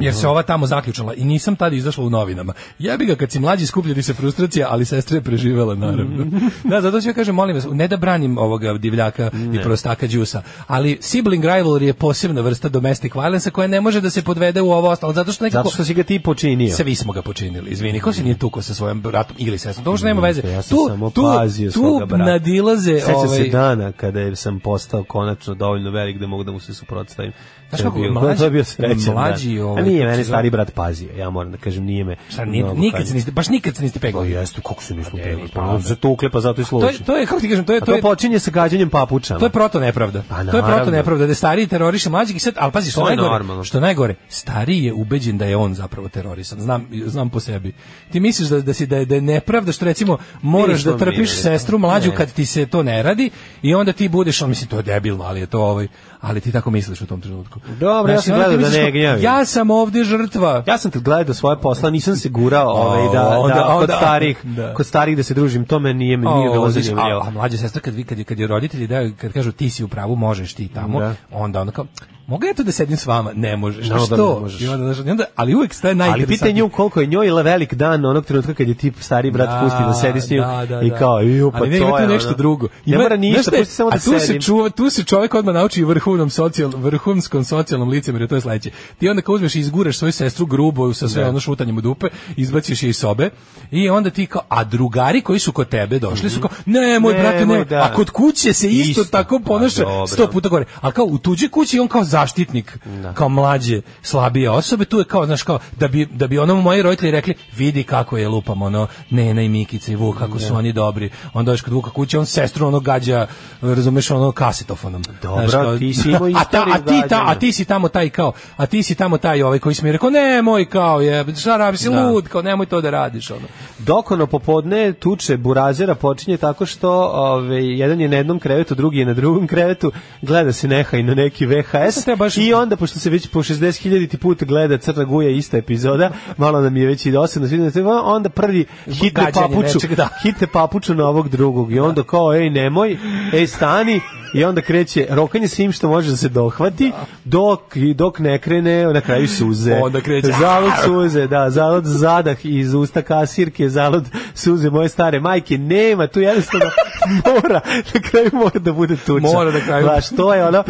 Speaker 7: jer se ova tamo zaključala i nisam tada izašla u novinama. Jebi ga kad si mlađi skuplja ti se frustracija, ali sestra je preživela naravno.
Speaker 8: Mhm.
Speaker 7: da, zato ću ja kažem, molim vas, ne da branim ovoga divljaka i prostaka đusa, ali sibling rivalry je posebna vrsta domestic violence koja ne može da se podvede u ovo ostalo, zato što nekako
Speaker 8: Zato što si ga ti počinio.
Speaker 7: svi smo ga počinili. Izvini, ko se nije tukao sa svojim bratom ili sestrom? To što nema veze.
Speaker 8: Ja sam samo pazio
Speaker 7: tu
Speaker 8: svoga brata.
Speaker 7: nadilaze
Speaker 8: Sećam se
Speaker 7: ovaj,
Speaker 8: dana kada je- sam postao konačno dovoljno velik da mogu da mu se suprotstavim.
Speaker 7: Znaš
Speaker 8: To je
Speaker 7: kako,
Speaker 8: bio-
Speaker 7: mlađi-
Speaker 8: to je bio srećan
Speaker 7: mlađi,
Speaker 8: dan.
Speaker 7: ovaj,
Speaker 8: A nije,
Speaker 7: kako
Speaker 8: meni
Speaker 7: se zove?
Speaker 8: stari brat pazio, ja moram da kažem, nije me...
Speaker 7: Šta, ni-
Speaker 8: mnogo
Speaker 7: nikad se
Speaker 8: kaznio.
Speaker 7: niste, baš nikad se niste
Speaker 8: Pa
Speaker 7: peglali.
Speaker 8: jeste, kako se nismo pegli? Pa za to uklepa, zato i
Speaker 7: To
Speaker 8: služi.
Speaker 7: je, to je, kako ti kažem, to je,
Speaker 8: A
Speaker 7: to je,
Speaker 8: počinje sa gađanjem papučama.
Speaker 7: To je proto nepravda.
Speaker 8: Pa,
Speaker 7: to je proto
Speaker 8: naravno.
Speaker 7: nepravda da stariji teroriše mlađeg i sad, al pazi što
Speaker 8: To je
Speaker 7: najgore,
Speaker 8: normalno.
Speaker 7: što najgore, stariji je ubeđen da je on zapravo terorisan. Znam znam po sebi. Ti misliš da da si da je, da je nepravda što recimo moraš
Speaker 8: Nismo
Speaker 7: da trpiš
Speaker 8: mi,
Speaker 7: sestru mlađu
Speaker 8: ne.
Speaker 7: kad ti se to ne radi i onda ti budeš, on mislim to je debilno, ali je to ovaj, ali ti tako misliš u tom trenutku.
Speaker 8: Dobro, ja sam
Speaker 7: onda ti
Speaker 8: gledao da
Speaker 7: misliš
Speaker 8: ne
Speaker 7: kao,
Speaker 8: gnjavim.
Speaker 7: Ja sam ovdje žrtva.
Speaker 8: Ja sam te gledao svoje posla, nisam se gurao ovaj, da, da,
Speaker 7: Pa onda-
Speaker 8: kod,
Speaker 7: onda-
Speaker 8: starih,
Speaker 7: da.
Speaker 8: kod starih da se družim, to me nije, nije
Speaker 7: O,
Speaker 8: bilo
Speaker 7: znači,
Speaker 8: zanimljivo.
Speaker 7: A, a mlađa sestra kad vi kad je kad je roditelji daju kad kažu ti si u pravu, možeš ti tamo,
Speaker 8: Da.
Speaker 7: onda ona kao mogu ja tu da sedim s vama? Ne možeš.
Speaker 8: No,
Speaker 7: No,
Speaker 8: da,
Speaker 7: što?
Speaker 8: ne možeš.
Speaker 7: I onda, znaš, i onda, ali uvek staje
Speaker 8: Ali
Speaker 7: najinteresantnije.
Speaker 8: pita nju koliko je njoj ili velik dan onog trenutka kad je tip stari brat pusti da sedi s njim
Speaker 7: da, da,
Speaker 8: i
Speaker 7: da.
Speaker 8: kao ju pa
Speaker 7: Ali ne,
Speaker 8: to
Speaker 7: ima tu
Speaker 8: je
Speaker 7: nešto
Speaker 8: ono.
Speaker 7: drugo.
Speaker 8: Ne
Speaker 7: Ima-
Speaker 8: mora
Speaker 7: znaš
Speaker 8: ništa,
Speaker 7: šta je?
Speaker 8: pusti samo da
Speaker 7: a tu se
Speaker 8: sedim.
Speaker 7: čuva, tu se čovjek odmah nauči vrhovnom socijal, vrhunskom socijalnom licemerju, to je sledeće. Ti onda kao uzmeš i izguraš svoju sestru grubo sa sve
Speaker 8: Da.
Speaker 7: ono šutanjem u dupe, izbaciš je iz sobe i onda ti kao, a drugari koji su kod tebe došli su kao, ne, moj
Speaker 8: Mhm. Ne,
Speaker 7: brate,
Speaker 8: moj,
Speaker 7: moj,
Speaker 8: da.
Speaker 7: a kod kuće se isto,
Speaker 8: Isto.
Speaker 7: tako
Speaker 8: Pa
Speaker 7: ponaša
Speaker 8: dobro.
Speaker 7: sto puta gore. A kao u tuđoj kući on kao zaštitnik, kao mlađe, slabije osobe, tu je kao, znaš, kao, da bi, da bi ono moji roditelji rekli, vidi kako je lupam, ono, Nena i Mikica i Vuk, kako su oni dobri. Onda dođeš kod Vuka kuće, on sestru ono gađa, razumeš, ono, kasetofonom.
Speaker 8: Dobro, ti si imao
Speaker 7: a, ta, a,
Speaker 8: istoriju
Speaker 7: ti ta,
Speaker 8: gađanja.
Speaker 7: a ti si tamo taj kao, a ti si tamo taj ovaj koji si mi rekao, nemoj kao, je, šta radi, si
Speaker 8: Da.
Speaker 7: lud, kao, nemoj to da radiš, ono.
Speaker 8: Dokono popodne tuče burazera počinje tako što ovaj, jedan je na jednom krevetu, drugi je na drugom krevetu, gleda se nehajno neki VHS i onda, pošto se već po 60.000 put gleda Crna guja ista epizoda, malo nam je već i dosadno, svi znate, onda prvi hitne
Speaker 7: Gađanje
Speaker 8: papuču,
Speaker 7: nečeg, da.
Speaker 8: hitne papuču na ovog drugog i onda kao, ej nemoj, ej stani, i onda kreće rokanje svim što može da se dohvati dok, dok ne krene na kraju suze.
Speaker 7: Onda kreće,
Speaker 8: Zalud suze, da, zalud zadah iz usta kasirke, zalud suze moje stare majke, nema, tu jednostavno mora, na kraju mora da bude tuča.
Speaker 7: Mora na kraju.
Speaker 8: Znaš, to je ono,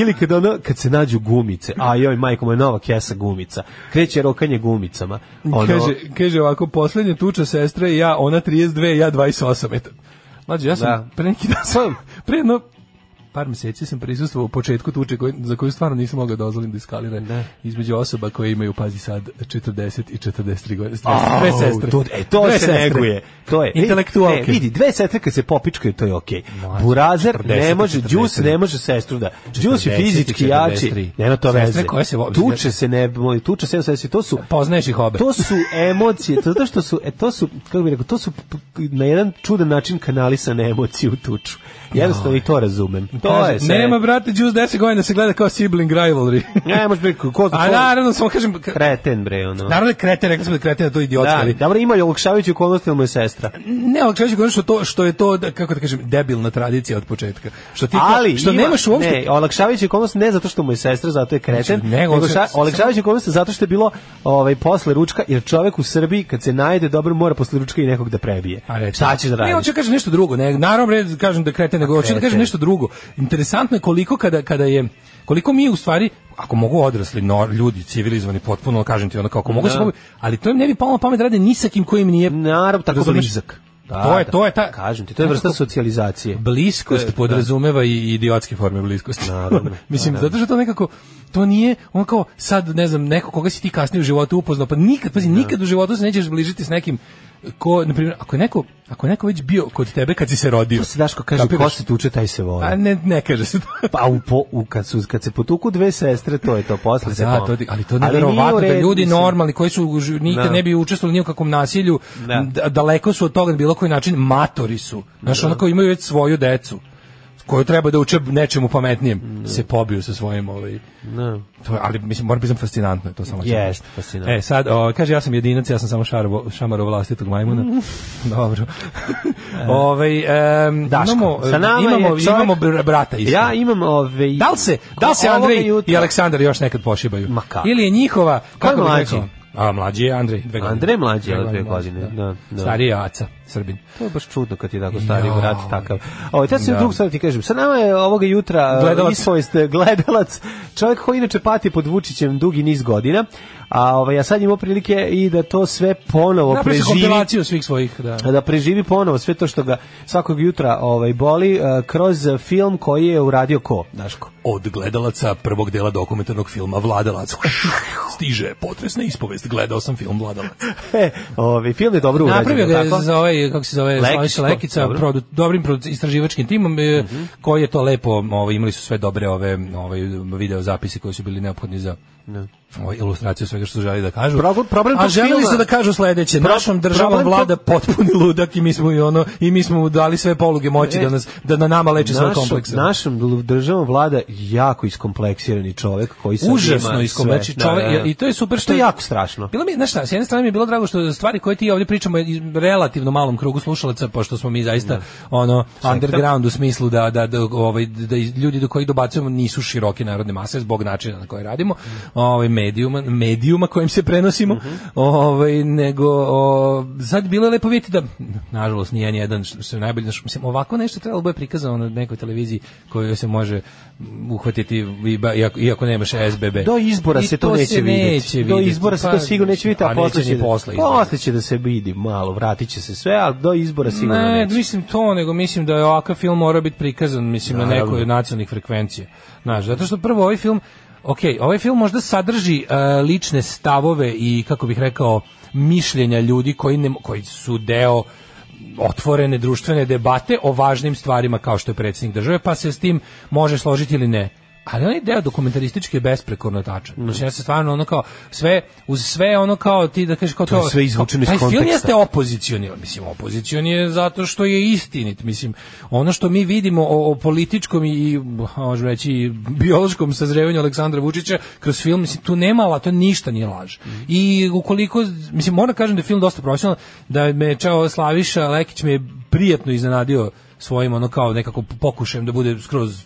Speaker 8: ili kad ono, kad se nađu gumice, a joj, majko moja, nova kesa gumica, kreće rokanje gumicama. Ono,
Speaker 7: Kaže, kaže ovako, poslednje tuča sestre i ja, ona 32, ja 28. Eto. Mlađe, ja sam
Speaker 8: Da.
Speaker 7: pre neki dan sam, pre jedno par meseci sam prisustvovao u početku tuče koji, za koju stvarno nisam mogao da dozvolim da eskalira između osoba koje imaju, pazi sad, 40 i 43 godine.
Speaker 8: Au,
Speaker 7: Dve sestre.
Speaker 8: To, e, to
Speaker 7: Dve
Speaker 8: se
Speaker 7: sestre.
Speaker 8: neguje. To je.
Speaker 7: Intelektualke.
Speaker 8: Ne, vidi, dve sestre kad se popičkaju, to je okej. Burazer
Speaker 7: 40,
Speaker 8: ne može,
Speaker 7: 43.
Speaker 8: Đus ne može sestru da. Đus je
Speaker 7: 40,
Speaker 8: fizički
Speaker 7: 43.
Speaker 8: jači. Nema to
Speaker 7: Sestre
Speaker 8: veze.
Speaker 7: koje se vo-
Speaker 8: tuče se ne, moj, tuče se, se to su
Speaker 7: Poznaješ ih obe.
Speaker 8: to su emocije, to zato što su, e, to su, kako bih rekao, to su p- p- na jedan čudan način kanalisane emocije u tuču. Jednostavno i to razumem. To
Speaker 7: Kaže,
Speaker 8: je sve.
Speaker 7: nema, brate, Juice 10 godina se gleda kao sibling rivalry.
Speaker 8: Ne, može biti, ko ko
Speaker 7: A naravno, samo kažem, k-
Speaker 8: kreten bre, ono.
Speaker 7: naravno je krete, rekli smo da je krete, da je to idiotski,
Speaker 8: Da,
Speaker 7: ali
Speaker 8: dobro, ima je olakšavajući okolnosti, ali mu je sestra.
Speaker 7: Ne, ali čovječe, govorim što to što je to da, kako da kažem debilna tradicija od početka. Što ti
Speaker 8: ali
Speaker 7: što
Speaker 8: ima-
Speaker 7: nemaš uopšte
Speaker 8: ne, olakšavajući okolnost ne zato što mu je sestra zato je kreten
Speaker 7: Znači, ne,
Speaker 8: nego
Speaker 7: olakša-
Speaker 8: ša- olakšavajući okolnost zato što je bilo ovaj posle ručka jer čovek u Srbiji kad se najede dobro mora posle ručka i nekog da prebije
Speaker 7: A recimo.
Speaker 8: šta će da
Speaker 7: Ne,
Speaker 8: radi
Speaker 7: hoću da kažem nešto drugo. Ne, naravno bre, kažem da krete, nego hoću da kažem
Speaker 8: kreten.
Speaker 7: nešto drugo. Interesantno je koliko kada kada je koliko mi u stvari ako mogu odrasli no, ljudi civilizovani potpuno kažem ti ono kako mogu se
Speaker 8: Da.
Speaker 7: pobi- ali to im ne bi palo na pamet da rade ni sa kim kojim nije
Speaker 8: naravno tako
Speaker 7: Razumeš?
Speaker 8: blizak Da,
Speaker 7: to je
Speaker 8: da.
Speaker 7: to je ta
Speaker 8: kažem ti to je vrsta socijalizacije
Speaker 7: bliskost
Speaker 8: To je,
Speaker 7: podrazumeva i idiotske forme bliskosti.
Speaker 8: E, Naravno,
Speaker 7: Mislim,
Speaker 8: naravno.
Speaker 7: zato što to nekako, to nije, on kao sad, ne znam, neko koga si ti kasnije u životu upoznao, pa nikad, pazi, nikad u životu se nećeš bližiti s nekim ko, na primjer, ako je neko, ako je neko već bio kod tebe kad si se rodio.
Speaker 8: to se daško kaže
Speaker 7: Kapiraš?
Speaker 8: ko se tuče taj se voli
Speaker 7: A ne, ne kaže se to.
Speaker 8: pa u, po, u kad su kad se potuku dve sestre to je to posle se
Speaker 7: Pa Da,
Speaker 8: pom-
Speaker 7: to, ti- ali to je
Speaker 8: nije u
Speaker 7: neverovatno da
Speaker 8: redu,
Speaker 7: ljudi
Speaker 8: mislim.
Speaker 7: normalni koji su u ži- nikad
Speaker 8: Da.
Speaker 7: ne bi učestvovali ni u kakvom nasilju,
Speaker 8: Da.
Speaker 7: da- daleko su od toga na bilo koji način, matori su. Znaš, onako imaju već svoju decu koju treba da uče nečemu pametnijem, se pobiju sa svojim ovaj,
Speaker 8: Da.
Speaker 7: To je, ali mislim moram priznam fascinantno je to samo.
Speaker 8: Jeste,
Speaker 7: Jeste,
Speaker 8: fascinantno.
Speaker 7: E sad o, kaže ja sam jedinac, ja sam samo šarvo, šamaro vlastitog majmuna. Dobro. ovaj em,
Speaker 8: E. Daško,
Speaker 7: imamo
Speaker 8: sa nama je
Speaker 7: imamo
Speaker 8: čovjek-
Speaker 7: imamo br- brata isto.
Speaker 8: ja imam ovaj
Speaker 7: Da li se, da li se
Speaker 8: Ovoga
Speaker 7: Andrej
Speaker 8: jutra-
Speaker 7: i Aleksandar još nekad pošibaju?
Speaker 8: Ma kako?
Speaker 7: Ili je njihova... kako bih
Speaker 8: mlađi?
Speaker 7: rekao? A, mlađi je Andrej. Dve godine.
Speaker 8: Andrej je mlađi
Speaker 7: Dve
Speaker 8: od dve godine, da, da.
Speaker 7: Stariji je Aca, Srbin.
Speaker 8: To je baš čudno kad je tako stari
Speaker 7: Ja.
Speaker 8: brat takav. Ovo, ja sam
Speaker 7: Da.
Speaker 8: drugu stvar ti kažem. Sa nama je ovoga jutra
Speaker 7: Gledalac.
Speaker 8: gledalac. ispovest gledalac, čovjek koji inače pati pod Vučićem dugi niz godina, a ovaj, ja sad imao prilike i da to sve ponovo
Speaker 7: Napravio sam
Speaker 8: preživi
Speaker 7: kompilaciju svih svojih, da.
Speaker 8: da preživi ponovo sve to što ga svakog jutra ovaj boli eh, kroz film koji je uradio ko Daško
Speaker 7: Od gledalaca prvog dela dokumentarnog filma Vladalac. Stiže potresna ispovest. Gledao sam film Vladalac.
Speaker 8: e, ovaj film je dobro urađen
Speaker 7: Napravio ga
Speaker 8: jel
Speaker 7: je
Speaker 8: tako?
Speaker 7: za ovaj, kako se zove,
Speaker 8: Lekić, pa,
Speaker 7: Slaviša Lekica,
Speaker 8: dobro. Mhm.
Speaker 7: produ, dobrim produ- istraživačkim timom, e, koji je to lepo, ovaj, imali su sve dobre ove, ovaj, video zapise koji su bili neophodni za ovaj, ilustraciju svega što su želi da kažu.
Speaker 8: Progo- problem
Speaker 7: A
Speaker 8: tog
Speaker 7: želeli
Speaker 8: filma-
Speaker 7: su da kažu sledeće,
Speaker 8: Pro-
Speaker 7: našom državom
Speaker 8: problem tog-
Speaker 7: vlada potpuni ludak i mi smo i ono, i mi smo mu dali sve poluge moći
Speaker 8: E,
Speaker 7: da, nas, da na nama leči svoje
Speaker 8: Našom-
Speaker 7: komplekse.
Speaker 8: Našom dl- državom vlada jako iskompleksirani čovjek koji sad
Speaker 7: užasno
Speaker 8: ima
Speaker 7: iskompleksi
Speaker 8: sve.
Speaker 7: čovjek
Speaker 8: Da, da, da.
Speaker 7: i to je super što
Speaker 8: To je jako strašno.
Speaker 7: Bilo mi, znaš šta, s jedne strane mi je bilo drago što stvari koje ti ovdje pričamo iz relativno malom krugu slušalaca, pošto smo mi zaista ono underground u smislu da da da ovaj da iz- ljudi do kojih dobacujemo nisu široke narodne mase zbog načina na koji radimo. Ovaj medijuma, medijuma kojim se prenosimo, mm -hmm. ovaj, nego o, sad bilo je lepo vidjeti da, nažalost, nije jedan što je najbolje, znaš, mislim, ovako nešto trebalo bude prikazano na nekoj televiziji koju se može uhvatiti iba, iako, iako nemaš SBB.
Speaker 8: Do izbora I se to, neće, vidjeti. neće vidjeti. Do izbora
Speaker 7: Pa,
Speaker 8: se to sigurno neće vidjeti, a, a posle, će, posle, posle će da se vidi malo, vratit će se sve, ali do izbora sigurno
Speaker 7: ne,
Speaker 8: neće.
Speaker 7: Ne, mislim to, nego mislim da je ovakav film mora biti prikazan, mislim, Naravno. na nekoj od nacionalnih frekvencija. Znaš, zato što prvo ovaj film, ok, ovaj film možda sadrži uh, lične stavove i, kako bih rekao, mišljenja ljudi koji, ne, koji su deo otvorene društvene debate o važnim stvarima kao što je predsjednik države, pa se s tim može složiti ili ne. Ali onaj deo dokumentaristički je besprekorno tačan. Mm. Znači, ja se stvarno ono kao, sve, uz sve ono kao ti da kažeš kao to...
Speaker 8: to je sve izvučeno iz konteksta.
Speaker 7: Taj film jeste opozicioni, mislim, opozicioni je zato što je istinit, mislim, ono što mi vidimo o, o političkom i, možemo reći, i biološkom sazrevanju Aleksandra Vučića kroz film, mislim, tu nema, ali to ništa nije laž. Mm. I ukoliko, mislim, moram kažem da je film dosta profesionalan, da me čao Slaviša Lekić me je prijatno iznenadio svojim ono kao nekako pokušajem da bude skroz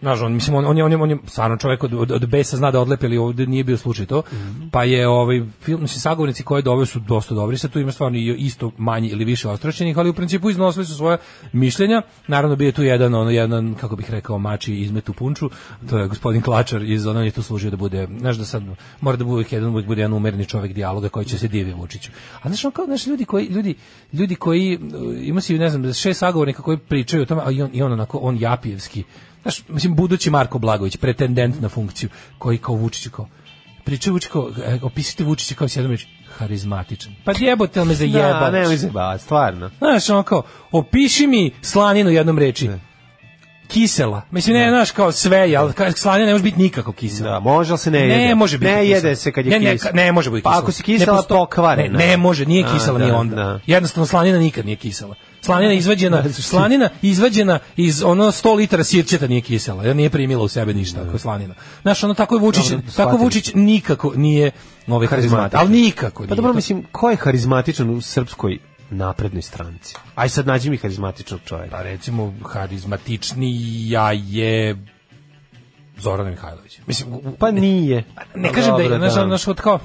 Speaker 7: znaš, on, mislim, on, on, je, on, je, on je stvarno čovjek od, od, od besa zna da odlepi, ali ovdje nije bio slučaj to, mm -hmm. pa je ovaj, film, mislim, sagovornici koje doveo su dosta dobri, sad tu ima stvarno isto manje ili više ostrošćenih, ali u principu iznosili su svoje mišljenja, naravno bio je tu jedan, ono, jedan, kako bih rekao, mači izmet u punču, to je gospodin Klačar iz ono je tu služio da bude, znaš da sad mora da bude jedan, uvijek bude jedan umerni čovjek dijaloga koji će se divi Vučiću. A znaš, on kao, znaš, ljudi koji, ljudi, ljudi koji, e, ima si, ne znam, šest sagovornika koji pričaju o tome, a i on, i on onako, on japijevski, znaš, mislim, budući Marko Blagović, pretendent na funkciju, koji kao Vučić, kao, priča Vučić, kao, e, opisite Vučića kao sedam reči, harizmatičan. Pa jebote, ali me zajebaš.
Speaker 8: Da, nemoj zajebaš, stvarno.
Speaker 7: Znaš, on kao, opiši mi slaninu jednom reči. Ne. Kisela. Mislim, ne, znaš, kao sve, je, ali slanina ne može biti nikako kisela.
Speaker 8: Da, može, ali se ne jede.
Speaker 7: Ne može biti
Speaker 8: Ne
Speaker 7: kisela.
Speaker 8: jede se kad je
Speaker 7: ne,
Speaker 8: kisela.
Speaker 7: Ne, ne može biti
Speaker 8: pa,
Speaker 7: kisela.
Speaker 8: Pa ako si kisela, ne, pokvarena.
Speaker 7: Ne, ne može, nije kisela
Speaker 8: A,
Speaker 7: ni
Speaker 8: da,
Speaker 7: onda.
Speaker 8: Da.
Speaker 7: Jednostavno, slanina nikad nije kisela slanina izvađena slanina izvađena iz ono 100 litara sirćeta nije kisela ja nije primila u sebe ništa ako je slanina znaš ono tako je Vučić
Speaker 8: Dobro,
Speaker 7: tako
Speaker 8: shvatili
Speaker 7: Vučić nikako nije ovaj karizmatičan ali nikako nije.
Speaker 8: Pa dobro, mislim, ko je harizmatičan u srpskoj naprednoj stranci? Aj sad nađi mi harizmatičnog čovjeka.
Speaker 7: pa recimo harizmatični ja je Zorana Mihajlović mislim u- u-
Speaker 8: Pa nije.
Speaker 7: ne kažem da je znaš ono što kao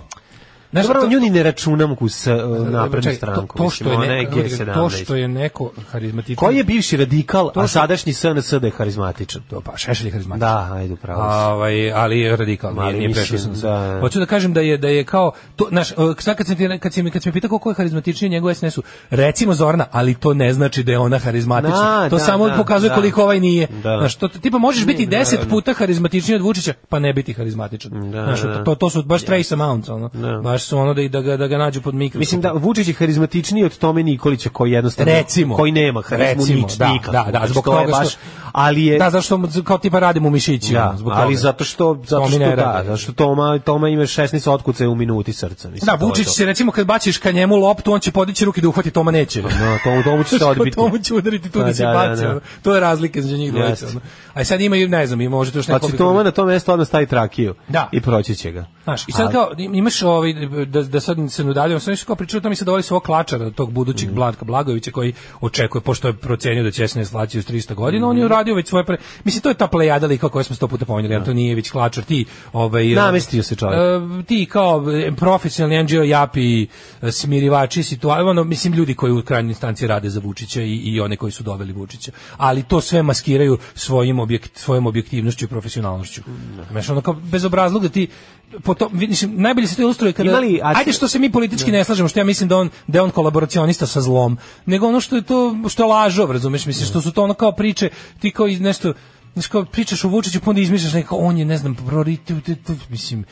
Speaker 7: Znaš,
Speaker 8: Dobro,
Speaker 7: to-
Speaker 8: nju ni ne računam ku s uh, naprednu
Speaker 7: čekaj,
Speaker 8: stranku.
Speaker 7: to, to, što je
Speaker 8: mislim, ona
Speaker 7: ne,
Speaker 8: G17.
Speaker 7: to što je neko harizmatičan
Speaker 8: Koji je bivši radikal, a sadašnji SNS da je harizmatičan?
Speaker 7: to pa šešelj je harizmatičan
Speaker 8: Da, ajde, upravo si.
Speaker 7: A, ovaj, ali je radikal,
Speaker 8: Ali
Speaker 7: nije, nije
Speaker 8: mislim,
Speaker 7: prešao sam se.
Speaker 8: da.
Speaker 7: Hoću da kažem da je, da je kao, to, znaš, e, sad kad sam, ti, kad sam, kad sam pitao ko je harizmatičniji njegov SNS-u, recimo Zorna, ali to ne znači da je ona harizmatična.
Speaker 8: Da,
Speaker 7: to
Speaker 8: da,
Speaker 7: samo
Speaker 8: da,
Speaker 7: pokazuje
Speaker 8: da.
Speaker 7: koliko ovaj nije.
Speaker 8: Da.
Speaker 7: Znaš, to, tipa možeš biti deset puta harizmatičniji od Vučića, pa ne biti harizmatičan.
Speaker 8: Da,
Speaker 7: znaš,
Speaker 8: da.
Speaker 7: to, to su baš Trace Amounts, ono. Baš su ono da, i- da, ga, da ga nađu pod mikroskopom.
Speaker 8: Mislim da Vučić je harizmatičniji od Tome Nikolića koji jednostavno
Speaker 7: recimo
Speaker 8: koji nema harizmu
Speaker 7: recimo,
Speaker 8: nič,
Speaker 7: da,
Speaker 8: nikakvu.
Speaker 7: da, da,
Speaker 8: Znači,
Speaker 7: zbog
Speaker 8: to je
Speaker 7: toga što
Speaker 8: baš- ali je
Speaker 7: da zašto mu kao tipa radimo u mišićima
Speaker 8: Da,
Speaker 7: zbog
Speaker 8: ali
Speaker 7: toga.
Speaker 8: zato što zato
Speaker 7: Tomi
Speaker 8: što
Speaker 7: ne
Speaker 8: da,
Speaker 7: radi.
Speaker 8: zato što Toma Toma ima 16 otkucaja u minuti srca, mislim.
Speaker 7: Da,
Speaker 8: to je
Speaker 7: Vučić
Speaker 8: to.
Speaker 7: se recimo kad baciš ka njemu loptu, on će podići ruke da uhvati Toma neće.
Speaker 8: No, Tomu Tomu će Pa se odbiti.
Speaker 7: Tomu će udariti tu
Speaker 8: Pa,
Speaker 7: da se
Speaker 8: da, da,
Speaker 7: baci.
Speaker 8: da.
Speaker 7: ono. To je razlika između njih dvojice.
Speaker 8: Jeste.
Speaker 7: ono. A sad ima i ne znam, ima možda tu još
Speaker 8: Pa
Speaker 7: neko.
Speaker 8: će Toma na to mesto odmah stavi trakiju
Speaker 7: Da.
Speaker 8: i proći će ga.
Speaker 7: Znaš, i sad
Speaker 8: Ali-
Speaker 7: kao, im- imaš ovaj, da, da sad se ne udaljamo, sam još kao pričao, to mi se dovoli svog klačara, tog
Speaker 8: Mm.
Speaker 7: budućeg Blanka Blagovića koji očekuje, pošto je procenio da će se ne slaći uz 300 godina,
Speaker 8: Mm.
Speaker 7: on je uradio već svoje pre... Mislim, to je ta plejada lika koju smo sto puta pominjali, Antonijević, klačar, ti... Ovaj,
Speaker 8: Namestio se čovjek.
Speaker 7: E, ti kao e, profesionalni NGO japi, e, smirivači situacije, ono, mislim, ljudi koji u krajnjoj instanci rade za Vučića i, i one koji su doveli Vučića, ali to sve maskiraju svojim objekt, svojom objektivnošću i profesionalnošću. Znaš, ono kao bez obrazluga ti po to, vidi, mislim, najbolje se to ilustruje kada...
Speaker 8: Ima li- a-
Speaker 7: Ajde što se mi politički ne slažemo, što ja mislim da on da je on kolaboracionista sa zlom, nego ono što je to što je lažov, razumeš, mislim što su to ono kao priče, ti kao iz nešto znaš, kao pričaš o Vučiću, pa onda izmišljaš neko, on je, ne znam, prioritet, mislim,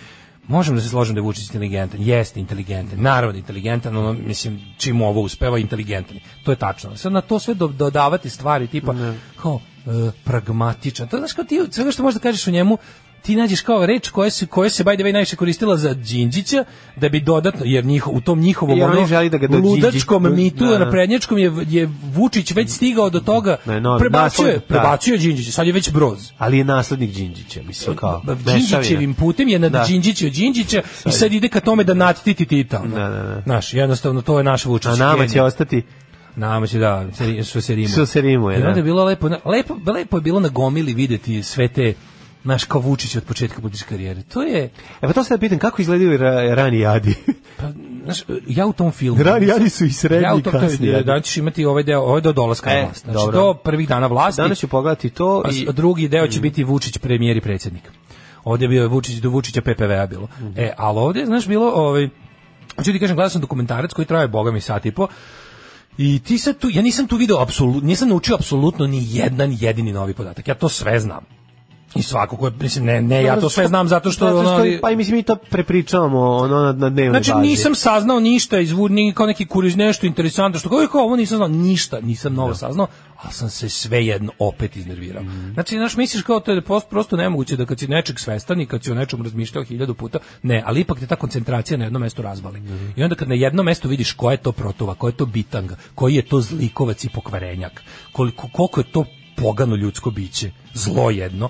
Speaker 7: možemo da se složimo da je Vučić inteligentan, jeste inteligentan, naravno inteligentan, ono, mislim, čim mu ovo uspeva, inteligentan je. To je tačno. Sad na to sve do- dodavati stvari, tipa, kao, e, pragmatičan, to znaš, kao ti, svega što možda kažeš o njemu, ti nađeš kao reč koja se koja se by the way najviše koristila za Đinđića da bi dodatno jer njih u tom njihovom
Speaker 8: Jer oni
Speaker 7: ono
Speaker 8: želi da ga do
Speaker 7: ludačkom
Speaker 8: Đinđić-
Speaker 7: mitu
Speaker 8: Da, da.
Speaker 7: na prednjačkom je je Vučić već stigao do toga
Speaker 8: Na novi-
Speaker 7: prebacio je
Speaker 8: naslov, da.
Speaker 7: prebacio je Đinđića sad je već broz
Speaker 8: Ali je naslednik Đinđića, mislim kao.
Speaker 7: Đinđićevim putem je nad
Speaker 8: Pa, Da.
Speaker 7: da. Đinđići od Đinđića i sad ide ka tome da natiti Tita. ono.
Speaker 8: Da, da, da.
Speaker 7: Znaš, jednostavno to je naš Vučić.
Speaker 8: A nama će
Speaker 7: genij.
Speaker 8: ostati
Speaker 7: Nama će da, se- što se rimuje.
Speaker 8: Što se rimuje,
Speaker 7: I onda
Speaker 8: da.
Speaker 7: je bilo lepo, na- lepo, lepo je bilo na gomili videti sve te naš kao Vučić od početka političke karijere. To je
Speaker 8: E pa to se da pitam kako izgledaju ra, rani jadi.
Speaker 7: pa znaš, ja u tom filmu.
Speaker 8: Rani jadi su i srednji
Speaker 7: ja u tom
Speaker 8: kasni jadi.
Speaker 7: da ćeš imati ovaj deo, ovaj do dolaska
Speaker 8: E,
Speaker 7: na vlast. Znači
Speaker 8: dobro.
Speaker 7: do prvih dana vlasti.
Speaker 8: Danas Mm. ću pogledati to
Speaker 7: a Pa s-
Speaker 8: i
Speaker 7: drugi deo će biti Vučić premijer i predsjednik. Ovdje je bio je Vučić do Vučića PPV-a bilo.
Speaker 8: Mhm.
Speaker 7: E, ali ovdje, znaš, bilo ovaj Hoću ti kažem, gledao sam dokumentarac koji traje, boga mi, sat i po, I ti sad tu, ja nisam tu video apsolutno, nisam naučio apsolutno ni jedan jedini novi podatak. Ja to sve znam. I svako ko je, mislim, ne, ne, E, ja to sve znam zato što...
Speaker 8: Zato
Speaker 7: ono, ali-
Speaker 8: pa i mislim mi to prepričavamo ono na, na dnevnoj
Speaker 7: Znači
Speaker 8: bazi.
Speaker 7: nisam saznao ništa iz ni kao neki kuriz nešto interesantno što kao "E, kao ovo nisam znao ništa, nisam novo saznao, ali sam se svejedno opet iznervirao. Znači znaš misliš kao to je post, prosto nemoguće da kad si nečeg svestan i kad si o nečemu razmišljao hiljadu puta, ne, ali ipak te ta koncentracija na jedno mesto razbali. I onda kad na jedno mesto vidiš ko je to protova, ko je to bitanga, koji je to zlikovac i pokvarenjak, koliko koliko je to pogano ljudsko biće, zlo jedno,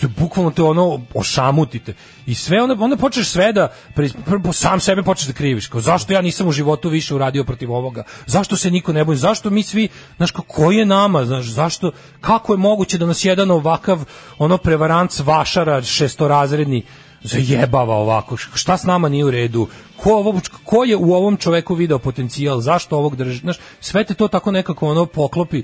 Speaker 7: se bukvalno te ono ošamutite i sve onda onda počneš sve da pre- prvo sam sebe počneš da kriviš kao zašto ja nisam u životu više uradio protiv ovoga zašto se niko ne boji zašto mi svi znaš kao, ko je nama znaš zašto kako je moguće da nas jedan ovakav ono prevarant vašara šestorazredni zajebava ovako šta s nama nije u redu ko, ovo, ko je u ovom čoveku video potencijal zašto ovog drži znaš sve te to tako nekako ono poklopi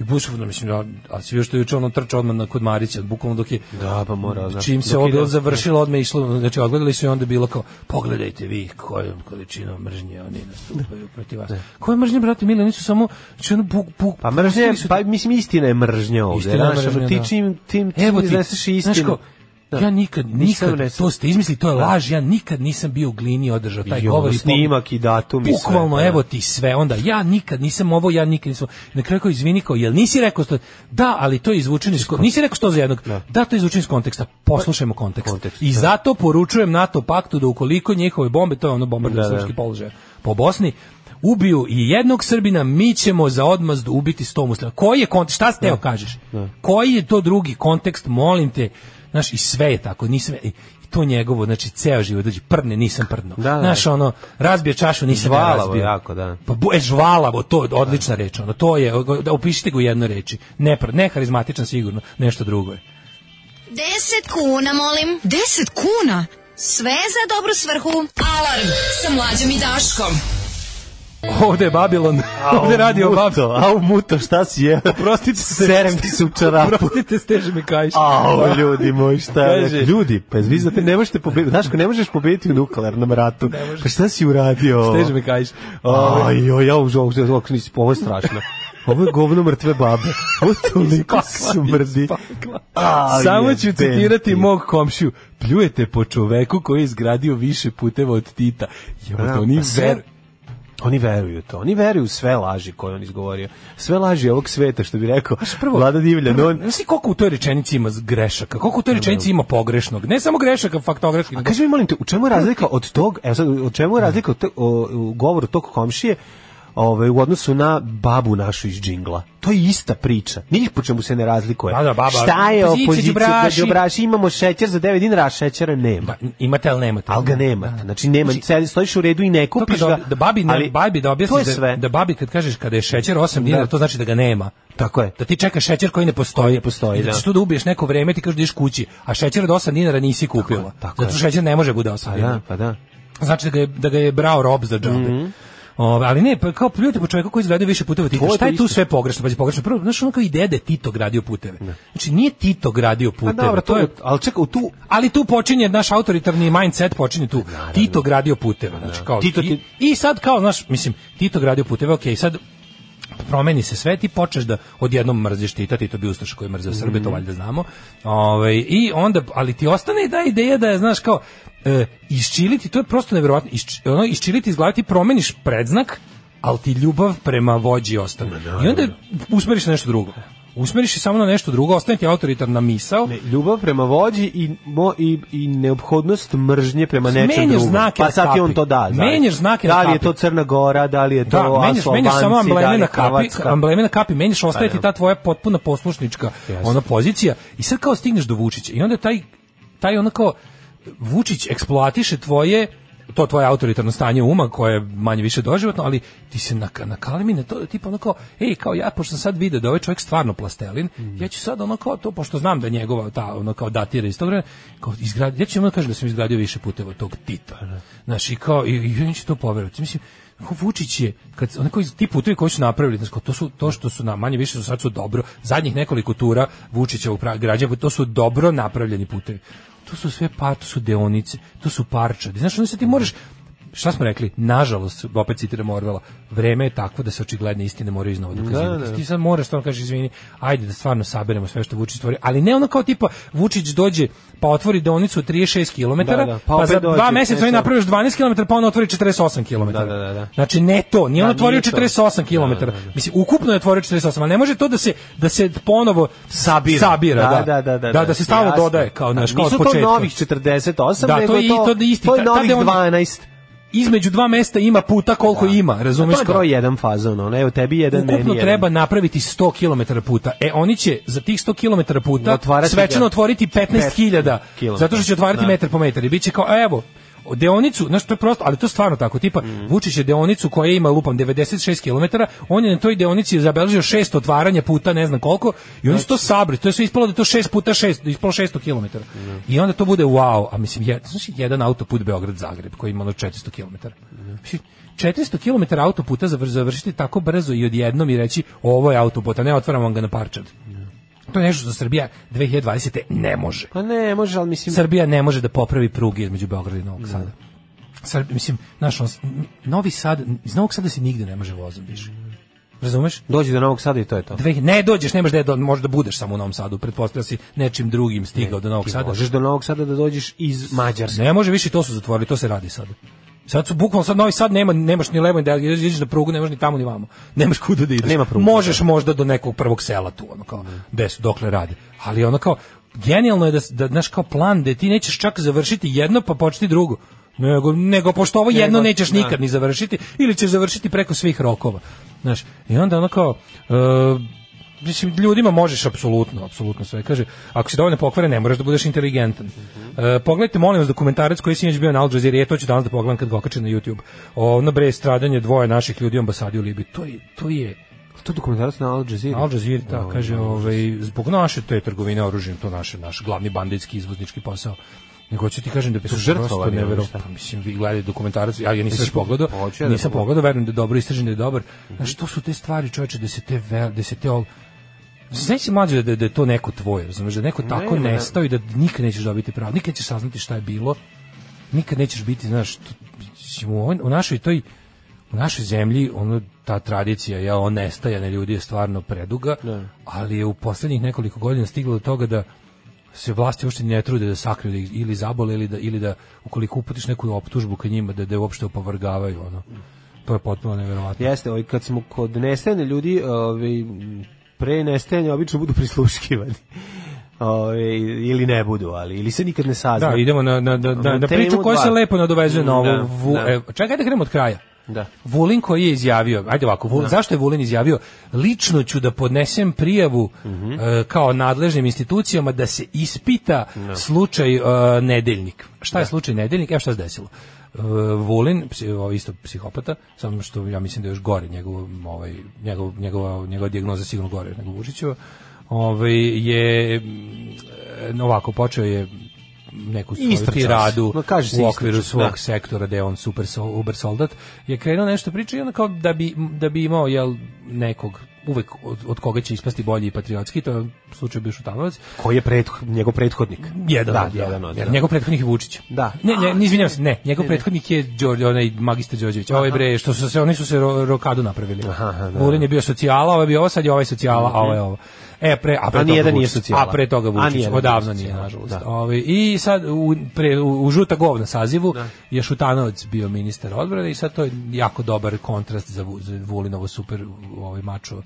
Speaker 7: i bukvalno mislim ja, a svi što je juče ono trčao odmah na kod Marića, bukvalno dok je
Speaker 8: Da, pa mora, znaš,
Speaker 7: čim se
Speaker 8: dok
Speaker 7: ovo
Speaker 8: ide-
Speaker 7: završilo odmah je išlo, znači odgledali su i onda je bilo kao pogledajte vi kojom količinom mržnje oni nastupaju protiv vas. Koje mržnje brate mili, oni su samo znači ono buk buk.
Speaker 8: Pa mržnja, je-
Speaker 7: pustili su-
Speaker 8: pa mislim istina je mržnja ovde.
Speaker 7: Istina je
Speaker 8: znaš, ono,
Speaker 7: mržnja, da.
Speaker 8: ti čim, tim, čim
Speaker 7: Evo ti,
Speaker 8: izneseš istinu.
Speaker 7: znaš kao,
Speaker 8: Da.
Speaker 7: Ja nikad,
Speaker 8: Nisam
Speaker 7: nikad,
Speaker 8: unesao.
Speaker 7: to ste izmislili, to je laž, ja nikad nisam bio u glini održao taj
Speaker 8: I ono,
Speaker 7: govor. i
Speaker 8: snimak i datum i sve,
Speaker 7: Bukvalno,
Speaker 8: da.
Speaker 7: evo ti sve, onda ja nikad nisam ovo, ja nikad nisam. Na kraju kao izvini kao, jel nisi rekao sto, da, ali to je izvučeno iz, kon- nisi rekao sto za jednog, da, to je izvučeno iz konteksta, poslušajmo kontekst.
Speaker 8: Kontekst,
Speaker 7: I
Speaker 8: da.
Speaker 7: zato poručujem NATO paktu da ukoliko njihove bombe, to je ono bomba
Speaker 8: Da, da.
Speaker 7: srpski položaj po Bosni, ubiju i jednog Srbina, mi ćemo za odmazdu ubiti sto muslima. Koji je kontekst, šta ste kažeš? Koji je to drugi kontekst, molim te, znaš, i sve je tako, nisam, i to njegovo, znači, ceo život, dođi, prdne, nisam prdno.
Speaker 8: Da, da.
Speaker 7: Znaš, ono, razbije čašu, nisam ja
Speaker 8: Žvalavo
Speaker 7: razbio.
Speaker 8: jako, da.
Speaker 7: Pa bu- e, žvalavo, to je odlična reč, ono, to je, da opišite ga u jednoj reči. Ne, pr- ne harizmatičan sigurno, nešto drugo je.
Speaker 6: 10 kuna, molim. 10 kuna? Sve za dobru svrhu. Alarm sa mlađom i Daškom.
Speaker 7: Ovde je Babilon, ovde radi o Babilon.
Speaker 8: Muto, au muto, šta si je?
Speaker 7: Prostite se,
Speaker 8: Serem ti se u čarapu.
Speaker 7: prostite, steže mi kajš.
Speaker 8: Au, ljudi moji, šta je?
Speaker 7: Kaže-
Speaker 8: Ljudi, pa vi znate, ne možete pobediti, znaš, ko ne možeš pobediti u nuklearnom ratu. Pa šta si uradio?
Speaker 7: Steže Ovaj, mi kajš.
Speaker 8: Aj, joj, ja užao, užao, užao, nisi, ovo je strašno. Ovo je govno mrtve babe. Ovo toliko su mrdi. Aj,
Speaker 7: Samo ću
Speaker 8: jebem
Speaker 7: citirati
Speaker 8: ti.
Speaker 7: mog komšiju. Pljujete po čoveku koji je izgradio više puteva od Tita. Jebote,
Speaker 8: Da,
Speaker 7: oni
Speaker 8: pa sve-
Speaker 7: ver...
Speaker 8: Oni veruju to. Oni veruju u sve laži koje on izgovorio. Sve laži ovog sveta, što bi rekao Vlada Divljan. On,
Speaker 7: Znaš ti koliko u toj rečenici ima grešaka, koliko u toj rečenici ima pogrešnog, ne samo grešaka faktografskih.
Speaker 8: A Pa kaži mi, molim te, u čemu je razlika od tog, evo sad, u čemu je razlika od te- o- u govoru tog komšije ovaj, u odnosu na babu našu iz džingla? To je ista priča. Nije po čemu se ne razlikuje.
Speaker 7: Da, da, baba-
Speaker 8: Šta je
Speaker 7: Opozicija,
Speaker 8: opozicija?
Speaker 7: đubraši.
Speaker 8: Đubraši. imamo šećer za 9 dinara, a šećera nema.
Speaker 7: Da, imate ali nemate.
Speaker 8: Ali ga nema.
Speaker 7: Da.
Speaker 8: Znači, nema, sedi- stojiš u redu i ne
Speaker 7: To
Speaker 8: kupiš
Speaker 7: kad
Speaker 8: ga.
Speaker 7: ob- da babi ne,
Speaker 8: ali
Speaker 7: babi da
Speaker 8: to
Speaker 7: objasniš
Speaker 8: je
Speaker 7: da,
Speaker 8: sve.
Speaker 7: da babi kad kažeš kada je šećer 8 dinara to znači da ga nema.
Speaker 8: Tako je.
Speaker 7: Da ti čeka šećer koji ne postoji,
Speaker 8: Koji ne postoji,
Speaker 7: I da.
Speaker 8: da.
Speaker 7: ćeš tu da ubiješ neko vreme ti kažeš da ideš kući, a šećer od 8 dinara nisi kupila.
Speaker 8: tako
Speaker 7: Zato
Speaker 8: je.
Speaker 7: šećer ne može bude 8
Speaker 8: Pa
Speaker 7: dinara.
Speaker 8: da, pa da. Mhm.
Speaker 7: Znači da ga je, da ga je brao rob za džabe. Ove, ali ne, pa kao pljujete po čovjeku koji izgledaju više puteva od Tita.
Speaker 8: To je
Speaker 7: Šta je tu
Speaker 8: isto.
Speaker 7: sve pogrešno? Pazi, pogrešno. Prvo, znaš ono kao ideja da je Tito gradio puteve. Znači, nije Tito gradio
Speaker 8: Pa
Speaker 7: puteve.
Speaker 8: dobro,
Speaker 7: to je
Speaker 8: ali čekaj, tu,
Speaker 7: ali tu počinje naš autoritarni mindset počinje tu. Tito gradio puteve, znači kao
Speaker 8: Tito
Speaker 7: i,
Speaker 8: ti-
Speaker 7: i sad kao znaš, mislim, Tito gradio puteve, okej, sad promeni se sve, ti počneš da odjednom mrziš Tita, Tito bi ustaš koji mrzeo Srbe,
Speaker 8: Mhm.
Speaker 7: to valjda znamo. Ovaj i onda ali ti ostane i da ideja da je, znaš, kao e, isčiliti, to je prosto neverovatno. Isč, ono isčiliti iz glave ti promeniš predznak, ali ti ljubav prema vođi ostane. I onda usmeriš na nešto drugo. Usmeriš se samo na nešto drugo, ostane ti autoritarna misao.
Speaker 8: Ne, ljubav prema vođi i, mo, i, i neophodnost mržnje prema nečem
Speaker 7: Menjaš
Speaker 8: drugom.
Speaker 7: znake na
Speaker 8: pa sad ti on
Speaker 7: kapi.
Speaker 8: to da. znaš.
Speaker 7: Menjaš znake na
Speaker 8: Da li je
Speaker 7: kapi.
Speaker 8: to Crna Gora, da li je to
Speaker 7: Da, menjaš,
Speaker 8: Asu
Speaker 7: menjaš samo
Speaker 8: Albanci, da
Speaker 7: ambleme
Speaker 8: li je
Speaker 7: na kapi,
Speaker 8: Hrvatska.
Speaker 7: ambleme na kapi, menjaš, ostaje
Speaker 8: Pa
Speaker 7: ti ta
Speaker 8: da.
Speaker 7: tvoja potpuna poslušnička ona pozicija i sad kao stigneš do Vučića i onda taj, taj ono kao Vučić eksploatiše tvoje to tvoje autoritarno stanje uma koje je manje više doživotno, ali ti se na nakalemi na to tipa ono kao, ej, kao ja pošto sam sad video da ovaj čovjek stvarno plastelin,
Speaker 8: Mhm.
Speaker 7: ja ću sad ono kao to pošto znam da je njegova ta ono kao datira iz tog vremena, kao izgrad, ja ću ono kažem da sam izgradio više puteva od tog
Speaker 8: Pa
Speaker 7: Tita. Znaš, i kao i, i oni će to poverovati. Mislim, Kako Vučić je, kad, onako, ti putevi koji su napravili, znaš, kao, to, su, to što su na manje više su sad su dobro, zadnjih nekoliko tura Vučića u građa, to su dobro napravljeni putevi. To su sve par, to su deonice, to su parčadi. Znaš, onda se ti
Speaker 8: Mhm.
Speaker 7: moraš, šta smo rekli, nažalost, opet citiramo Orvela, vreme je takvo da se očigledne istine moraju iznova dokazivati.
Speaker 8: da.
Speaker 7: Ti sad moraš stvarno kažeš, izvini, ajde da stvarno saberemo sve što Vučić stvori, ali ne ono kao tipa Vučić dođe pa otvori deonicu od 36 km,
Speaker 8: Da, da, pa
Speaker 7: pa,
Speaker 8: opet
Speaker 7: za dva
Speaker 8: dođe,
Speaker 7: meseca
Speaker 8: ne
Speaker 7: oni
Speaker 8: sad.
Speaker 7: napraviš 12 km, pa on otvori 48 km.
Speaker 8: Da, da, da, da.
Speaker 7: Znači ne to, nije
Speaker 8: Da,
Speaker 7: on otvorio
Speaker 8: nije to.
Speaker 7: 48 km. Mislim ukupno je otvorio 48, ali ne može to da se da se ponovo
Speaker 8: Sabira.
Speaker 7: sabira da,
Speaker 8: Da, da, da, da,
Speaker 7: da, da se stalno
Speaker 8: jasno.
Speaker 7: dodaje kao naš
Speaker 8: A
Speaker 7: kao od
Speaker 8: nisu to
Speaker 7: početka.
Speaker 8: novih 48,
Speaker 7: Da,
Speaker 8: nego
Speaker 7: to je i- to je isti,
Speaker 8: to
Speaker 7: ta-
Speaker 8: je
Speaker 7: ta
Speaker 8: novih
Speaker 7: deoni-
Speaker 8: 12.
Speaker 7: između dva mesta ima puta koliko ima, razumeš
Speaker 8: Pa To je
Speaker 7: kao?
Speaker 8: broj jedan fazon, ono, evo tebi jedan, meni
Speaker 7: Ukupno
Speaker 8: jedan.
Speaker 7: treba napraviti 100 km puta. E, oni će za tih 100 km puta
Speaker 8: Otvarati
Speaker 7: svečano
Speaker 8: ga.
Speaker 7: otvoriti 15.000,
Speaker 8: kilometara.
Speaker 7: zato što će otvarati
Speaker 8: Da.
Speaker 7: metar po metar. I biće kao, evo, deonicu, znaš, to je prosto, ali to je stvarno tako, tipa,
Speaker 8: Mhm.
Speaker 7: Vučić je deonicu koja ima, lupam, 96 km, on je na toj deonici zabeležio šest otvaranja puta, ne znam koliko, i oni su to
Speaker 8: Znači.
Speaker 7: sabri, to je sve ispalo da je to šest puta šest, ispalo 600 km.
Speaker 8: Mhm.
Speaker 7: I onda to bude wow, a mislim, je, znaš, jedan autoput Beograd-Zagreb koji ima ono 400 km.
Speaker 8: Mhm.
Speaker 7: Mislim, 400 km autoputa zavr- završiti tako brzo i odjednom i reći ovo je autoput, a ne otvaramo vam ga na parčad. To je nešto što Srbija 2020. ne može.
Speaker 8: Pa ne, može, ali mislim...
Speaker 7: Srbija ne može da popravi pruge između Beograda i Novog Sada. Srb, mislim, znaš, on, Novi Sad, iz Novog Sada se nigde ne može vozom više. Razumeš?
Speaker 8: Dođi do Novog Sada i to je to.
Speaker 7: Dve, ne dođeš, nemaš da možda budeš samo u Novom Sadu, pretpostavlja si nečim drugim stigao do Novog
Speaker 8: Ti
Speaker 7: Sada.
Speaker 8: možeš do Novog Sada da dođeš iz Mađarske.
Speaker 7: Ne može više, to su zatvorili, to se radi sad. Sad su bukvalno sad Novi Sad nema nemaš ni levo ni desno, ideš na prugu, nemaš ni tamo ni vamo. Nemaš kuda da ideš.
Speaker 8: Nema pruge,
Speaker 7: Možeš možda do nekog prvog sela tu, ono kao, gde su, dokle radi. Ali ono kao genijalno je da s- da znaš kao plan da ti nećeš čak završiti jedno pa početi drugo. Nego, nego pošto ovo jedno
Speaker 8: Nego,
Speaker 7: nećeš
Speaker 8: da.
Speaker 7: nikad ni završiti ili ćeš završiti preko svih rokova. Znaš, i onda ono kao e, Mislim, ljudima možeš apsolutno, apsolutno sve. Kaže, ako si dovoljno pokvaren, ne moraš da budeš inteligentan.
Speaker 8: Mhm.
Speaker 7: E, pogledajte, molim vas, dokumentarac koji je sinoć bio na Al Jazeera, ja to ću danas da pogledam kad ga okačem na YouTube. Ono bre, stradanje dvoje naših ljudi u ambasadi u Libiji. To je, to je,
Speaker 8: To je dokumentarac na Al Jazeera.
Speaker 7: Al Jazeera, da, kaže, ovaj, zbog naše te trgovine oružjem, to naše, naš glavni banditski izvoznički posao. Nego ću ti kažem da bi se
Speaker 8: žrtvovani,
Speaker 7: prosto
Speaker 8: ali
Speaker 7: neverovatno. Pa
Speaker 8: šta?
Speaker 7: Mislim, vi gledajte dokumentarac, ja, ja nisam još pogledao,
Speaker 8: hoću ja da
Speaker 7: nisam
Speaker 8: pogledam.
Speaker 7: pogledao, verujem da je dobro istražen, da je dobar. Znaš, to su te stvari, čoveče, da se te, vel- da se te ol- Znaš si mlađe da, da je to neko tvoje, razumeš, da je neko tako
Speaker 8: ne.
Speaker 7: nestao i da nikad nećeš dobiti pravo, nikad ćeš saznati šta je bilo, nikad nećeš biti, znaš, to- mislim, u, ovoj- u našoj toj, u našoj zemlji, ono, ta tradicija, ja, on nestajane ljudi je stvarno preduga, ali je u poslednjih nekoliko godina stiglo do toga da se vlasti uopšte ne trude da sakriju da ih ili zabole ili da, ili da ukoliko uputiš neku optužbu ka njima da, da je uopšte opovrgavaju ono. To je potpuno neverovatno.
Speaker 8: Jeste, ovaj, kad smo kod nestajane ljudi, ovaj, m, pre nestajanja obično budu prisluškivani. Ovaj, ili ne budu, ali ili se nikad ne sazna.
Speaker 7: Da, idemo na, na, na, na,
Speaker 8: Na
Speaker 7: na
Speaker 8: temu
Speaker 7: priču koja
Speaker 8: dva.
Speaker 7: se lepo nadovezuje na
Speaker 8: Da,
Speaker 7: ovu. Vu,
Speaker 8: da.
Speaker 7: e, čekaj da krenemo od kraja.
Speaker 8: Da.
Speaker 7: Vulin koji je izjavio, ajde ovako, Vul- zašto je Vulin izjavio? Lično ću da podnesem prijavu e, kao nadležnim institucijama da se ispita slučaj e, nedeljnik. Šta je slučaj nedeljnik? Evo šta se desilo. E, Vulin, psi- ovo je isto psihopata, samo što ja mislim da je još gore njegov, ovaj, njegov, njegova, njegova dijagnoza je sigurno gore nego Vučićeva. Ovaj, je m, e, ovako, počeo je neku svoju
Speaker 8: Istrčao se.
Speaker 7: tiradu
Speaker 8: Ma kaže se
Speaker 7: u okviru
Speaker 8: istrčao,
Speaker 7: svog
Speaker 8: da.
Speaker 7: sektora da je on super sol- uber soldat je krenuo nešto priča i onda kao da bi, da bi imao jel, nekog uvek od, od koga će ispasti bolji i patriotski, to je u slučaju bio Šutanovac.
Speaker 8: Koji je preth, njegov prethodnik?
Speaker 7: Jedan,
Speaker 8: da,
Speaker 7: od, da,
Speaker 8: jedan od,
Speaker 7: jer
Speaker 8: da.
Speaker 7: Njegov prethodnik je Vučić.
Speaker 8: Da.
Speaker 7: Ne, ne, ne, izvinjavam se, ne, njegov prethodnik je Đorđe, onaj magister Đorđević. Ovaj bre, što su se, oni su se ro, rokadu napravili.
Speaker 8: Aha, aha, da. Mhm.
Speaker 7: Vulin je bio socijala, ovaj je bio ovo, sad je ovaj socijala, a ovo je ovo. E, pre, a pre
Speaker 8: A
Speaker 7: toga
Speaker 8: nijedan nije
Speaker 7: Vučić.
Speaker 8: socijala.
Speaker 7: A pre toga
Speaker 8: A
Speaker 7: Vučić,
Speaker 8: nijedan
Speaker 7: odavno
Speaker 8: nije
Speaker 7: nije,
Speaker 8: socijala,
Speaker 7: nažalost.
Speaker 8: da.
Speaker 7: Ovaj, I sad u, pre, u, u žuta govna sazivu je Šutanovac bio ministar odbrane i sad to je jako dobar kontrast za, Vu- za Vulinovo super ovaj mačo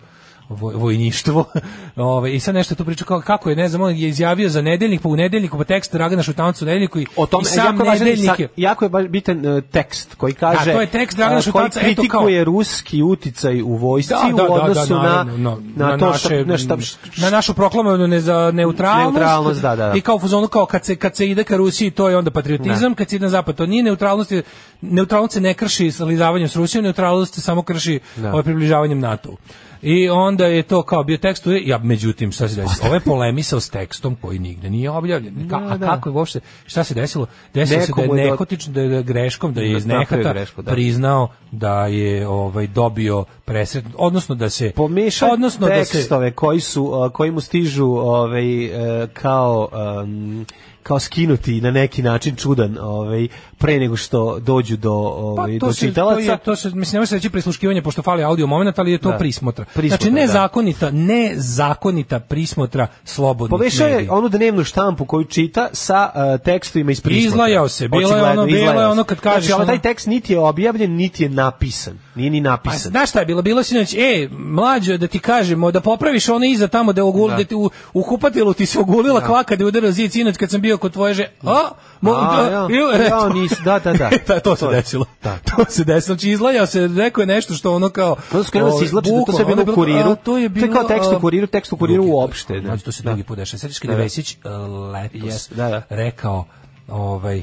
Speaker 7: voj- vojništvo. Ove, I sad nešto tu priča kao kako je, ne znam, on je izjavio za nedeljnik, pa u nedeljniku, pa tekst Dragana Šutanovca u nedeljniku i,
Speaker 8: O tom,
Speaker 7: i sam
Speaker 8: jako, je važan,
Speaker 7: nedeljnik
Speaker 8: sa-
Speaker 7: je...
Speaker 8: jako je baš bitan e, tekst koji kaže
Speaker 7: Da, to je tekst Dragana
Speaker 8: e, koji
Speaker 7: Šutanovca, eto kao-
Speaker 8: kritikuje ruski uticaj u vojsci
Speaker 7: Da, da, da,
Speaker 8: u odnosu
Speaker 7: da, naravno,
Speaker 8: na,
Speaker 7: na,
Speaker 8: to
Speaker 7: naše,
Speaker 8: šta, na šta,
Speaker 7: na našu proklamovanu ne, za neutralnost,
Speaker 8: Neutralnost, da, da, da.
Speaker 7: i kao u fazonu kao kad se, kad se ide ka Rusiji to je onda patriotizam, kad se ide na zapad to nije neutralnost, je- neutralnost se ne krši salizavanjem s Rusijom, neutralnost se samo krši
Speaker 8: Da.
Speaker 7: ovaj, približavanjem NATO-u. I onda je to kao bio tekst, u- ja međutim šta se desilo? Ovo je polemisao s tekstom koji nigde nije objavljen. Ka, a
Speaker 8: Da, da.
Speaker 7: kako je uopšte, šta se desilo? Desilo se
Speaker 8: Nekomu
Speaker 7: da
Speaker 8: je
Speaker 7: je
Speaker 8: do-
Speaker 7: nehotično, da je da je greškom, da je iz
Speaker 8: Napravio
Speaker 7: nehata
Speaker 8: grešku, da.
Speaker 7: priznao da je ovaj dobio presret, odnosno da se
Speaker 8: pomešao
Speaker 7: odnosno da se
Speaker 8: tekstove koji su a, koji mu stižu ovaj e, kao em, kao skinuti na neki način čudan ovaj pre nego što dođu do ovaj do
Speaker 7: se-
Speaker 8: čitalaca
Speaker 7: Pa To, je, to se, mislim, ne može se reći prisluškivanje, pošto fali audio moment, ali je to
Speaker 8: Da.
Speaker 7: prismotra.
Speaker 8: Prismotra,
Speaker 7: Znači,
Speaker 8: da.
Speaker 7: nezakonita, nezakonita prismotra slobodnih
Speaker 8: Povešao je
Speaker 7: medija.
Speaker 8: onu dnevnu štampu koju čita sa e, tekstovima iz prismotra.
Speaker 7: Izlajao se, bilo je
Speaker 8: Očigledno,
Speaker 7: ono- bilo je
Speaker 8: izlajao se.
Speaker 7: ono kad kažeš
Speaker 8: Znači, ovaj
Speaker 7: ono-
Speaker 8: taj tekst niti je objavljen, niti je napisan. Nije ni
Speaker 7: Pa
Speaker 8: napisan.
Speaker 7: znaš šta je bilo? Bilo je sinoć, e, mlađo, da ti kažemo, da popraviš ono iza tamo, da, ogul,
Speaker 8: Da.
Speaker 7: da. ti u, u kupatilu ti se ogulila
Speaker 8: Da.
Speaker 7: kvaka da je udarao zid sinoć kad sam bio kod tvoje že... A, mo,
Speaker 8: A,
Speaker 7: da,
Speaker 8: ja,
Speaker 7: ju,
Speaker 8: ja, nis, da, da, da.
Speaker 7: E, ta- to se
Speaker 8: To je-
Speaker 7: desilo.
Speaker 8: da.
Speaker 7: To se desilo. Znači, izlajao se, rekao je nešto što ono kao...
Speaker 8: To su krenuli da se
Speaker 7: ovaj,
Speaker 8: izlače, da to sve
Speaker 7: bukvalno,
Speaker 8: bilo
Speaker 7: ono
Speaker 8: u kuriru.
Speaker 7: a, to je bilo... um,
Speaker 8: kao tekst u
Speaker 7: a,
Speaker 8: kuriru, tekst u kuriru
Speaker 7: drugi-
Speaker 8: uopšte. ne.
Speaker 7: Mlađo, to se drugi put dešava. Sećaš kada
Speaker 8: Da,
Speaker 7: je
Speaker 8: da.
Speaker 7: Vesić e, letos
Speaker 8: Yes, da, da.
Speaker 7: rekao, ovaj,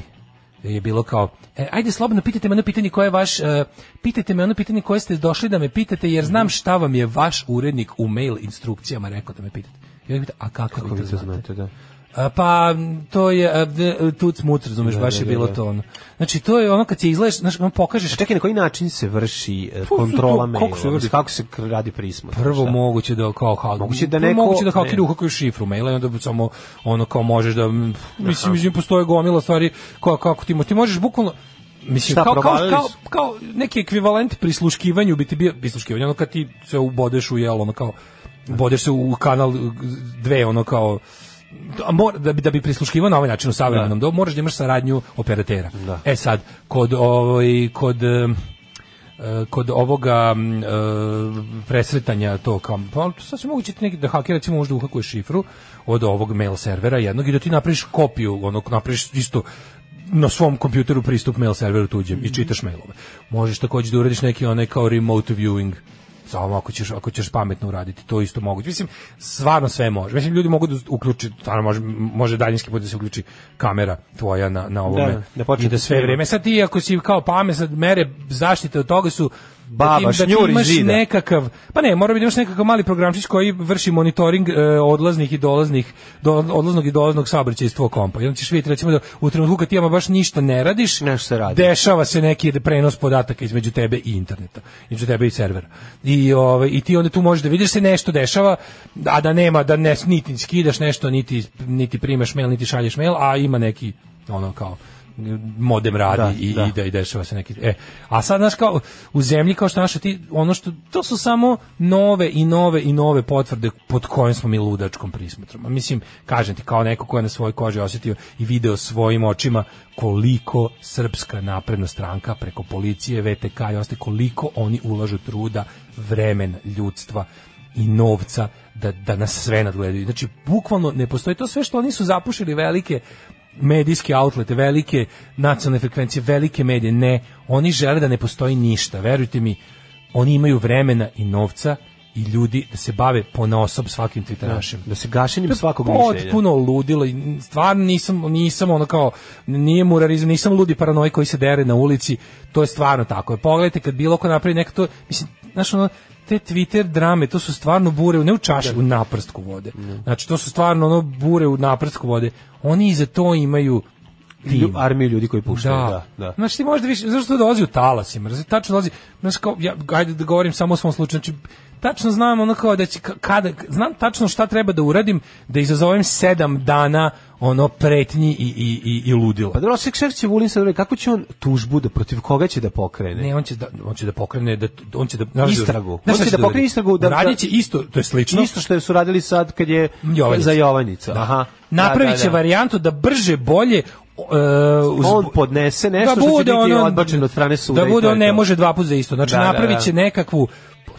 Speaker 7: je bilo kao, e, ajde slobodno pitajte me ono pitanje koje je vaš, e, pitajte me ono pitanje koje ste došli da me pitate, jer
Speaker 8: Mhm.
Speaker 7: znam šta vam je vaš urednik u mail instrukcijama rekao da me pitate. I onda pita, a kako, vi to znate?
Speaker 8: da.
Speaker 7: A, pa m, to je a, d- tuc muc, razumeš,
Speaker 8: Da,
Speaker 7: baš
Speaker 8: da,
Speaker 7: je
Speaker 8: da,
Speaker 7: bilo
Speaker 8: da.
Speaker 7: to ono. Znači to je ono kad se izleš, znači on pokažeš
Speaker 8: A čekaj, na koji način se vrši e,
Speaker 7: su
Speaker 8: kontrola
Speaker 7: to-
Speaker 8: maila?
Speaker 7: kako se vrši?
Speaker 8: Mislim, Kako se k- radi prismotra?
Speaker 7: Prvo
Speaker 8: Šta?
Speaker 7: moguće da kao hak,
Speaker 8: Moguće da neko-
Speaker 7: moguće da
Speaker 8: ne.
Speaker 7: hakeri uhakuju šifru maila i onda samo ono kao možeš da mm, mislim mislim postoje gomila stvari kao kako ti mo- ti možeš bukvalno mislim
Speaker 8: Šta,
Speaker 7: kao, kao,
Speaker 8: provalili
Speaker 7: kao,
Speaker 8: su?
Speaker 7: kao neki ekvivalent prisluškivanju bi ti bio prisluškivanje ono kad ti se ubodeš u jelo ono kao ubodeš se u kanal dve ono kao a mora- da bi da bi prisluškivao na ovaj način u savremenom dobu moraš da imaš saradnju operatera.
Speaker 8: Da.
Speaker 7: E sad kod ovaj kod em, e, kod ovoga m, e, presretanja to kao pa sad se moguće ti neki da haker recimo možda uhakuje šifru od ovog mail servera jednog i da ti napraviš kopiju onog napraviš isto na svom kompjuteru pristup mail serveru tuđem i čitaš mailove. Možeš takođe da uradiš neki onaj kao remote viewing samo ako ćeš ako ćeš pametno uraditi to je isto moguće mislim stvarno sve može mislim ljudi mogu da uključi stvarno može može daljinski put da se uključi kamera tvoja na na ovome
Speaker 8: Da, da počne
Speaker 7: i da sve
Speaker 8: snima.
Speaker 7: vreme sad ti ako si kao pamet sad mere zaštite od toga su da ti- da
Speaker 8: Baba,
Speaker 7: ti
Speaker 8: šnjur iz
Speaker 7: imaš
Speaker 8: zida.
Speaker 7: nekakav pa ne mora biti imaš nekakav mali programčić koji vrši monitoring e, odlaznih i dolaznih do, odlaznog i dolaznog saobraćaja iz tvog kompa i onda ćeš vidjeti recimo da u trenutku kad ti ama baš ništa ne radiš
Speaker 8: Nešto se radi.
Speaker 7: dešava se neki prenos podataka između tebe i interneta između tebe i servera i ovaj i ti onda tu možeš da vidiš se nešto dešava a da nema da ne niti skidaš nešto niti niti primaš mail niti šalješ mail a ima neki ono kao modem radi
Speaker 8: Da,
Speaker 7: i,
Speaker 8: da.
Speaker 7: i da i dešava se neki e a sad znaš kao u zemlji kao što naša ti ono što to su samo nove i nove i nove potvrde pod kojim smo mi ludačkom prismotrom A mislim kažem ti kao neko ko je na svojoj koži osjetio i video svojim očima koliko srpska napredna stranka preko policije VTK i ostaje koliko oni ulažu truda vremena ljudstva i novca da, da nas sve nadgledaju. Znači, bukvalno ne postoji to sve što oni su zapušili velike medijske outlete, velike nacionalne frekvencije, velike medije. Ne, oni žele da ne postoji ništa. Verujte mi, oni imaju vremena i novca i ljudi da se bave ponaosob svakim tviterašem.
Speaker 8: Da se gašenjem svakog mišljenja.
Speaker 7: Potpuno ludilo i stvarno nisam, nisam ono kao, nije murarizam, nisam ludi paranoj koji se dere na ulici, to je stvarno tako. Pogledajte kad bilo ko napravi neka to, mislim, znaš ono, te Twitter drame, to su stvarno bure, u- ne u čaši, u naprstku vode. Znači, to su stvarno ono bure u naprstku vode. Oni i za to imaju tim.
Speaker 8: Lju- Armiju ljudi koji puštaju, da, da.
Speaker 7: Znaš, ti možda više, zašto to dolazi u talasima, razli, tačno dolazi, znaš, kao, ja, ajde da govorim samo o svom slučaju, znači, tačno znam ono kao da će, ka- kada, znam tačno šta treba da uradim, da izazovem sedam dana, ono, pretnji i, i, i, i ludila.
Speaker 8: Pa dobro, sve šef će Vulin sad uraditi, kako će on tužbu, da protiv koga će da pokrene?
Speaker 7: Ne, on će da on će da pokrene da on će da znaš šta-
Speaker 8: Istragu.
Speaker 7: znaš
Speaker 8: On
Speaker 7: šta
Speaker 8: će da pokrene
Speaker 7: uradi?
Speaker 8: istragu, da-
Speaker 7: Uradit će isto, to je slično.
Speaker 8: Znači, Isto što su radili sad kad je
Speaker 7: Jovanjica.
Speaker 8: za Jovanjica. Aha.
Speaker 7: Napravit
Speaker 8: Da,
Speaker 7: će
Speaker 8: da, da.
Speaker 7: varijantu da brže, bolje e, uz-
Speaker 8: On podnese nešto što će biti odbačeno od strane suda.
Speaker 7: ono- Da
Speaker 8: i to
Speaker 7: bude
Speaker 8: je
Speaker 7: on ne
Speaker 8: to.
Speaker 7: može dva puta za isto. Znači
Speaker 8: Da, da,
Speaker 7: napravit će
Speaker 8: da.
Speaker 7: nekakvu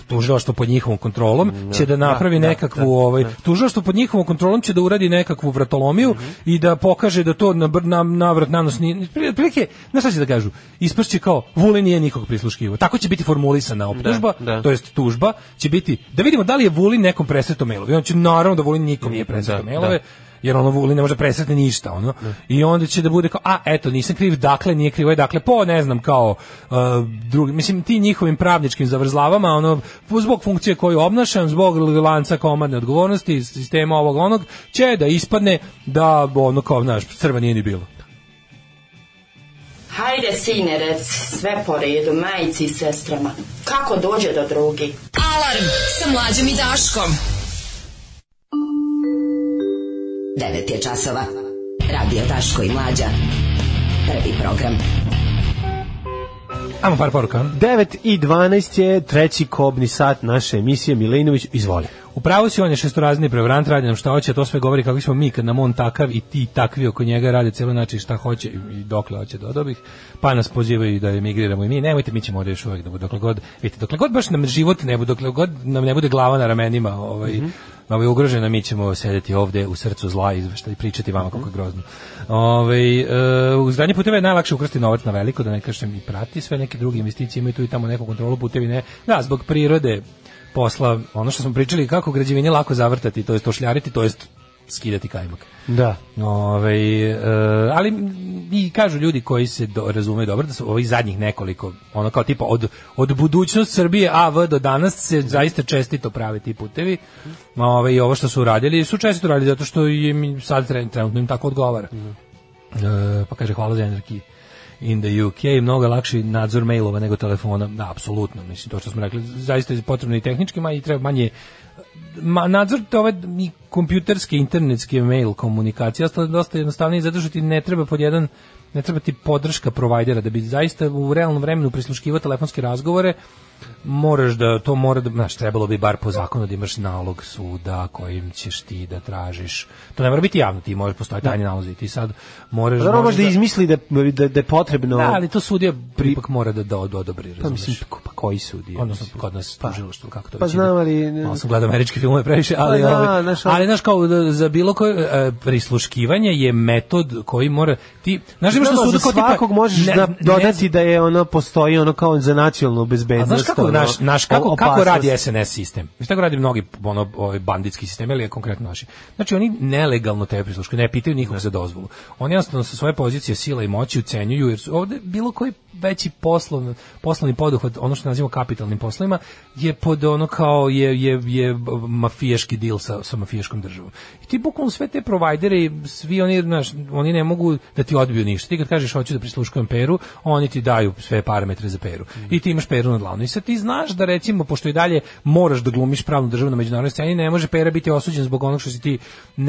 Speaker 7: tužilaštvo pod njihovom kontrolom
Speaker 8: Mm,
Speaker 7: će da
Speaker 8: da,
Speaker 7: napravi
Speaker 8: da,
Speaker 7: nekakvu
Speaker 8: da,
Speaker 7: ovaj
Speaker 8: da. Mhm.
Speaker 7: tužilaštvo pod njihovom kontrolom će da uradi nekakvu vratolomiju i da pokaže da to na br- na navrat nanos nije prilike na šta će da kažu ispašće kao Vulin nije nikog prisluškivao tako će biti formulisana optužba
Speaker 8: Da, da.
Speaker 7: to jest tužba će biti da vidimo da li je Vulin nekom presretao mailove I on će naravno da Vulin nikom nije presretao
Speaker 8: Da,
Speaker 7: mailove jer ono Vulin ne može presretni ništa ono i onda će da bude kao a eto nisam kriv dakle nije krivo je dakle po ne znam kao uh, drugi mislim ti njihovim pravničkim zavrzlavama ono zbog funkcije koju obnašam zbog lanca komadne odgovornosti sistema ovog onog će da ispadne da ono kao znaš crva nije ni bilo
Speaker 12: Hajde, sinerec, sve po redu, majici i sestrama. Kako dođe do drugi?
Speaker 6: Alarm sa mlađom i Daškom.
Speaker 13: 9 je časova. Radio Daško i Mlađa. Prvi program.
Speaker 7: Ajmo par poruka.
Speaker 8: 9 i 12 je treći kobni sat naše emisije. Milinović, izvoli.
Speaker 7: U pravu si, on je šestorazni prevarant, radi nam šta hoće, a to sve govori kako smo mi kad nam on takav i ti takvi oko njega rade cijelo način šta hoće i- i dokle hoće do dobih, pa nas pozivaju da emigriramo i mi, nemojte, mi ćemo ovdje još uvijek da bude, dokle god, vidite, dokle god baš nam život ne bude, dokle god nam ne bude glava na ramenima, ovaj, ovaj ugrožena, mi ćemo sedeti ovdje u srcu zla i šta i pričati vama kako je grozno. Ovaj e, u zdanje puteva je najlakše ukrsti novac na veliko, da ne kažem i prati sve neke druge investicije, imaju tu i tamo neku kontrolu, putevi ne. Da, zbog prirode, posla, ono što smo pričali, kako građevinje lako zavrtati, to jest ošljariti, to jest skidati kajmak.
Speaker 8: Da.
Speaker 7: Ove, e, ali m, i kažu ljudi koji se do, razumeju dobro da su ovih zadnjih nekoliko, ono kao tipa od, od budućnost Srbije AV do danas se zaista čestito prave ti putevi Ma, ove, i ovo što su radili su čestito radili zato što im i sad tren- trenutno im tako odgovara. E, pa kaže hvala za energiju in the UK, mnogo je lakši nadzor mailova nego telefona, da, apsolutno, mislim, to što smo rekli, zaista je potrebno i tehnički, ma i treba manje ma, nadzor te ove i kompjuterske, internetske mail komunikacije, ostalo je dosta jednostavnije, zato što ti ne treba pod jedan ne treba ti podrška provajdera da bi zaista u realnom vremenu prisluškivao telefonske razgovore moraš da to mora da znaš trebalo bi bar po zakonu da imaš nalog suda kojim ćeš ti da tražiš to ne mora biti javno ti možeš postoji tajni nalozi ti sad moraš
Speaker 8: Da ono
Speaker 7: možeš
Speaker 8: baš da izmisli da, da, da je potrebno...
Speaker 7: da, ali to sudija pri... ipak mora da, da, da odobri,
Speaker 8: Pa
Speaker 7: razumeš?
Speaker 8: mislim, pa, pa koji sudija?
Speaker 7: Odnosno, kod nas tužilaštvo, kako to
Speaker 8: pa
Speaker 7: već
Speaker 8: znam,
Speaker 7: ide.
Speaker 8: ali-
Speaker 7: Malo sam gledao američke filmove previše,
Speaker 8: Pa
Speaker 7: ali...
Speaker 8: da,
Speaker 7: ovaj,
Speaker 8: znaš, ono-
Speaker 7: ali, znaš, kao da- za bilo koje e, prisluškivanje je metod koji mora... Ti, znaš, imaš na
Speaker 8: Znam,
Speaker 7: sudu
Speaker 8: ono za
Speaker 7: kao tipa-
Speaker 8: svakog možeš
Speaker 7: ne-
Speaker 8: da
Speaker 7: ne-
Speaker 8: dodati da je ono postoji ono kao za nacionalnu
Speaker 7: A
Speaker 8: bezbednost.
Speaker 7: znaš kako
Speaker 8: ono,
Speaker 7: naš, naš kako, kako
Speaker 8: opasnost.
Speaker 7: radi SNS sistem? Mislim tako radi mnogi ono ovaj banditski sistem ili je konkretno naši. Znači oni nelegalno te prisluškuju, ne pitaju nikog za dozvolu. Oni jednostavno sa svoje pozicije sile i moći ucenjuju jer su ovde bilo koji veći poslovni poslovni poduhvat, ono što nazivamo kapitalnim poslovima je pod ono kao je je je mafijaški deal sa sa mafijaškom državom. I ti bukvalno sve te provajdere i svi oni znaš, oni ne mogu da ti odbiju ništa. Ti kad kažeš hoću da prisluškujem Peru, oni ti daju sve parametre za Peru. I ti imaš Peru na dlanu. I sad ti znaš da recimo pošto i dalje moraš da glumiš pravnu državu na međunarodnoj sceni, ne može Pera biti osuđen zbog onog što si ti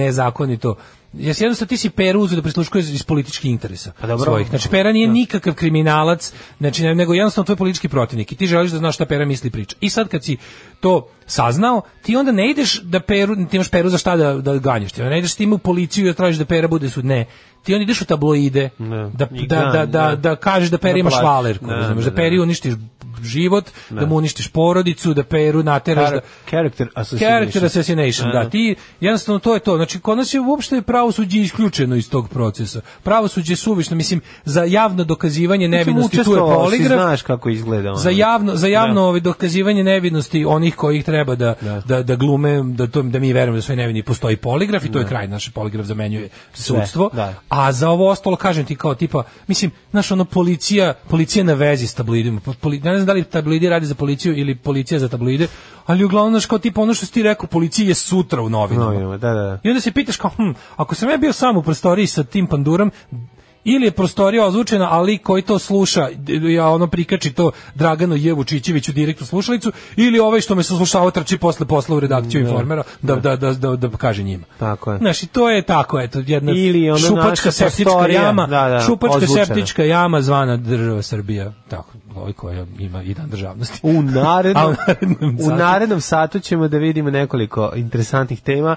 Speaker 7: nezakonito Jer si jednostavno ti si Peru uzeo da prisluškuješ iz političkih interesa
Speaker 8: Pa dobro.
Speaker 7: svojih. Znači Pera nije nikakav kriminalac, znači ne- nego jednostavno tvoj politički protivnik i ti želiš da znaš šta Pera misli i priča. I sad kad si to saznao, ti onda ne ideš da Peru, ti imaš Peru za šta da, da ganjaš, ti onda ne ideš s tim u policiju i da tražiš da Pera bude sud, ne. Ti onda ideš u tabloide, da,
Speaker 8: I
Speaker 7: da, da,
Speaker 8: dan,
Speaker 7: da,
Speaker 8: da.
Speaker 7: da kažeš da Peri
Speaker 8: Da
Speaker 7: ima
Speaker 8: plati.
Speaker 7: švalerku,
Speaker 8: Da,
Speaker 7: razumeš,
Speaker 8: da,
Speaker 7: da Peri uništiš život, da mu uništiš porodicu, da Peru nateraš da...
Speaker 8: Character assassination.
Speaker 7: Character assassination, da. Ti, jednostavno, to je to. Znači, kod nas je uopšte pravosuđe isključeno iz tog procesa. Pravosuđe je suvišno. Mislim, za javno dokazivanje
Speaker 8: Mislim,
Speaker 7: nevinosti tu je
Speaker 8: učestvovao si,
Speaker 7: poligraf.
Speaker 8: Znaš kako izgleda. ono.
Speaker 7: Za javno, za javno
Speaker 8: Da.
Speaker 7: ovaj, dokazivanje nevinosti onih kojih treba da, da. da, glume, da, to, da mi verujemo da sve nevini postoji poligraf i to je kraj, naš poligraf zamenjuje sudstvo.
Speaker 8: da.
Speaker 7: A za ovo ostalo kažem ti kao tipa, mislim, znaš ono policija, policija je na vezi s tabloidima. Po- poli- ne znam da li tabloidi radi za policiju ili policija za tabloide, ali uglavnom znaš kao tipa ono što si ti rekao, policija je sutra u novinama.
Speaker 8: Novinama, da, da.
Speaker 7: I onda se pitaš kao, hm, ako sam ja bio sam u prostoriji sa tim pandurom, ili je prostorija ozvučena, ali koji to sluša, d- ja ono prikači to Draganu Jevu Čičeviću direktnu slušalicu, ili ovaj što me saslušava trči posle posla u redakciju
Speaker 8: Da.
Speaker 7: informera da, da, da, da, da kaže njima.
Speaker 8: Tako je.
Speaker 7: Znaš, i to je tako, eto, jedna
Speaker 8: Ili ono
Speaker 7: šupačka
Speaker 8: naša
Speaker 7: septička
Speaker 8: prostorija,
Speaker 7: jama,
Speaker 8: da, da,
Speaker 7: šupačka
Speaker 8: ozvučena.
Speaker 7: septička jama zvana država Srbija. Tako, ovaj koja ima i dan državnosti.
Speaker 8: U narednom,
Speaker 7: A u narednom
Speaker 8: u
Speaker 7: satu-
Speaker 8: narednom satu ćemo da vidimo nekoliko interesantnih tema.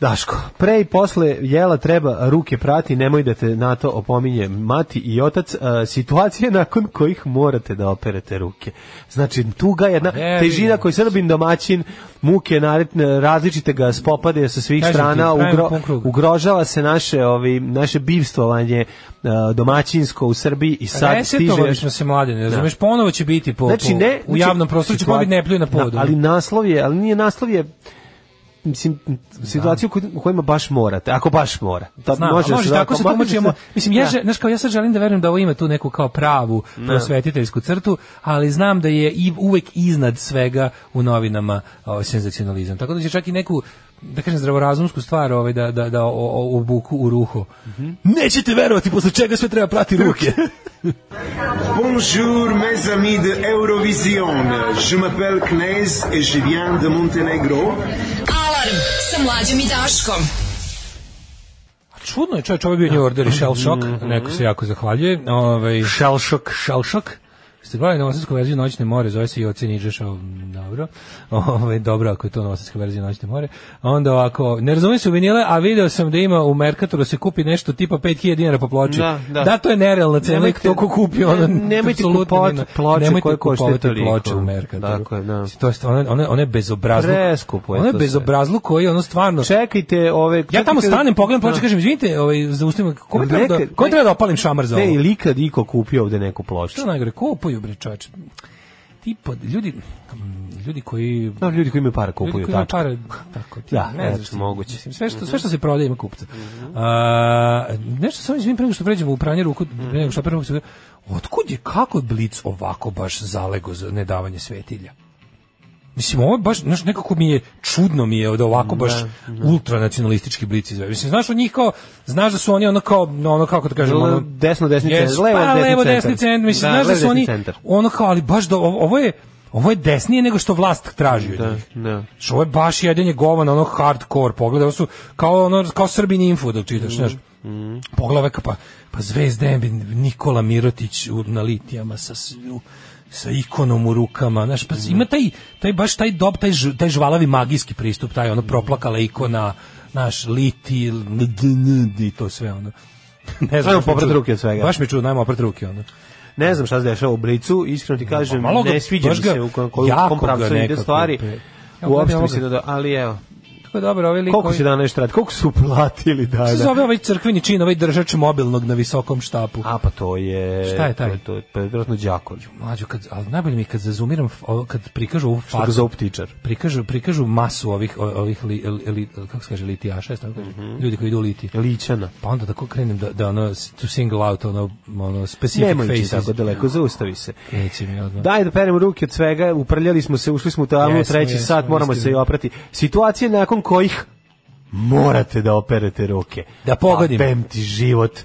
Speaker 8: Daško, pre i posle jela treba ruke prati, nemoj da te na to opominje mati i otac, a, situacije nakon kojih morate da operete ruke. Znači, tuga jedna,
Speaker 7: Ne,
Speaker 8: težina
Speaker 7: ne.
Speaker 8: koju srbin domaćin, muke, naretne, različite ga spopade sa svih
Speaker 7: Kažem ti,
Speaker 8: strana,
Speaker 7: pravimo
Speaker 8: ugro-
Speaker 7: pun krug.
Speaker 8: ugrožava se naše, ovi, naše bivstvovanje a, domaćinsko u Srbiji i sad stiže...
Speaker 7: Resetovali smo se mladine, razumeš, ponovo će biti po,
Speaker 8: Znači,
Speaker 7: po-
Speaker 8: ne,
Speaker 7: u javnom prostoru, će
Speaker 8: situacija-
Speaker 7: ponovo biti ne pljuj na podu.
Speaker 8: Da, ali naslov je, ali nije naslov je mislim situaciju koju- u kojima baš morate, ako baš mora. Da pa
Speaker 7: Znam, može, može tako se tumačimo. Mislim ja, da. znaš kao ja sad želim da verujem da ovo ima tu neku kao pravu
Speaker 8: Da.
Speaker 7: prosvetiteljsku crtu, ali znam da je i uvek iznad svega u novinama ovaj senzacionalizam. Tako da će čak i neku da kažem zdravorazumsku stvar ovaj da da da o, o, obuku u ruho. Nećete verovati posle čega sve treba prati Mhm. ruke.
Speaker 14: Bonjour mes amis de Eurovision. Je m'appelle Knez et je viens de Montenegro.
Speaker 13: Alarm sa mlađom i Daškom.
Speaker 7: Čudno je, čovjek, čovjek bio New Order i Shell Shock, neko se jako zahvaljuje. Ovaj,
Speaker 8: Mhm, shell Shock.
Speaker 7: Shell Shock. Ste gledali novosadsku verziju Noćne more, zove se Joci Niđeš, dobro. Ovaj, dobro, ako je to novosadska verzija Noćne more. A Onda ovako, ne razumijem se u vinile, a video sam da ima u Mercatoru se kupi nešto tipa 5000 dinara po ploči.
Speaker 8: Da, da.
Speaker 7: to je nerealna cena, i
Speaker 8: Nemojte-
Speaker 7: to ko kupi, ono,
Speaker 8: ne- nemojte
Speaker 7: apsolutno
Speaker 8: kupovati
Speaker 7: nema-
Speaker 8: ploče
Speaker 7: nemojte
Speaker 8: koje koštaju
Speaker 7: kupovati
Speaker 8: toliko.
Speaker 7: ploče u Mercatoru.
Speaker 8: Dakle, da.
Speaker 7: To je stvarno, one, one bezobrazno.
Speaker 8: Preskupo je
Speaker 7: Ono je
Speaker 8: to sve.
Speaker 7: bezobrazno koji, ono stvarno...
Speaker 8: Čekajte, ove
Speaker 7: Ja tamo
Speaker 8: čekajte-
Speaker 7: stanem, pogledam ploče,
Speaker 8: Da.
Speaker 7: kažem, izvinite, ovaj, zaustavim, kome treba da,
Speaker 8: Nekad-
Speaker 7: kome treba da opalim šamar za ovo? znači?
Speaker 8: Ne, ili ikad iko kupio ovde neku ploču.
Speaker 7: Što je najgore, kupuju bre čoveče. Ti pod- ljudi mm, ljudi koji
Speaker 8: Da, ljudi koji imaju para
Speaker 7: ljudi
Speaker 8: kupuju
Speaker 7: koji imaju
Speaker 8: tačka.
Speaker 7: pare, tako ti.
Speaker 8: Da,
Speaker 7: ne
Speaker 8: eto,
Speaker 7: znaš ti.
Speaker 8: moguće. Mhm.
Speaker 7: Mislim, sve što sve što se prodaje ima kupca. A, nešto samo izvinim pre nego što pređemo u pranje ruku,
Speaker 8: Mhm.
Speaker 7: pre nego što prvo se otkud je kako je Blic ovako baš zalego za nedavanje svetilja. Mislim, ovo je baš, znaš, nekako mi je, čudno mi je da ovako baš ultranacionalistički blic izve. Mislim, znaš od njih kao, znaš da su oni ono kao, ono kako da kažem, ono,
Speaker 8: Desno, desni
Speaker 7: Jes,
Speaker 8: centar, levo,
Speaker 7: pa,
Speaker 8: desni
Speaker 7: levo,
Speaker 8: centar.
Speaker 7: desni centar, mislim,
Speaker 8: Da,
Speaker 7: znaš da
Speaker 8: levo,
Speaker 7: su
Speaker 8: desni
Speaker 7: oni,
Speaker 8: centar.
Speaker 7: ono kao, ali baš da, ovo ovo je, ovo je desnije nego što vlast traži od njih.
Speaker 8: Da.
Speaker 7: Što ovo je baš jedenje govana, ono hardcore, pogledaj, ovo su kao, ono, kao Srbin info da čitaš, znaš. Pogledaj ove, pa, pa Zvezden, Nikola Mirotić u- na litijama sa s- u- sa ikonom u rukama, znaš, pa ima taj, taj baš taj dob, taj, ž- taj žvalavi magijski pristup, taj ono proplakala ikona, naš liti, i to sve ono. Ne
Speaker 8: Ajmo
Speaker 7: baš me
Speaker 8: poprat
Speaker 7: čudi.
Speaker 8: ruke od svega.
Speaker 7: Baš mi čudno, najmo oprat ruke ono. onda.
Speaker 8: Ne znam šta se dešava u Blicu, iskreno ti kažem,
Speaker 7: malo ga-
Speaker 8: ne sviđa mi
Speaker 7: baš ga-
Speaker 8: se u kom, koju-
Speaker 7: jako
Speaker 8: kom pravcu
Speaker 7: ga
Speaker 8: ide
Speaker 7: nekako
Speaker 8: stvari.
Speaker 7: pe- Evo,
Speaker 8: Uopšte
Speaker 7: gledaj
Speaker 8: mi se
Speaker 7: ovoga.
Speaker 8: da, ali evo.
Speaker 7: Tako je dobro, ovaj lik
Speaker 8: Koliko
Speaker 7: koji-
Speaker 8: će dana nešto raditi? Koliko su platili
Speaker 7: Kako
Speaker 8: dana?
Speaker 7: se zove ovaj crkveni čin, ovaj držač mobilnog na visokom štapu?
Speaker 8: A pa to je...
Speaker 7: Šta je taj?
Speaker 8: To, to je, pa je vjerojatno đakolj.
Speaker 7: Mlađo, kad, ali najbolje mi je kad zazumiram, f- ovo, kad prikažu ovu
Speaker 8: Što ga
Speaker 7: facu,
Speaker 8: zovu ptičar.
Speaker 7: prikažu, prikažu masu ovih, o- ovih li, li- li- kako se kaže, litijaša, jesi tako kaže,
Speaker 8: Mhm.
Speaker 7: ljudi koji idu u liti.
Speaker 8: Lićana.
Speaker 7: Pa onda tako krenem da, da ono, s- to single out, ono, ono specific
Speaker 8: Nemoj ići
Speaker 7: faces.
Speaker 8: tako daleko, zaustavi se.
Speaker 7: Neće mi odmah.
Speaker 8: Daj da peremo ruke od svega, uprljali smo se, ušli smo u tavnu,
Speaker 7: Jesmo,
Speaker 8: treći
Speaker 7: jesmo,
Speaker 8: sat, moramo
Speaker 7: istina.
Speaker 8: se i oprati. Situacije nakon kojih morate da operete ruke.
Speaker 7: Da pogodim.
Speaker 8: Pa bem ti život.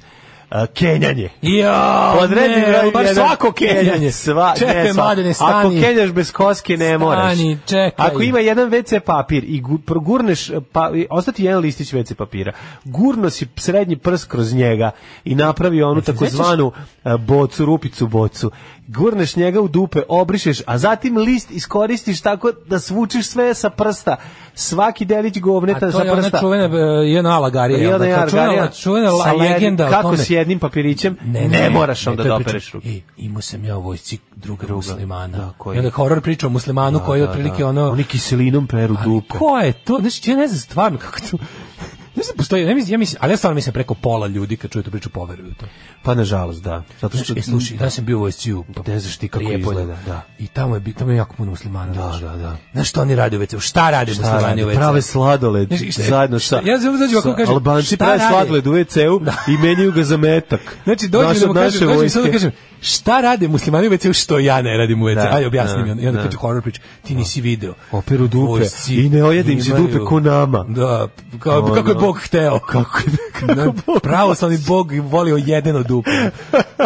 Speaker 8: A, Kenjanje.
Speaker 7: Ja,
Speaker 8: Podredni
Speaker 7: ne,
Speaker 8: broj
Speaker 7: baš
Speaker 8: jedan.
Speaker 7: svako kenjanje.
Speaker 8: Sva,
Speaker 7: Čekaj,
Speaker 8: ne, sva.
Speaker 7: mladene,
Speaker 8: Ako
Speaker 7: stani.
Speaker 8: kenjaš bez koske, ne moraš.
Speaker 7: Stani, čekaj.
Speaker 8: Ako ima jedan WC papir i gu- progurneš, e, pa, i ostati jedan listić WC papira, gurno si srednji prst kroz njega i napravi onu takozvanu e, bocu, rupicu bocu. Gurneš njega u dupe, obrišeš, a zatim list iskoristiš tako da svučiš sve sa prsta. Svaki delić govneta
Speaker 7: A
Speaker 8: sa
Speaker 7: to je ona
Speaker 8: prsta.
Speaker 7: čuvena, e, jedna alagarija.
Speaker 8: I onda
Speaker 7: jel da?
Speaker 8: je
Speaker 7: Kao čuvena-
Speaker 8: Argarija
Speaker 7: Čuvena, la-
Speaker 8: sa jednim-
Speaker 7: legenda o
Speaker 8: Kako
Speaker 7: tome.
Speaker 8: s jednim papirićem ne, moraš onda
Speaker 7: to je
Speaker 8: da
Speaker 7: priča,
Speaker 8: opereš ruke.
Speaker 7: E, imao sam ja u vojsci druga,
Speaker 8: Druga,
Speaker 7: muslimana.
Speaker 8: da, koji-
Speaker 7: I onda horor priča o muslimanu koji je
Speaker 8: Da,
Speaker 7: otprilike
Speaker 8: da.
Speaker 7: ono...
Speaker 8: Oni kiselinom peru
Speaker 7: Ali
Speaker 8: dupe.
Speaker 7: ko je to? Znači, ja ne znam stvarno kako to... Ne znam, postoji, ne mislim, ja mislim, ali ja stvarno mislim preko pola ljudi kad čuju tu priču poveruju u to.
Speaker 8: Pa nažalost, da. Zato što
Speaker 7: Znači, e, slušaj, ja sam bio u vojsci u
Speaker 8: ne znaš ti kako
Speaker 7: Prijepolju.
Speaker 8: izgleda, da.
Speaker 7: I tamo je, bi- tamo je jako puno muslimana. znaš.
Speaker 8: da, da.
Speaker 7: Znaš što oni rade u WC-u? Šta rade
Speaker 8: Šta
Speaker 7: muslimani
Speaker 8: rade?
Speaker 7: u WC-u?
Speaker 8: Prave sladoled
Speaker 7: Znaš, i šta-
Speaker 8: zajedno
Speaker 7: šta-
Speaker 8: sa,
Speaker 7: ja sam dođu ovako,
Speaker 8: sa
Speaker 7: kažem,
Speaker 8: Albanci
Speaker 7: šta
Speaker 8: prave
Speaker 7: rade?
Speaker 8: sladoled u WC-u i menjaju ga za metak.
Speaker 7: Znači, dođu
Speaker 8: Naš
Speaker 7: da
Speaker 8: od
Speaker 7: mu
Speaker 8: naše
Speaker 7: kažem, dođu i sad da
Speaker 8: vojske.
Speaker 7: kažem, šta rade muslimani u WC-u što ja ne radim u WC-u?
Speaker 8: Da,
Speaker 7: Ajde, objasni
Speaker 8: da,
Speaker 7: mi. onda. I onda
Speaker 8: da.
Speaker 7: kaže horor priča, ti nisi video.
Speaker 8: Operu dupe
Speaker 7: Vojsci
Speaker 8: i ne ojedim si
Speaker 7: imaju-
Speaker 8: dupe ko nama.
Speaker 7: Da, kao,
Speaker 8: Ono.
Speaker 7: kako je Bog hteo. Kako, kako Pravoslavni Bog volio jedeno dupe.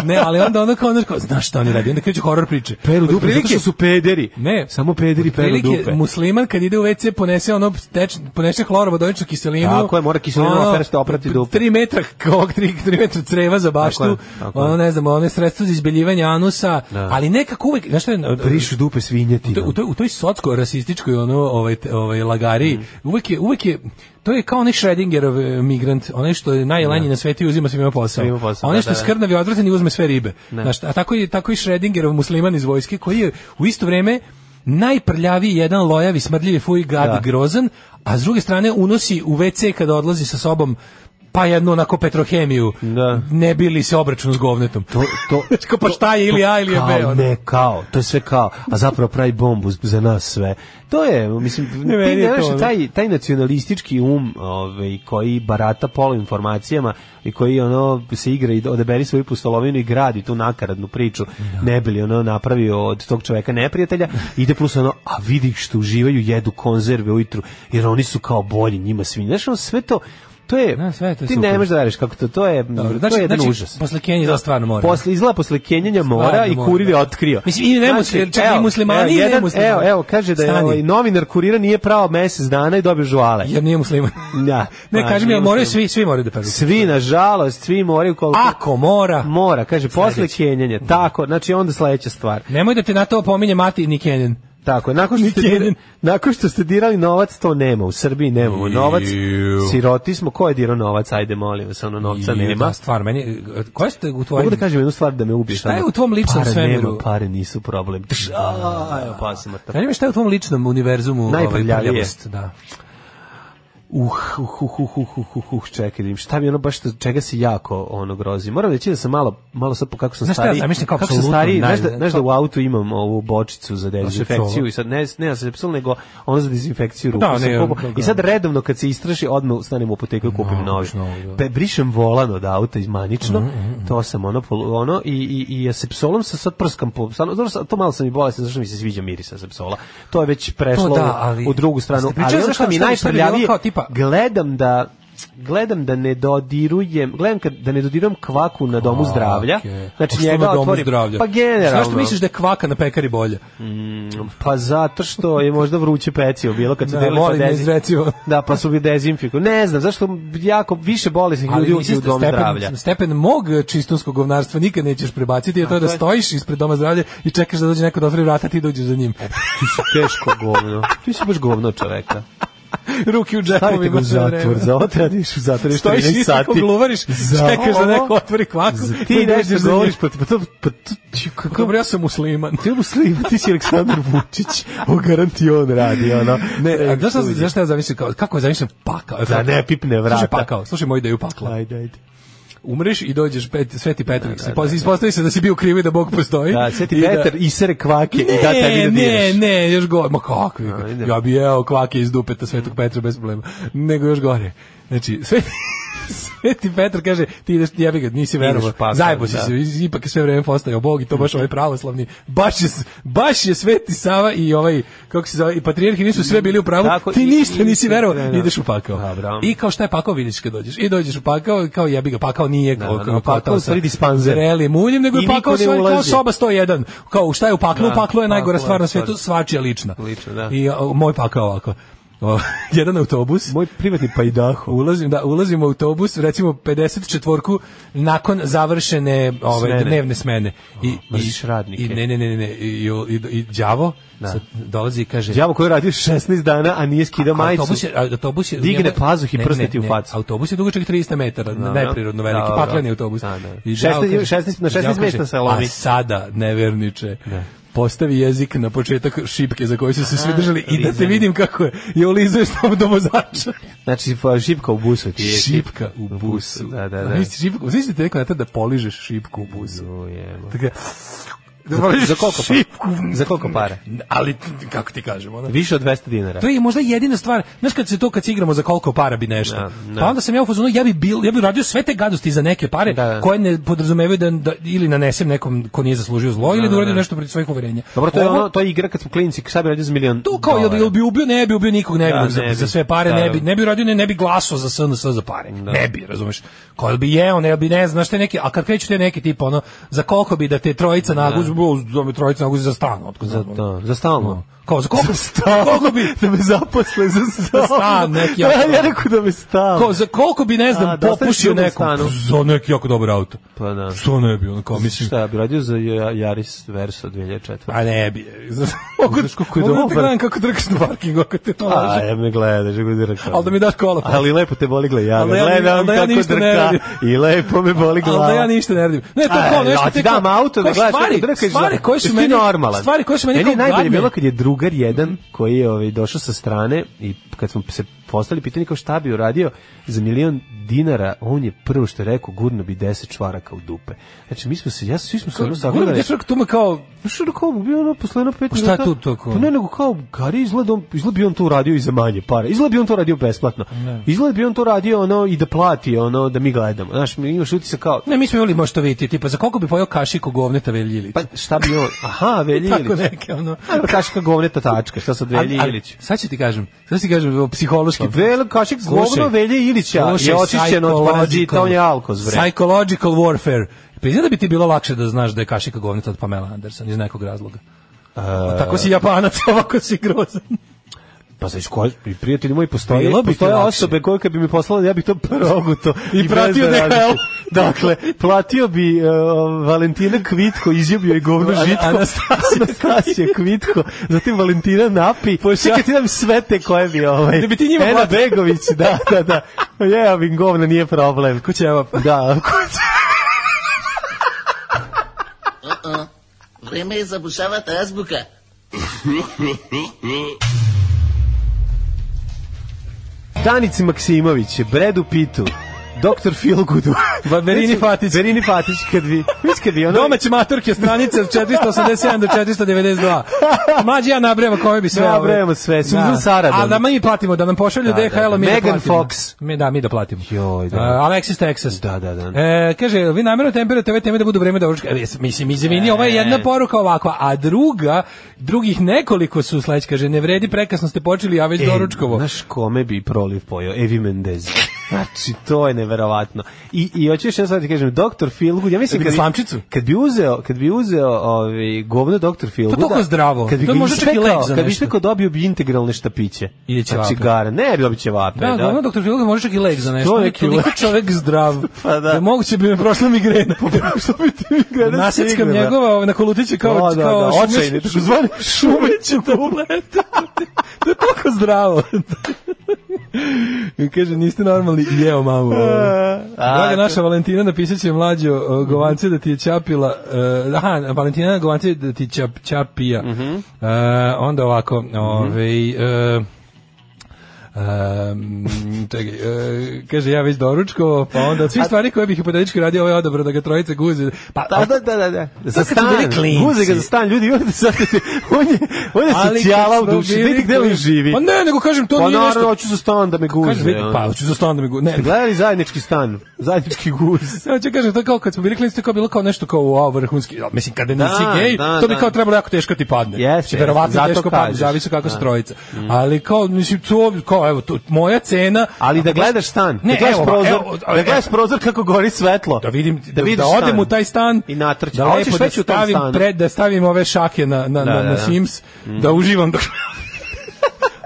Speaker 7: ne, ali onda ono kao, ono kao, znaš šta oni radi, onda kreću horor priče.
Speaker 8: Peru dupe,
Speaker 7: Otprilike-
Speaker 8: zato što su pederi.
Speaker 7: Ne.
Speaker 8: Samo pederi peru
Speaker 7: Otprilike,
Speaker 8: dupe.
Speaker 7: musliman kad ide u WC ponese ono teč, ponese hlorovodoničnu kiselinu.
Speaker 8: Tako je, mora kiselinu
Speaker 7: ono,
Speaker 8: opere što oprati dupe.
Speaker 7: 3 metra kog 3 3 metra creva za baštu.
Speaker 8: Tako je, tako je.
Speaker 7: ono ne znam, one sredstvo za izbeljivanje anusa,
Speaker 8: Da.
Speaker 7: ali nekako uvek, znaš šta je,
Speaker 8: Brišu dupe svinjeti.
Speaker 7: u toj, u toj, u toj socko rasističkoj ono ovaj te- ovaj lagari
Speaker 8: Mm.
Speaker 7: uvek je uvek je to je kao onaj Schrödingerov e, migrant, onaj što je najlanji na svetu i uzima svima posao.
Speaker 8: Svima
Speaker 7: A
Speaker 8: posao, da,
Speaker 7: onaj što je
Speaker 8: da, da.
Speaker 7: skrnav i odvratan i uzme sve ribe.
Speaker 8: Da.
Speaker 7: Znaš, a tako je tako i Schrödingerov musliman iz vojske koji je u isto vrijeme najprljaviji jedan lojavi smrdljivi fuj gad
Speaker 8: Da.
Speaker 7: grozan, a s druge strane unosi u WC kada odlazi sa sobom pa jednu onako petrohemiju.
Speaker 8: Da.
Speaker 7: Ne bili se obračun s govnetom.
Speaker 8: To, to,
Speaker 7: Kao, pa šta je ili A ili je B.
Speaker 8: Kao,
Speaker 7: ono.
Speaker 8: ne, kao, to je sve kao, a zapravo pravi bombu z- za nas sve. To je, mislim,
Speaker 7: Ne, meni
Speaker 8: ti
Speaker 7: je to,
Speaker 8: nemaš
Speaker 7: ono.
Speaker 8: taj, taj nacionalistički um ovaj, koji barata polu informacijama i koji ono se igra i odeberi svoju pustolovinu i gradi tu nakaradnu priču, ne bi li ono napravio od tog čoveka neprijatelja, ide plus ono, a vidi što uživaju, jedu konzerve ujutru, jer oni su kao bolji, njima svi, znaš, ono, sve to, to je,
Speaker 7: Da, sve je to
Speaker 8: ti
Speaker 7: super.
Speaker 8: ne možeš da veriš kako to, to je,
Speaker 7: Dobro,
Speaker 8: to
Speaker 7: znači-
Speaker 8: je jedan
Speaker 7: znači,
Speaker 8: užas.
Speaker 7: posle Kenije Pa da stvarno mora.
Speaker 8: Posle, izgleda posle Kenjanja mora
Speaker 7: Stvarno
Speaker 8: i
Speaker 7: mora,
Speaker 8: kurir je
Speaker 7: da.
Speaker 8: otkrio. Znači,
Speaker 7: Mislim, i ne musli- čak i muslimani i ne
Speaker 8: evo, jedan-
Speaker 7: muslimani.
Speaker 8: Evo, evo, kaže da je
Speaker 7: Stani.
Speaker 8: ovaj, novinar kurira nije prao mesec dana i dobio žuale.
Speaker 7: Jer nije musliman.
Speaker 8: Da.
Speaker 7: Ne,
Speaker 8: Pa,
Speaker 7: kaži mi,
Speaker 8: nije
Speaker 7: ali moraju
Speaker 8: musliman.
Speaker 7: svi, svi moraju da peru.
Speaker 8: Svi, nažalost, svi moraju koliko...
Speaker 7: Ako mora,
Speaker 8: Mora, kaže, posle Kenjanja, tako, znači onda sledeća stvar.
Speaker 7: nemoj da te na to pominje mati ni Kenjen.
Speaker 8: Tako, je, nakon što, ste,
Speaker 7: Kenjan.
Speaker 8: dira- nakon što ste dirali novac, to nema, u Srbiji nemamo novac, siroti smo, ko je dirao novac, ajde molim vas, ono novca
Speaker 7: I,
Speaker 8: nema.
Speaker 7: Da, stvar, meni, koja ste u tvojim...
Speaker 8: Mogu da kažem jednu stvar da me ubiješ.
Speaker 7: Šta je
Speaker 8: ono,
Speaker 7: u tvom ličnom
Speaker 8: pare
Speaker 7: svemiru?
Speaker 8: Nema, pare nisu problem. Tš, a, evo, pa sam mrtav.
Speaker 7: Zanima me šta je u tvom ličnom univerzumu ovaj,
Speaker 8: Najprljavije.
Speaker 7: prljavost, Da.
Speaker 8: Uh, uh, uh, uh, uh, uh, uh, uh, čekaj, da vidim, šta mi ono baš što- čega se jako ono grozi. Moram reći da sam malo, malo sad po kako sam
Speaker 7: Znaš šta ja
Speaker 8: stariji.
Speaker 7: zamišljam kao
Speaker 8: kako sam
Speaker 7: apsolutno
Speaker 8: stariji, znaš da,
Speaker 7: naj-
Speaker 8: znaš da u autu imam ovu bočicu za
Speaker 7: sepsolu.
Speaker 8: dezinfekciju i sad ne, ne za sepsol, nego ono za dezinfekciju ruku.
Speaker 7: Da,
Speaker 8: sam
Speaker 7: ne,
Speaker 8: kupao.
Speaker 7: da, da.
Speaker 8: I sad redovno kad se istraši, odmah stanem u apoteku i kupim
Speaker 7: No,
Speaker 8: nož.
Speaker 7: novi, Mhm, da.
Speaker 8: Pe, brišem volan od auta izmanično, to sam ono, pol- ono i, i, i sepsolom se sad prskam po... Stvarno, dobro, sad- to malo sam i bolestan, zašto mi se sviđa mirisa sepsola. To je već prešlo
Speaker 7: da, ali-
Speaker 8: E, u drugu stranu.
Speaker 7: Jeste pričali
Speaker 8: Ali ono
Speaker 7: za
Speaker 8: što
Speaker 7: šta-
Speaker 8: mi je
Speaker 7: šta bi- šta bi bilo
Speaker 8: najprljavije,
Speaker 7: kao tipa-
Speaker 8: gledam da gledam da ne dodirujem, gledam kad, da ne dodirujem kvaku na domu zdravlja.
Speaker 7: Okej.
Speaker 8: Znači
Speaker 7: A što na
Speaker 8: njega
Speaker 7: domu
Speaker 8: otvorim.
Speaker 7: zdravlja?
Speaker 8: Pa generalno.
Speaker 7: Zašto misliš da je kvaka na pekari bolja?
Speaker 8: Pa zato što je možda vruće pecivo bilo kad su
Speaker 7: Da,
Speaker 8: delili
Speaker 7: molim,
Speaker 8: pa dezin-
Speaker 7: izrecivo.
Speaker 8: Da, pa su bi dezinfiku. Ne znam, zašto jako više bolesnih ljudi
Speaker 7: mislim,
Speaker 8: uđe u dom
Speaker 7: stepen,
Speaker 8: zdravlja.
Speaker 7: stepen mog čistunskog govnarstva nikad nećeš prebaciti, jer to je da
Speaker 8: to je-
Speaker 7: stojiš ispred doma zdravlja i čekaš da dođe neko da otvori vrata, ti dođeš za njim.
Speaker 8: Ti si teško govno. Ti si baš govno čoveka.
Speaker 7: Ruki u
Speaker 8: Stavite ga
Speaker 7: džepovima.
Speaker 8: u
Speaker 7: sve vreme.
Speaker 8: zatvor, za ovo treba da ideš u zatvor još
Speaker 7: Stojiš
Speaker 8: 13
Speaker 7: isto
Speaker 8: sati.
Speaker 7: ko gluvariš,
Speaker 8: Za
Speaker 7: čekaš da
Speaker 8: ovo-
Speaker 7: neko otvori kvaku,
Speaker 8: Za-
Speaker 7: pa
Speaker 8: Ti
Speaker 7: dođeš
Speaker 8: nešto
Speaker 7: za njim.
Speaker 8: govoriš, pa, pa, to- pa, to- ti- kako-
Speaker 7: Dobro, ja sam musliman.
Speaker 8: Ti je musliman, ti si Aleksandar Vučić, o garanti on radi, ono.
Speaker 7: Ne, a znaš šta- znaš šta ja zamišljam kao, kako zamišljam pakao? E, pa-
Speaker 8: Da ne pipne vrata.
Speaker 7: Slušaj pakao, slušaj moju ideju pakla.
Speaker 8: Ajde, ajde.
Speaker 7: Umreš i dođeš pet, Sveti Petrik, se poz- ispostavi se da si bio krivi da Bog postoji.
Speaker 8: Da, Sveti
Speaker 7: i da-
Speaker 8: Petar isere kvake i da tebi
Speaker 7: Ne, ne,
Speaker 8: da diraš.
Speaker 7: ne, još gore. Ma kakvi?
Speaker 8: Ajde.
Speaker 7: Ja bi jeo kvake iz dupeta Svetog Petra bez problema. Nego još gore. Znači, Sveti, Sveti Petar kaže, ti ideš, jebi ga, nisi verovo.
Speaker 8: pakao,
Speaker 7: Zajebo si
Speaker 8: da.
Speaker 7: se, iz- ipak je sve vreme postao Bog i to baš ovaj pravoslavni. Baš je, s- baš je Sveti Sava i ovaj, kako se zove, i patrijarhi nisu sve bili u pravu,
Speaker 8: Tako,
Speaker 7: ti
Speaker 8: i-
Speaker 7: ništa
Speaker 8: i-
Speaker 7: nisi verovo,
Speaker 8: da, da.
Speaker 7: ideš u pakao.
Speaker 8: Da, bravo.
Speaker 7: I kao šta je pakao, vidiš kad dođeš. I dođeš u pakao, i kao jebi ga, pakao nije
Speaker 8: Da,
Speaker 7: kao,
Speaker 8: da,
Speaker 7: kao,
Speaker 8: pakao u stvari dispanzer.
Speaker 7: zrelim uljem, nego
Speaker 8: I
Speaker 7: je
Speaker 8: niko
Speaker 7: pakao
Speaker 8: ne
Speaker 7: svoj, kao
Speaker 8: ulazi.
Speaker 7: soba pa 101. Kao šta je u paklu?
Speaker 8: Da,
Speaker 7: paklo je najgora
Speaker 8: paklo je
Speaker 7: stvar na
Speaker 8: stvar.
Speaker 7: svetu, svačija lična.
Speaker 8: Lična, da.
Speaker 7: I a, moj pakao ovako. O, jedan autobus.
Speaker 8: Moj privatni pajdaho.
Speaker 7: Ulazim, da, ulazim u autobus, recimo 54-ku, nakon završene ove,
Speaker 8: Smene.
Speaker 7: dnevne smene. I,
Speaker 8: mrziš radnike.
Speaker 7: I, ne, ne, ne, ne, ne, i, i, i đavo
Speaker 8: Da.
Speaker 7: sad dolazi i kaže...
Speaker 8: Đavo koji je radio 16 dana, a nije skidao
Speaker 7: A
Speaker 8: majicu.
Speaker 7: Autobus je, a autobus je
Speaker 8: Digne
Speaker 7: njegov-
Speaker 8: pazuh i
Speaker 7: ne,
Speaker 8: prsne
Speaker 7: ne,
Speaker 8: ti u
Speaker 7: ne,
Speaker 8: facu.
Speaker 7: Autobus je dugačak 300 metara,
Speaker 8: Da,
Speaker 7: neprirodno veliki,
Speaker 8: da, da.
Speaker 7: pakleni autobus.
Speaker 8: Da, da.
Speaker 7: I đavo
Speaker 8: 16
Speaker 7: kaže-
Speaker 8: 16 na 16
Speaker 7: đavo kaže,
Speaker 8: mesta se lomi.
Speaker 7: A sada, neverniče, postavi jezik na početak šipke za koju su se svi držali i da te
Speaker 8: lizanje.
Speaker 7: vidim kako je. I olizuješ tamo do vozača.
Speaker 8: Znači, fa- šipka u busu ti je.
Speaker 7: Šipka u busu.
Speaker 8: Da, da, da.
Speaker 7: Zamisli šipku, zamisli ti neko na to da poližeš šipku u busu.
Speaker 8: Ujebo.
Speaker 7: Tako,
Speaker 8: za koliko para?
Speaker 7: šipku.
Speaker 8: Za koliko para?
Speaker 7: Ali, kako ti kažem, ono?
Speaker 8: Više od 200 dinara.
Speaker 7: To je možda jedina stvar. Znaš kad se to kad se igramo za koliko para bi nešto. Pa onda sam ja u fazonu ja bi bil, ja bi radio sve te gadosti za neke pare
Speaker 8: da.
Speaker 7: koje ne podrazumevaju da, da ili nanesem nekom ko nije zaslužio zlo ili da
Speaker 8: da,
Speaker 7: uradim
Speaker 8: da.
Speaker 7: nešto protiv svojih uverenja.
Speaker 8: Dobro, to je
Speaker 7: Ovo-
Speaker 8: ono, to je igra kad smo klinici, sad bi radio za milion
Speaker 7: tu kao jel bi, jel bi ubio, ne bi ubio nikog nevinog
Speaker 8: Da, ne
Speaker 7: za,
Speaker 8: bi.
Speaker 7: za sve pare,
Speaker 8: Da,
Speaker 7: ne
Speaker 8: da.
Speaker 7: bi, ne bi radio, ne, ne bi glaso za SNS za pare. Ne bi, razumeš. Kao jel bi jeo, ne jel bi ne znam, znaš te neki, a kad kreću te neki tipa, ono, za koliko bi da te trojica naguzi, da me trojica naguzi za stan, otkud ono. za,
Speaker 8: Da, za stalno.
Speaker 7: Kao za koliko,
Speaker 8: stan.
Speaker 7: koliko bi
Speaker 8: Da me zaposle za stan.
Speaker 7: stan neki,
Speaker 8: ja,
Speaker 7: ono.
Speaker 8: ja rekao da me stan.
Speaker 7: Ko, za koliko bi, ne znam,
Speaker 8: A, da ostaneš
Speaker 7: popušio
Speaker 8: u drugom
Speaker 7: nekom.
Speaker 8: stanu.
Speaker 7: Za neki jako dobar auto.
Speaker 8: Pa da.
Speaker 7: Što ne bi, ono kao, mislim,
Speaker 8: Šta bi radio za Ja- Yaris Verso 2004?
Speaker 7: a ne bi. Mogu,
Speaker 8: Znaš kako je
Speaker 7: mogu da te
Speaker 8: dobar?
Speaker 7: gledam kako trkaš na parkingu, ako te to
Speaker 8: A,
Speaker 7: laže.
Speaker 8: ja me gledaš, ja gledam rekao.
Speaker 7: Ali da mi daš kola. pa.
Speaker 8: Ali lepo te boli gleda. Ja
Speaker 7: Ali
Speaker 8: ga
Speaker 7: ja ni-
Speaker 8: gledam
Speaker 7: ali ja
Speaker 8: kako
Speaker 7: ništa ne
Speaker 8: drka
Speaker 7: radim.
Speaker 8: i lepo me boli glava.
Speaker 7: Ali da ja ništa ne radim. Ne, to
Speaker 8: A,
Speaker 7: kao nešto
Speaker 8: ja
Speaker 7: te
Speaker 8: ti
Speaker 7: kao-
Speaker 8: dam auto da
Speaker 7: kao
Speaker 8: gledaš
Speaker 7: stvari-
Speaker 8: kako drkaš. ono,
Speaker 7: Stvari koje su
Speaker 8: Jesi ti
Speaker 7: meni
Speaker 8: normalan.
Speaker 7: Stvari koje su meni
Speaker 8: Meni
Speaker 7: kao
Speaker 8: je najbolje
Speaker 7: gadne.
Speaker 8: bilo kad je drugar jedan koji je ovaj došao sa strane i kad smo se postali pitanje kao šta bi uradio za milion dinara, on je prvo što je rekao gurno bi 10 čvaraka u dupe. Znači mi smo se ja svi smo se ono
Speaker 7: Gledam
Speaker 8: sagledali.
Speaker 7: gde čovjek tu me kao
Speaker 8: Što da kao bio ono posle jedno pet
Speaker 7: Pa šta
Speaker 8: minuta-
Speaker 7: tu to kao?
Speaker 8: Pa ne nego kao Gari izgleda on izgleda bi on to radio i za manje pare. Izgleda bi on to radio besplatno. Izgleda bi on to radio ono i da plati ono da mi gledamo. Znaš, mi imaš utisak kao
Speaker 7: Ne, mi smo imali možda vidjeti, tipa, za koliko bi pojao kašiku govneta veljilić?
Speaker 8: pa šta bi on? Aha, Velji
Speaker 7: Tako
Speaker 8: Ilić.
Speaker 7: neke, ono.
Speaker 8: Ajmo, Kašika govneta tačka, šta sad Pa, Velji
Speaker 7: Ali- ali,
Speaker 8: Ilić?
Speaker 7: Sad ću ti kažem, sad ću ti kažem, evo, psihološki.
Speaker 8: Vel, kašik govno
Speaker 7: Slušaj,
Speaker 8: Velje Ilića
Speaker 7: slušaj,
Speaker 8: je očišćen od
Speaker 7: psychological-
Speaker 8: parazita, on je alkoz, bre.
Speaker 7: Psychological warfare. Pa izgleda da bi ti bilo lakše da znaš da je kašika govneta od Pamela Anderson iz nekog razloga.
Speaker 8: E,
Speaker 7: Tako si japanac, ovako si grozan.
Speaker 8: Pa znači, ko, i prijatelji moji postoje,
Speaker 7: Bilo bi ti
Speaker 8: postoje
Speaker 7: lakše.
Speaker 8: osobe koje kad bi mi poslali, ja bi to proguto i,
Speaker 7: I pratio
Speaker 8: bez
Speaker 7: DHL.
Speaker 8: razlike. Dakle, platio bi uh, Valentina Kvitko, izjubio je govno
Speaker 7: Ana-
Speaker 8: žitko,
Speaker 7: Anastasija.
Speaker 8: Anastasija Kvitko, zatim Valentina Napi, čekaj ti dam sve te koje bi ovaj,
Speaker 7: Da bi ti njima
Speaker 8: Ena
Speaker 7: platio.
Speaker 8: Begović, da, da, da, ja bi govno, nije problem.
Speaker 7: Kućevap.
Speaker 8: Da,
Speaker 15: Vreme je zabušavati azbuka.
Speaker 8: Danici Maksimović, Bredu Pitu, Dr. Feelgoodu.
Speaker 7: Ba- Verini Fatić.
Speaker 8: Verini Fatić, kad bi, već kad bi ono...
Speaker 7: Domaće maturke stranice od 487 do 492. Mlađi ja nabrajamo koje bi sve...
Speaker 8: Ja
Speaker 7: ove-
Speaker 8: nabrajamo sve, ovaj- Susan Sarandon.
Speaker 7: A da mi platimo, da nam pošalju
Speaker 8: Da, da,
Speaker 7: DHL,
Speaker 8: da.
Speaker 7: mi da
Speaker 8: Megan
Speaker 7: platimo.
Speaker 8: Fox.
Speaker 7: Mi, da, mi da platimo.
Speaker 8: Joj, da.
Speaker 7: Uh, Alexis Texas.
Speaker 8: Da, da, da.
Speaker 7: E, kaže, vi namjerno temperate ove teme da budu vreme doručka. E, mislim, izvini, ova je jedna poruka ovako, a druga, drugih nekoliko su sleć, kaže, ne vredi, prekasno ste počeli, a već doručkovo.
Speaker 8: E, Znaš kome bi proliv pojao? Evi Mendez. Znači, to je neverovatno. I, i hoću još jedno sad ti kažem, Dr. Feelgood, ja mislim...
Speaker 7: Bi ga
Speaker 8: kad bi-
Speaker 7: slamčicu?
Speaker 8: Kad bi uzeo, kad bi uzeo ovaj, govno Dr. Feelgooda...
Speaker 7: toliko zdravo.
Speaker 8: Kad bi
Speaker 7: To
Speaker 8: ga
Speaker 7: je možda čak i
Speaker 8: ispekao,
Speaker 7: lek za
Speaker 8: Kad bi
Speaker 7: nešto.
Speaker 8: ispekao dobio bi integralne štapiće.
Speaker 7: Ili
Speaker 8: Znači,
Speaker 7: ćevape.
Speaker 8: gara. Ne, dobio će vape.
Speaker 7: Da, da, doktor Filoga može čak i lek za nešto.
Speaker 8: Sto
Speaker 7: On je
Speaker 8: neki
Speaker 7: toliko
Speaker 8: lek.
Speaker 7: čovek zdrav.
Speaker 8: Pa da.
Speaker 7: da moguće bi me prošla migrena.
Speaker 8: Što bi ti mi gleda
Speaker 7: Naseckam njegova ovaj, na kolutiće kao
Speaker 8: Da, da,
Speaker 7: kao
Speaker 8: da,
Speaker 7: šume-
Speaker 8: očajni, takozvani
Speaker 7: šumeću tableta. to je toliko zdravo. I Kaže, niste normalni, jeo mamu. Draga naša Valentina, napisat će mlađo o, Govance da ti je čapila, e, aha, Valentina Govance da ti čap, čapija.
Speaker 8: Mhm.
Speaker 7: E, onda ovako, ovaj, e, Um, čekaj, e, kaže ja već doručko, pa onda od svih stvari koje bih hipotetički radio, ovo je odabrao da ga trojice guzi. Pa,
Speaker 8: Da, da, da, da, da. Za
Speaker 7: kad su
Speaker 8: stan,
Speaker 7: bili klinci.
Speaker 8: guze ga za stan, ljudi, on je, sad- on je, on je
Speaker 7: Ali
Speaker 8: socijala
Speaker 7: kad
Speaker 8: u
Speaker 7: smo
Speaker 8: duši,
Speaker 7: bili
Speaker 8: vidi gde on
Speaker 7: klinci-
Speaker 8: živi.
Speaker 7: Pa ne, nego kažem, to
Speaker 8: Pa
Speaker 7: nije
Speaker 8: naravno,
Speaker 7: nešto...
Speaker 8: hoću za stan da me guze.
Speaker 7: Kažem, vidi,
Speaker 8: ono.
Speaker 7: pa hoću za stan da mi guzi.
Speaker 8: Ste
Speaker 7: Ne,
Speaker 8: gledali zajednički stan, zajednički guz.
Speaker 7: Samo ću kažem, to je kao kad smo bili klinci, to je kao bilo kao nešto kao wow, vrhunski, a, mislim, kada nisi
Speaker 8: Da,
Speaker 7: gej,
Speaker 8: da,
Speaker 7: to bi
Speaker 8: da.
Speaker 7: kao trebalo jako teško ti padne.
Speaker 8: Jeste,
Speaker 7: Znači, verovatno
Speaker 8: zato
Speaker 7: teško padne,
Speaker 8: kažeš.
Speaker 7: zavisi kako
Speaker 8: Da. Mm.
Speaker 7: se trojica. Ali kao, mislim, to, kao, evo, to, moja cena...
Speaker 8: Ali da gledaš stan,
Speaker 7: Ne,
Speaker 8: da gledaš
Speaker 7: evo,
Speaker 8: prozor,
Speaker 7: evo,
Speaker 8: da gledaš prozor kako gori svetlo.
Speaker 7: da vidim da,
Speaker 8: vidiš
Speaker 7: da
Speaker 8: stan.
Speaker 7: odem u taj stan
Speaker 8: I natrčim.
Speaker 7: da
Speaker 8: A
Speaker 7: lepo
Speaker 8: hoćeš
Speaker 7: da
Speaker 8: već u tom
Speaker 7: stavim
Speaker 8: stanu.
Speaker 7: pred da stavim ove šake na na
Speaker 8: Da,
Speaker 7: na,
Speaker 8: da, Mm.
Speaker 7: na
Speaker 8: da.
Speaker 7: Sims da uživam dok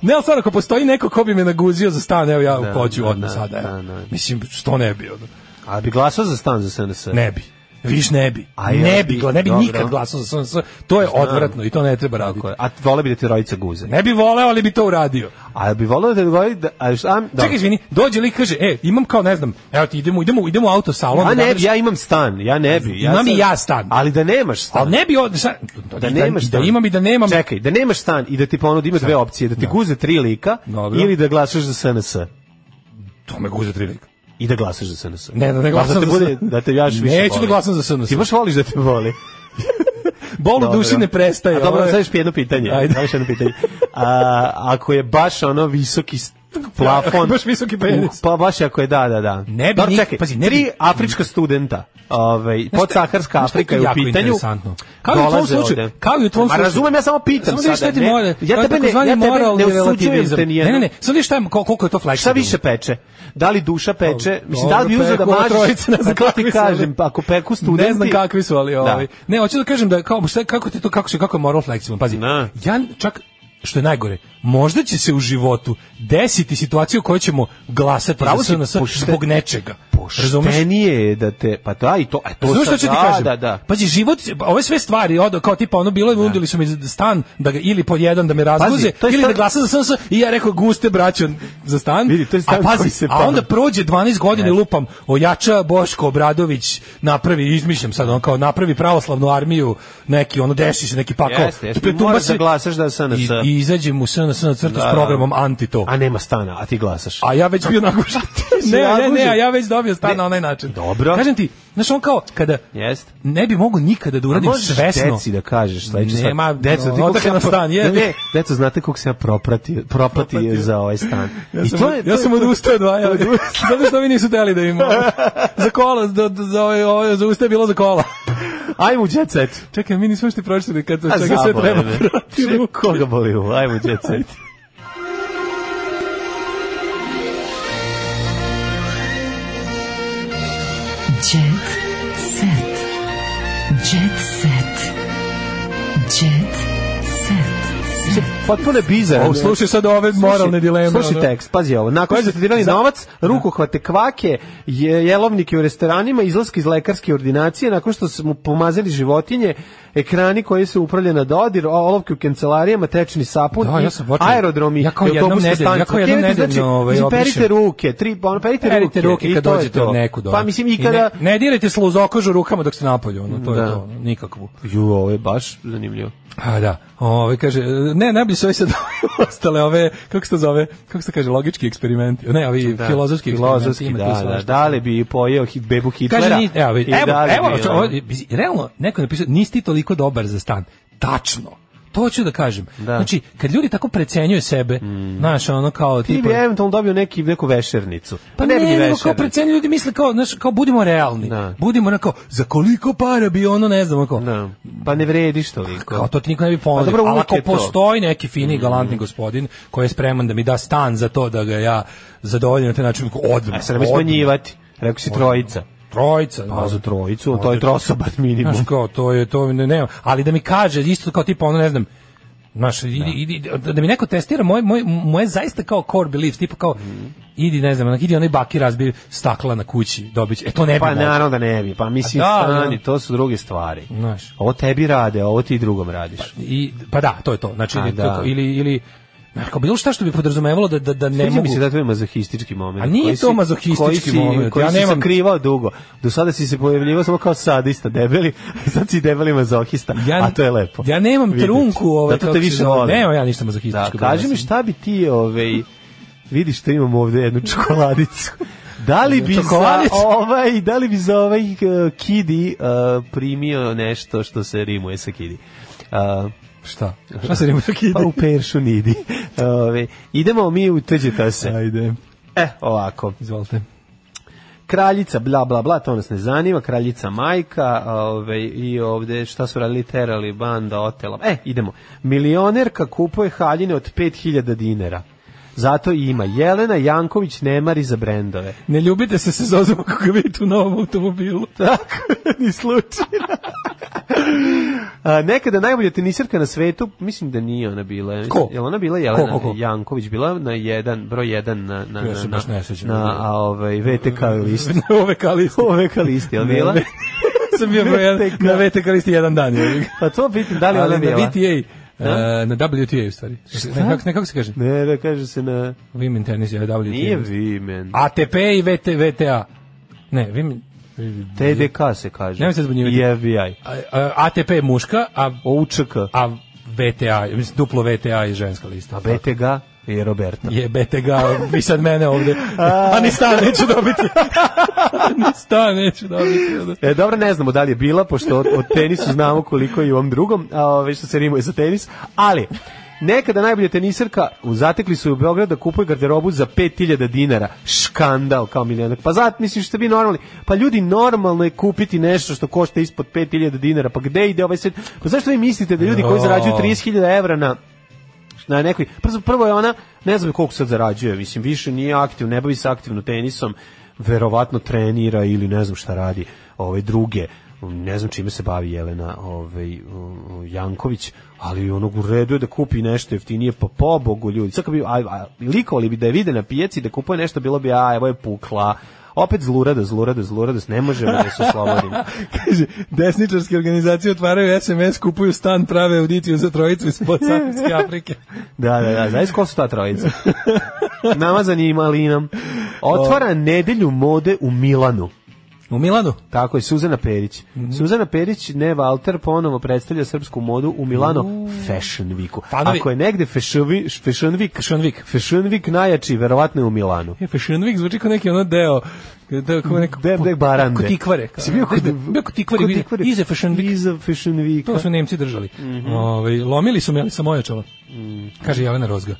Speaker 7: Ne, ali stvarno, ako postoji neko ko bi me naguzio za stan, evo ja
Speaker 8: Da,
Speaker 7: hoću
Speaker 8: da,
Speaker 7: odmah
Speaker 8: da,
Speaker 7: sada. evo.
Speaker 8: da, da.
Speaker 7: Mislim, što ne bi? ono?
Speaker 8: A bi glasao za stan za SNS?
Speaker 7: Ne bi. Viš ne bi.
Speaker 8: A ja
Speaker 7: ne
Speaker 8: bi,
Speaker 7: bi, gla- ne bi
Speaker 8: dobro.
Speaker 7: nikad glasao za SNS. To je odvratno i to ne treba raditi.
Speaker 8: Tako je. A vole bi da te rojica guze.
Speaker 7: Ne bi voleo, ali bi to uradio.
Speaker 8: A bi voleo da te govori da... A, a, da.
Speaker 7: Čekaj, izvini, dođe lik kaže, e, imam kao, ne znam, evo ti idemo, idemo, idemo u autosalon.
Speaker 8: Ja
Speaker 7: da
Speaker 8: ne
Speaker 7: napraviš-
Speaker 8: bi, ja imam stan, ja ne bi.
Speaker 7: Imam
Speaker 8: sam-
Speaker 7: i ja stan.
Speaker 8: Ali da nemaš stan.
Speaker 7: Ali ne bi od... sa-
Speaker 8: da nemaš
Speaker 7: da,
Speaker 8: stan.
Speaker 7: da imam i da nemam.
Speaker 8: Čekaj, da nemaš stan i da ti ponudi ima dve opcije, da ti guze tri lika
Speaker 7: Dobro.
Speaker 8: ili da glasaš za SNS.
Speaker 7: To me guze tri lika.
Speaker 8: I da glasaš za SNS.
Speaker 7: Ne, da ne
Speaker 8: Pa
Speaker 7: glasam
Speaker 8: da te
Speaker 7: za
Speaker 8: bude,
Speaker 7: SNS.
Speaker 8: da te jaš više
Speaker 7: Neću da
Speaker 8: voli.
Speaker 7: glasam za SNS.
Speaker 8: Ti baš voliš da te voli.
Speaker 7: Bol u duši ne prestaje.
Speaker 8: A dobro,
Speaker 7: ovo je-
Speaker 8: sad još jedno pitanje.
Speaker 7: Ajde.
Speaker 8: Ajde. još jedno pitanje. A, ako je baš ono visoki st- plafon.
Speaker 7: Baš visoki penis.
Speaker 8: Uh, pa baš ako je, da, da, da.
Speaker 7: Ne bi
Speaker 8: Dobro,
Speaker 7: nik-
Speaker 8: čekaj,
Speaker 7: pazi, ne bi-
Speaker 8: tri afrička studenta. Ovaj, podsaharska
Speaker 7: znaš šta je
Speaker 8: Afrika je u
Speaker 7: jako
Speaker 8: pitanju.
Speaker 7: interesantno? Kao i u tvom
Speaker 8: dolaze
Speaker 7: slučaju,
Speaker 8: ovde.
Speaker 7: kao i u tvom
Speaker 8: Ma
Speaker 7: slučaju.
Speaker 8: razumem, ja samo pitam
Speaker 7: Samo da vidiš
Speaker 8: sada.
Speaker 7: šta ti
Speaker 8: ne-
Speaker 7: more- to
Speaker 8: ja
Speaker 7: je
Speaker 8: tebe ne, ja
Speaker 7: takozvani
Speaker 8: tebe
Speaker 7: moralni
Speaker 8: ne osuđujem
Speaker 7: relativizam.
Speaker 8: te nijedno.
Speaker 7: Ne, ne, ne, samo vidiš šta je- kol- koliko je to fleksibilno.
Speaker 8: Šta više peče? Da li duša peče? Mislim, da li bi
Speaker 7: Pa, Dobro,
Speaker 8: uzeo da
Speaker 7: peku ova
Speaker 8: mažiš?
Speaker 7: trojica, ne znam
Speaker 8: Pa to
Speaker 7: kakvi
Speaker 8: ti
Speaker 7: su,
Speaker 8: kažem,
Speaker 7: ali-
Speaker 8: pa ako peku studenti...
Speaker 7: Ne znam kakvi su, ali ovaj. Ne, hoću da kažem da kao šta, kako ti to kako se kako je moral fleksibilan. Pazi. Ja čak što je najgore, možda će se u životu desiti situacija u kojoj ćemo glasati
Speaker 8: Pravo si,
Speaker 7: za SNS
Speaker 8: pošte-
Speaker 7: zbog nečega. Razumeš?
Speaker 8: Poštenije je da te... Pa da, i to... E, to
Speaker 7: Znaš šta
Speaker 8: sad-
Speaker 7: ću ti
Speaker 8: da,
Speaker 7: kažem? Pa,
Speaker 8: Da, da.
Speaker 7: Pazi, život, ove sve stvari, odo, kao tipa ono bilo, je, nudili su mi stan da ga, ili po jedan da me razguze,
Speaker 8: to je
Speaker 7: ili da
Speaker 8: stan-
Speaker 7: glasa za SNS i ja rekao guste braćo za stan.
Speaker 8: Vidi, to je stan
Speaker 7: a pazi,
Speaker 8: koji se
Speaker 7: a onda
Speaker 8: pamet-
Speaker 7: prođe 12 godina i lupam, ojača Boško Obradović, napravi, izmišljam sad, on kao napravi pravoslavnu armiju, neki, ono, desi se neki pakao.
Speaker 8: Jeste, jeste. Moraš da glasaš da SNS.
Speaker 7: I, I izađe mu SNS na crtu
Speaker 8: Da,
Speaker 7: s
Speaker 8: da.
Speaker 7: programom anti to.
Speaker 8: A nema stana, a ti glasaš.
Speaker 7: A ja već bio nagužan. ne, ne, ne,
Speaker 8: nagužen?
Speaker 7: a ja već dobio stan na onaj način.
Speaker 8: Dobro.
Speaker 7: Kažem ti, znaš on kao, kada
Speaker 8: Jeste.
Speaker 7: ne bi mogu nikada da uradim
Speaker 8: Možeš
Speaker 7: svesno.
Speaker 8: deci da kažeš sledeće stvari.
Speaker 7: Nema,
Speaker 8: deco,
Speaker 7: ono,
Speaker 8: ti koliko
Speaker 7: odakle
Speaker 8: sam
Speaker 7: nam
Speaker 8: pro-
Speaker 7: stan, je.
Speaker 8: Ne, ne, deco, znate koliko se ja propratio, propratio za ovaj stan.
Speaker 7: Ja sam, ja sam odustao od vaja. Zato što ovi nisu teli da im... za kola, za, za, ovaj- ovaj- za usta je bilo za kola.
Speaker 8: Ajmo u jet set.
Speaker 7: Čekaj, mi nismo još ti pročitali kad
Speaker 8: A
Speaker 7: čega sve
Speaker 8: zabole
Speaker 7: treba
Speaker 8: me.
Speaker 7: prati
Speaker 8: Sve
Speaker 7: ruku.
Speaker 8: Koga boli ovo? Ajmo u jet set.
Speaker 6: Jet set. Jet set. Jet set.
Speaker 8: Potpuno je bizarno.
Speaker 7: O, slušaj sad ove moralne dileme,
Speaker 8: Slušaj
Speaker 7: ono.
Speaker 8: tekst, pazi ovo. Nakon što ste dirali novac, rukohvate kvake, je, jelovnike u restoranima, izlaske iz lekarske ordinacije, nakon što smo pomazali životinje, ekrani koji su upravljeni na dodir, o- olovke u kancelarijama, tečni sapun,
Speaker 7: Da, ja
Speaker 8: i
Speaker 7: sam počeo-
Speaker 8: aerodromi,
Speaker 7: Ja kao
Speaker 8: i
Speaker 7: jednom
Speaker 8: autobuske
Speaker 7: nedeljno- ja
Speaker 8: stanice.
Speaker 7: kao jednom
Speaker 8: Znači,
Speaker 7: nedeljno, ovaj,
Speaker 8: mislim,
Speaker 7: obrišem.
Speaker 8: perite ruke, tri, ono, perite,
Speaker 7: Perite ruke
Speaker 8: i
Speaker 7: kad
Speaker 8: to je
Speaker 7: dođete
Speaker 8: to.
Speaker 7: od nekud. ono.
Speaker 8: Pa mislim, i
Speaker 7: I
Speaker 8: kada...
Speaker 7: Ne, ne dirajte sluzokožu rukama dok ste napolju, ono, to je
Speaker 8: Da.
Speaker 7: to, ono, nikakvu.
Speaker 8: Ju, ovo je baš zanimljivo.
Speaker 7: A da, ove kaže, ne, najbolji su ovi sad ostale ove, kako se to zove, kako se kaže, logički eksperimenti, ne, ovi
Speaker 8: Da.
Speaker 7: filozofski eksperimenti.
Speaker 8: filozofski,
Speaker 7: ima tu
Speaker 8: da, da,
Speaker 7: svašta.
Speaker 8: da li bi pojeo hit- bebu Hitlera?
Speaker 7: Kaže, ni, evo, vidi,
Speaker 8: I
Speaker 7: evo,
Speaker 8: da li
Speaker 7: evo,
Speaker 8: bi,
Speaker 7: čo-
Speaker 8: ono?
Speaker 7: ovo, bi- realno, neko je napisao, nisi ti toliko dobar za stan. Tačno. To ću da kažem. Znači, kad ljudi tako precenjuju sebe, znaš, ono kao,
Speaker 8: Mm. Ti
Speaker 7: tipa,
Speaker 8: bi eventualno dobio neki, neku vešernicu.
Speaker 7: pa ne,
Speaker 8: bi ni
Speaker 7: ne nego kao
Speaker 8: vešernicu.
Speaker 7: precenjuju ljudi misle kao, znaš, kao budimo realni. Budimo onako, za koliko para bi ono, ne znam, kao,
Speaker 8: Da. Pa ne vrediš toliko.
Speaker 7: kao to ti niko ne bi
Speaker 8: Pa
Speaker 7: ponudio.
Speaker 8: dobro,
Speaker 7: Ali
Speaker 8: uvek
Speaker 7: ako
Speaker 8: je to. Mm.
Speaker 7: postoji neki fini, galantni gospodin koji je spreman da mi da stan za to da ga ja zadovoljim na taj način, odmah.
Speaker 8: A E, sad nemoj
Speaker 7: odmah.
Speaker 8: smanjivati. Rekao si trojica.
Speaker 7: Trojica. ono,
Speaker 8: Pa
Speaker 7: da.
Speaker 8: za trojicu, to je trosobar minimum.
Speaker 7: Znaš kao, to je, to ne, ne, ali da mi kaže, isto kao tipa, ono ne znam, znaš, idi, idi, da, mi neko testira moje, moje, moje zaista kao core beliefs, tipa kao, idi, ne znam, onak, idi onaj baki razbi stakla na kući, dobit će, e to ne bi
Speaker 8: Pa
Speaker 7: mogao.
Speaker 8: naravno da ne bi. Pa mislim,
Speaker 7: A da,
Speaker 8: stani,
Speaker 7: da.
Speaker 8: to su druge stvari.
Speaker 7: Znaš.
Speaker 8: Ovo tebi rade, a ovo ti drugom radiš.
Speaker 7: I, pa da, to je to, znači,
Speaker 8: A,
Speaker 7: ili,
Speaker 8: da.
Speaker 7: kako- ili, ili znaš, kao bilo šta što bi podrazumevalo da, da, da ne
Speaker 8: Ne
Speaker 7: mogu...
Speaker 8: mi se da to je mazohistički moment.
Speaker 7: A nije
Speaker 8: koji
Speaker 7: to
Speaker 8: si-
Speaker 7: mazohistički
Speaker 8: koji si-
Speaker 7: moment,
Speaker 8: Koji
Speaker 7: ja
Speaker 8: si
Speaker 7: nemam-
Speaker 8: sakrivao dugo. Do sada si se pojavljivao samo kao sadista, debeli, a sad si debeli mazohista.
Speaker 7: Ja-
Speaker 8: a to je lepo.
Speaker 7: Ja nemam
Speaker 8: Vidite.
Speaker 7: trunku, ovaj,
Speaker 8: Zato
Speaker 7: kako
Speaker 8: te
Speaker 7: se
Speaker 8: više
Speaker 7: zove,
Speaker 8: volim.
Speaker 7: Nemam ja ništa mazohističko.
Speaker 8: Da, kaži mi šta bi ti, ovaj, vidiš da imam ovde jednu čokoladicu. Da li bi za
Speaker 7: Čokoladicu?
Speaker 8: ovaj, da li bi za ovaj uh, kidi uh, primio nešto što se rimuje sa kidi? Uh,
Speaker 7: Šta? Šta se rimuje sa kidi?
Speaker 8: Pa u peršu nidi. Ove, idemo mi u tuđeta se.
Speaker 7: Ajde.
Speaker 8: E, ovako.
Speaker 7: Izvolite.
Speaker 8: Kraljica, bla, bla, bla, to nas ne zanima. Kraljica majka ove, i ovde šta su radili, terali, banda, otela. E, idemo. Milionerka kupuje haljine od 5000 dinara. Zato i ima Jelena Janković nemari za brendove.
Speaker 7: Ne ljubite se sa Zozom ako ga vidite u novom automobilu.
Speaker 8: Tako, ni slučajno. A, nekada najbolja tenisirka na svetu, mislim da nije ona bila.
Speaker 7: Ko?
Speaker 8: Jel ona bila Jelena
Speaker 7: Ko, ko, ko?
Speaker 8: Janković bila na jedan, broj jedan na, na,
Speaker 7: Ja se
Speaker 8: na,
Speaker 7: baš
Speaker 8: na,
Speaker 7: ne sećam.
Speaker 8: na a, ovaj, VTK listi.
Speaker 7: Ove kalisti.
Speaker 8: Ove kalisti, jel
Speaker 7: Ne,
Speaker 8: bila?
Speaker 7: ne. Sam bio broj jedan,
Speaker 8: VTK.
Speaker 7: na VTK listi jedan dan. Je.
Speaker 8: Pa to pitam, da li
Speaker 7: Ali
Speaker 8: ona
Speaker 7: na
Speaker 8: bila?
Speaker 7: VTA, e, na WTA u stvari. Nekako, nekako se kaže?
Speaker 8: Ne, da kaže se na...
Speaker 7: Women tennis je WTA.
Speaker 8: Nije Vimen.
Speaker 7: ATP i VT, VTA. Ne, Women...
Speaker 8: TDK se kaže.
Speaker 7: Nemoj se zbunjivati.
Speaker 8: I FBI.
Speaker 7: A- a- ATP je muška, a
Speaker 8: OUČK.
Speaker 7: a BTA, mislim duplo VTA i ženska lista.
Speaker 8: A BTG je Roberta.
Speaker 7: Je BTG, vi sad mene ovde. A ni stan neću dobiti. ni stan neću dobiti.
Speaker 8: E, dobro, ne znamo da li je bila, pošto od, od tenisu znamo koliko je i ovom drugom, a ove što se rimuje za tenis, ali... Nekada najbolja tenisarka u zatekli su u Beogradu da kupuje garderobu za 5000 dinara. Škandal kao milionak. Pa zat misliš ste vi normalni? Pa ljudi normalno je kupiti nešto što košta ispod 5000 dinara. Pa gde ide ovaj svet? Pa zašto vi mislite da ljudi koji zarađuju 30.000 evra na na nekoj prvo, prvo je ona ne znam koliko sad zarađuje, mislim više nije aktiv, ne bavi se aktivno tenisom, verovatno trenira ili ne znam šta radi, ove druge ne znam čime se bavi Jelena ovaj, Janković, ali onog u redu je da kupi nešto jeftinije, pa pobogu ljudi. Sad kad bi, a, a, likovali bi da je vide na pijaci da kupuje nešto, bilo bi, a evo je pukla, opet zlurada, zlurada, zlurada, ne možemo da se oslobodimo.
Speaker 7: Kaže, desničarske organizacije otvaraju SMS, kupuju stan, prave audiciju za trojicu iz podsaharske Afrike.
Speaker 8: da, da, da, znaš ko su ta trojica? Namazan je i malinam. Otvara nedelju mode u Milanu.
Speaker 7: U Milanu?
Speaker 8: Tako je, Suzana Perić. Mm
Speaker 7: Mhm.
Speaker 8: -hmm. Suzana Perić, ne Walter, ponovo predstavlja srpsku modu u Milano mm. Fashion Weeku. Fanovi... Ako je negde Fashion Week, Fashion Week,
Speaker 7: Pa Fashion Week,
Speaker 8: Fashion Week najjači, verovatno je u Milanu.
Speaker 7: Je, Fashion Week zvuči kao neki ono deo da kao neko
Speaker 8: de, de barande.
Speaker 7: Kod ikvare.
Speaker 8: Si bio kod,
Speaker 7: bio kod ikvare, iza Fashion Week.
Speaker 8: Iza Fashion Week.
Speaker 7: To su Nemci držali. Mm
Speaker 8: Mhm.
Speaker 7: -hmm. Ove, lomili su me, ali sam ojačala. Mm. Kaže Jelena Rozga.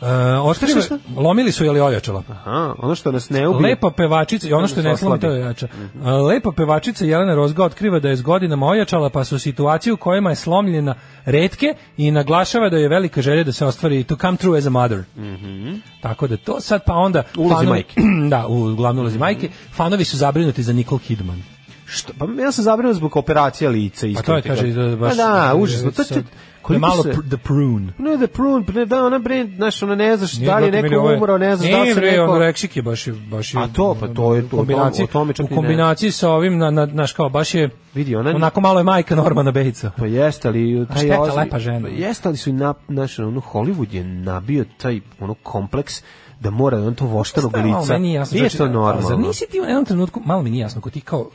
Speaker 7: Uh, oštrili, lomili su je li ojačala.
Speaker 8: Aha, ono što nas ne ubije.
Speaker 7: Lepa pevačica, i ono što ne slomi, to je ojača.
Speaker 8: Mhm.
Speaker 7: Uh, lepa pevačica Jelena Rozga otkriva da je s godinama ojačala, pa su situacije u kojima je slomljena redke i naglašava da je velika želja da se ostvari to come true as a mother. Mm -hmm. Tako da to sad, pa onda...
Speaker 8: Ulozi fanovi, Mhm. majke. Mhm.
Speaker 7: Da, u glavnu ulozi mm -hmm. majke. Fanovi su zabrinuti za Nicole Kidman.
Speaker 8: Što, pa ja sam zabrinut zbog operacija lica.
Speaker 7: Pa to je, kaže, da, baš...
Speaker 8: Pa da, užasno. To će,
Speaker 7: koliko malo pr the prune.
Speaker 8: No the prune, ne da ona bre, znaš, ona ne znaš da li je neko umro, ne znaš da li se neko.
Speaker 7: Ne, ovaj- ono reksik je baš je baš je. ono,
Speaker 8: A to pa to je to, kombinaciji, o tome čak
Speaker 7: u kombinaciji sa ovim na na naš kao baš je
Speaker 8: vidi ona
Speaker 7: onako malo je majka Normana Bejica.
Speaker 8: Pa jeste ali pa
Speaker 7: taj je lepa žena.
Speaker 8: Jeste ali su na naš ono Hollywood je nabio taj ono kompleks da mora on to voštanog lica. Nije to normalno.
Speaker 7: znači, Zar nisi ti u jednom trenutku, malo mi nije jasno, ko ti kao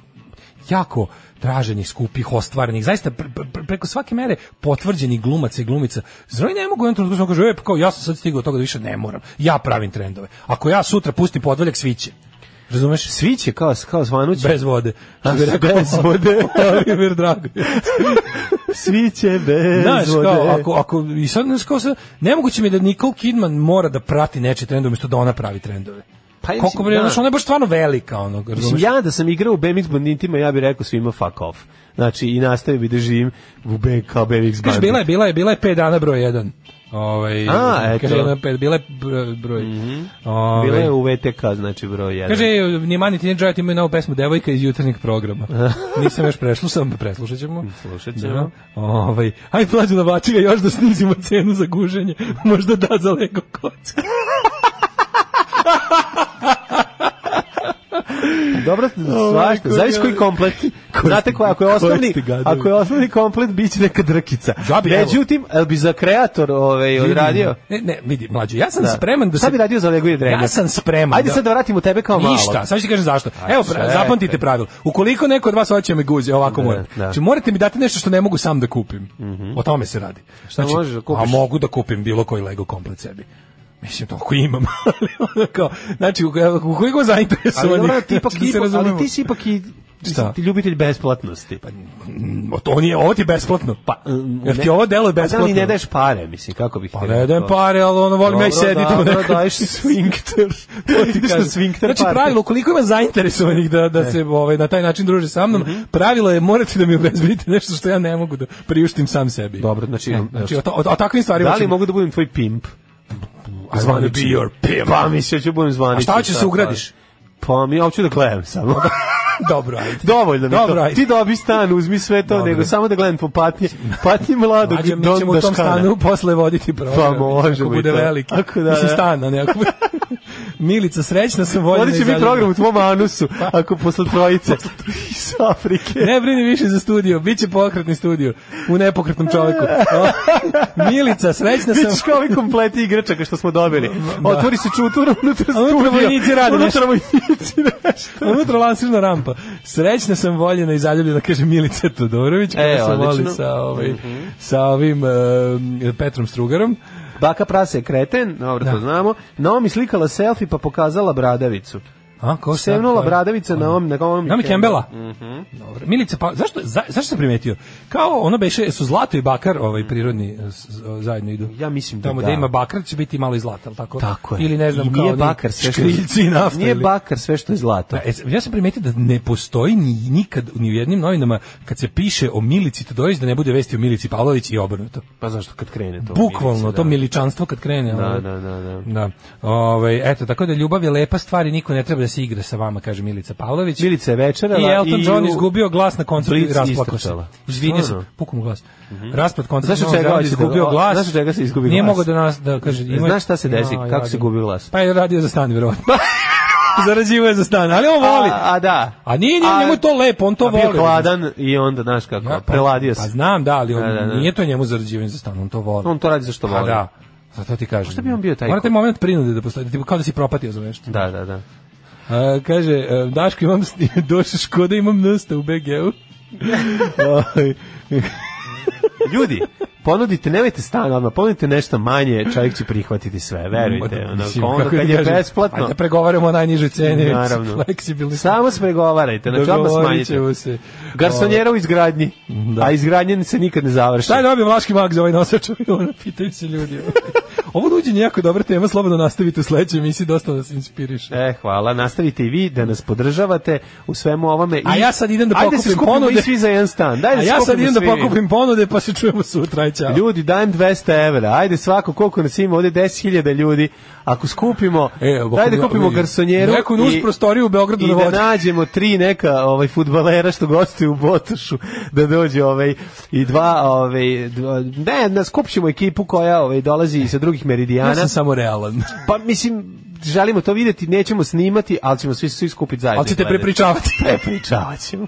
Speaker 7: jako traženih, skupih, ostvarenih, zaista pre, pre, preko svake mere potvrđenih glumaca i glumica. Zar ne mogu jedan trenutku samo kaže, e, pa kao ja sam sad stigao do toga da više ne moram. Ja pravim trendove. Ako ja sutra pustim podvaljak sviće. Razumeš?
Speaker 8: Sviće kao kao zvanuće.
Speaker 7: Bez vode.
Speaker 8: A, bi rekao, bez vode.
Speaker 7: Oliver Drago.
Speaker 8: Sviće bez
Speaker 7: Znaš,
Speaker 8: vode.
Speaker 7: Kao, ako, ako, i sad, kao sad, nemoguće mi da Nicole Kidman mora da prati nečije trendove, umjesto da ona pravi trendove. Pa Koliko bre, ona je baš stvarno velika ono,
Speaker 8: Mislim ja da sam igrao u BMX banditima, ja bih rekao svima fuck off. Znači i nastavio bi da živim u BK kao BMX
Speaker 7: bandit. bila je, bila je, bila je 5 dana broj 1. Ovaj
Speaker 8: A, eto.
Speaker 7: Kaže, pet, bila je broj. Mm
Speaker 8: -hmm. Ove, bila je u VTK, znači broj 1.
Speaker 7: Kaže, ni mani ti ne imaju novu pesmu Devojka iz jutarnjeg programa. Nisam još prešlo, sam preslušat ćemo.
Speaker 8: Slušat ćemo. Da.
Speaker 7: Ovaj, aj plađu na bačiga još da snizimo cenu za guženje. Možda da za Lego kocka.
Speaker 8: Dobro, svašta. Zavis koji komplet. Znate koja, ako je osnovni, ako je osnovni komplet, bit će neka drkica. Međutim, el bi za kreator ovaj, odradio?
Speaker 7: Ne, ne, vidi, mlađo, ja sam da. spreman da se...
Speaker 8: Sad bi radio za Lego i
Speaker 7: Ja sam spreman.
Speaker 8: Ajde sad da vratimo tebe kao Pa malo.
Speaker 7: Ništa, sad ću ti kažem zašto. Evo, pra, zapamtite pravilo. Ukoliko neko od vas hoće me guzi, ovako mora. Znači, morate mi dati nešto što ne mogu sam da kupim. O tome se radi.
Speaker 8: Šta znači, Mhm. možeš da kupiš?
Speaker 7: A mogu da kupim bilo koji Lego komplet sebi. Mislim, toliko imam, ali ono kao, znači, u koji go zainteresovanih,
Speaker 8: ali, ti
Speaker 7: znači,
Speaker 8: ipak, ipak, ali ti si ipak i Šta? Ti ljubitelj besplatnosti.
Speaker 7: Pa, on je, ovo ti je besplatno.
Speaker 8: Pa,
Speaker 7: Jer ti ovo delo je besplatno.
Speaker 8: Pa ne daješ pare, mislim, kako bih
Speaker 7: Pa ne dajem pare, ali ono, volim ja i sedi tu.
Speaker 8: Dobro, daješ svinkter.
Speaker 7: to ti kažem.
Speaker 8: svinkter E.
Speaker 7: znači, pravilo, koliko ima zainteresovanih da, da se ovaj, na taj način druže sa mnom, mm
Speaker 8: Mhm.
Speaker 7: -hmm. pravilo je morate da mi obezbedite nešto što ja ne mogu da priuštim sam sebi.
Speaker 8: Dobro, znači,
Speaker 7: znači o, o, o takvim stvarima...
Speaker 8: Da li mogu da budem tvoj pimp?
Speaker 7: I wanna be your pimp.
Speaker 8: Pa mi se ću budem zvanični.
Speaker 7: A šta će se ugradiš?
Speaker 8: Pa mi ja hoću da gledam samo.
Speaker 7: Dobro, ajde.
Speaker 8: Dovoljno mi
Speaker 7: Dobro,
Speaker 8: to.
Speaker 7: ajde.
Speaker 8: Ti dobi stan, uzmi sve to,
Speaker 7: Dobro.
Speaker 8: nego samo da gledam po patnji, patnji mladog
Speaker 7: Mađo, mi
Speaker 8: Don
Speaker 7: ćemo u tom
Speaker 8: Doskana.
Speaker 7: stanu posle voditi program.
Speaker 8: Pa može
Speaker 7: Ako
Speaker 8: biti
Speaker 7: bude
Speaker 8: to.
Speaker 7: veliki.
Speaker 8: Ako da,
Speaker 7: Mislim,
Speaker 8: da.
Speaker 7: stan, a ne ako bude- Milica, srećna sam voljena.
Speaker 8: Ovdje će biti
Speaker 7: izabrana.
Speaker 8: program u tvom anusu,
Speaker 7: Pa.
Speaker 8: ako posle trojice iz Afrike.
Speaker 7: Ne brini više za studio, bit će pokretni studio u nepokretnom čoveku. O, Milica, srećna sam.
Speaker 8: Vidiš kao ovi kompleti igračaka što smo dobili. Otvori se čutura unutar
Speaker 7: A unutra
Speaker 8: studija.
Speaker 7: vojnici rade
Speaker 8: Unutra
Speaker 7: nešto.
Speaker 8: vojnici nešto.
Speaker 7: Unutra lansirna rampa. Srećna sam voljena i zaljubljena, kaže Milica Todorović, koja
Speaker 8: E,
Speaker 7: se voli
Speaker 8: odlično.
Speaker 7: sa, ovaj,
Speaker 8: Mhm.
Speaker 7: sa ovim em, Petrom Strugarom.
Speaker 8: Baka prase je kreten, dobro to znamo. Naomi slikala selfie pa pokazala bradavicu.
Speaker 7: A, ko sad,
Speaker 8: Sevnula
Speaker 7: ko je?
Speaker 8: bradavica Naomi, na Naomi
Speaker 7: Naomi Campbella?
Speaker 8: Mhm.
Speaker 7: Dobro. Milica, pa zašto, za, zašto sam primetio? Kao ono beše, su zlato i bakar, ovaj prirodni eh, s- s- zajedno idu.
Speaker 8: Mhm. Ja mislim da
Speaker 7: Tamo
Speaker 8: da.
Speaker 7: gde ima bakar će biti malo i zlata, ali tako?
Speaker 8: Tako je.
Speaker 7: Ili ne znam
Speaker 8: I
Speaker 7: kao
Speaker 8: nije
Speaker 7: oni
Speaker 8: bakar sve što je-
Speaker 7: škriljci i nafta.
Speaker 8: Nije
Speaker 7: ili-
Speaker 8: bakar sve što je zlato.
Speaker 7: Da, e, s- ja sam primetio da ne postoji ni, nikad ni u jednim novinama kad se piše o Milici Todorić da ne bude vesti o Milici Pavlović i obrnuto.
Speaker 8: Pa zašto kad krene to?
Speaker 7: Bukvalno,
Speaker 8: Milica,
Speaker 7: to
Speaker 8: da.
Speaker 7: miličanstvo kad krene.
Speaker 8: Da,
Speaker 7: ono.
Speaker 8: da, da, da.
Speaker 7: Da. Ovaj, eto, tako da ljubav je lepa stvar i niko ne treba da se igra sa vama, kaže Milica Pavlović.
Speaker 8: Milica je večerala
Speaker 7: I Elton
Speaker 8: i
Speaker 7: John
Speaker 8: u-
Speaker 7: izgubio glas na koncertu i
Speaker 8: Blic
Speaker 7: rasplakao se.
Speaker 8: istrčala.
Speaker 7: Izvinio se,
Speaker 8: Stvarno? Mhm.
Speaker 7: pukom u glas. Raspad koncerta.
Speaker 8: Znaš od
Speaker 7: Novog
Speaker 8: čega
Speaker 7: Zelanda,
Speaker 8: hoće da-
Speaker 7: izgubio
Speaker 8: o,
Speaker 7: glas.
Speaker 8: znaš od čega se izgubi
Speaker 7: Nije
Speaker 8: glas?
Speaker 7: mogao da nas da kaže. ima-
Speaker 8: Znaš šta se desi?
Speaker 7: Jao,
Speaker 8: Kako se
Speaker 7: jadno.
Speaker 8: gubi glas?
Speaker 7: Pa je radio za stan, verovatno. Zarađivao je za stan, ali on voli.
Speaker 8: A, a da.
Speaker 7: A nije, nije
Speaker 8: A-
Speaker 7: njemu to lepo, on to
Speaker 8: A bio
Speaker 7: voli.
Speaker 8: hladan i onda, znaš kako, preladio se.
Speaker 7: Pa znam, da, ali on,
Speaker 8: Da, da, da.
Speaker 7: nije to njemu zarađivanje za stan, on to voli.
Speaker 8: On to radi zašto
Speaker 7: Pa
Speaker 8: voli.
Speaker 7: da, zato ti kažem.
Speaker 8: Šta bi on bio taj?
Speaker 7: Morate moment prinude da postoji, tipo kao da si propatio za nešto.
Speaker 8: Da, da, da.
Speaker 7: A, kaže, e, Daško imam, s- došao škoda imam nsta u BG-u. Oj.
Speaker 8: Ljudi, ponudite, nemojte stan odmah, ponudite nešto manje, čovjek će prihvatiti sve, verujte. Ono,
Speaker 7: Mislim,
Speaker 8: onda
Speaker 7: kako
Speaker 8: kad
Speaker 7: ti
Speaker 8: je
Speaker 7: kažem,
Speaker 8: besplatno,
Speaker 7: Ajde pregovaramo o najnižoj ceni.
Speaker 8: naravno.
Speaker 7: Fleksibilni.
Speaker 8: Samo se pregovarajte, znači odmah
Speaker 7: Dogovorit
Speaker 8: smanjite.
Speaker 7: ćemo se.
Speaker 8: Garsonjera u izgradnji, a izgradnje se nikad ne završi.
Speaker 7: Šta je dobio Vlaški mag za ovaj nosač aviona? Pitaju se ljudi. Ovo nuđenje je jako dobra tema, slobodno nastavite u sledećoj emisiji, dosta nas inspiriše.
Speaker 8: E, hvala, nastavite i vi da nas podržavate u svemu ovome. I...
Speaker 7: A ja sad idem da
Speaker 8: Ajde se
Speaker 7: pokupim
Speaker 8: skupimo
Speaker 7: ponude.
Speaker 8: i svi za jedan stan. Daj
Speaker 7: A
Speaker 8: da se
Speaker 7: ja sad
Speaker 8: skupimo
Speaker 7: idem da
Speaker 8: svi mi.
Speaker 7: pokupim ponude, pa se čujemo sutra. Aj, Ćao.
Speaker 8: Ljudi, dajem 200 evra. Ajde svako, koliko nas ima ovde 10.000 ljudi. Ako skupimo,
Speaker 7: E, ako
Speaker 8: dajde
Speaker 7: bi-
Speaker 8: kupimo
Speaker 7: vidi,
Speaker 8: garsonjeru
Speaker 7: neku nus prostoriju u Beogradu
Speaker 8: i
Speaker 7: na
Speaker 8: da
Speaker 7: vodi.
Speaker 8: nađemo tri neka ovaj fudbalera što gostuju u Botošu da dođe ovaj i dva ovaj dva- ne, da skupšimo ekipu koja ovaj dolazi i sa drugih meridijana.
Speaker 7: Ja sam samo realan.
Speaker 8: Pa mislim želimo to videti, nećemo snimati, ali ćemo svi svi skupiti zajedno.
Speaker 7: Ali ćete
Speaker 8: i gledati.
Speaker 7: prepričavati.
Speaker 8: Prepričavaćemo.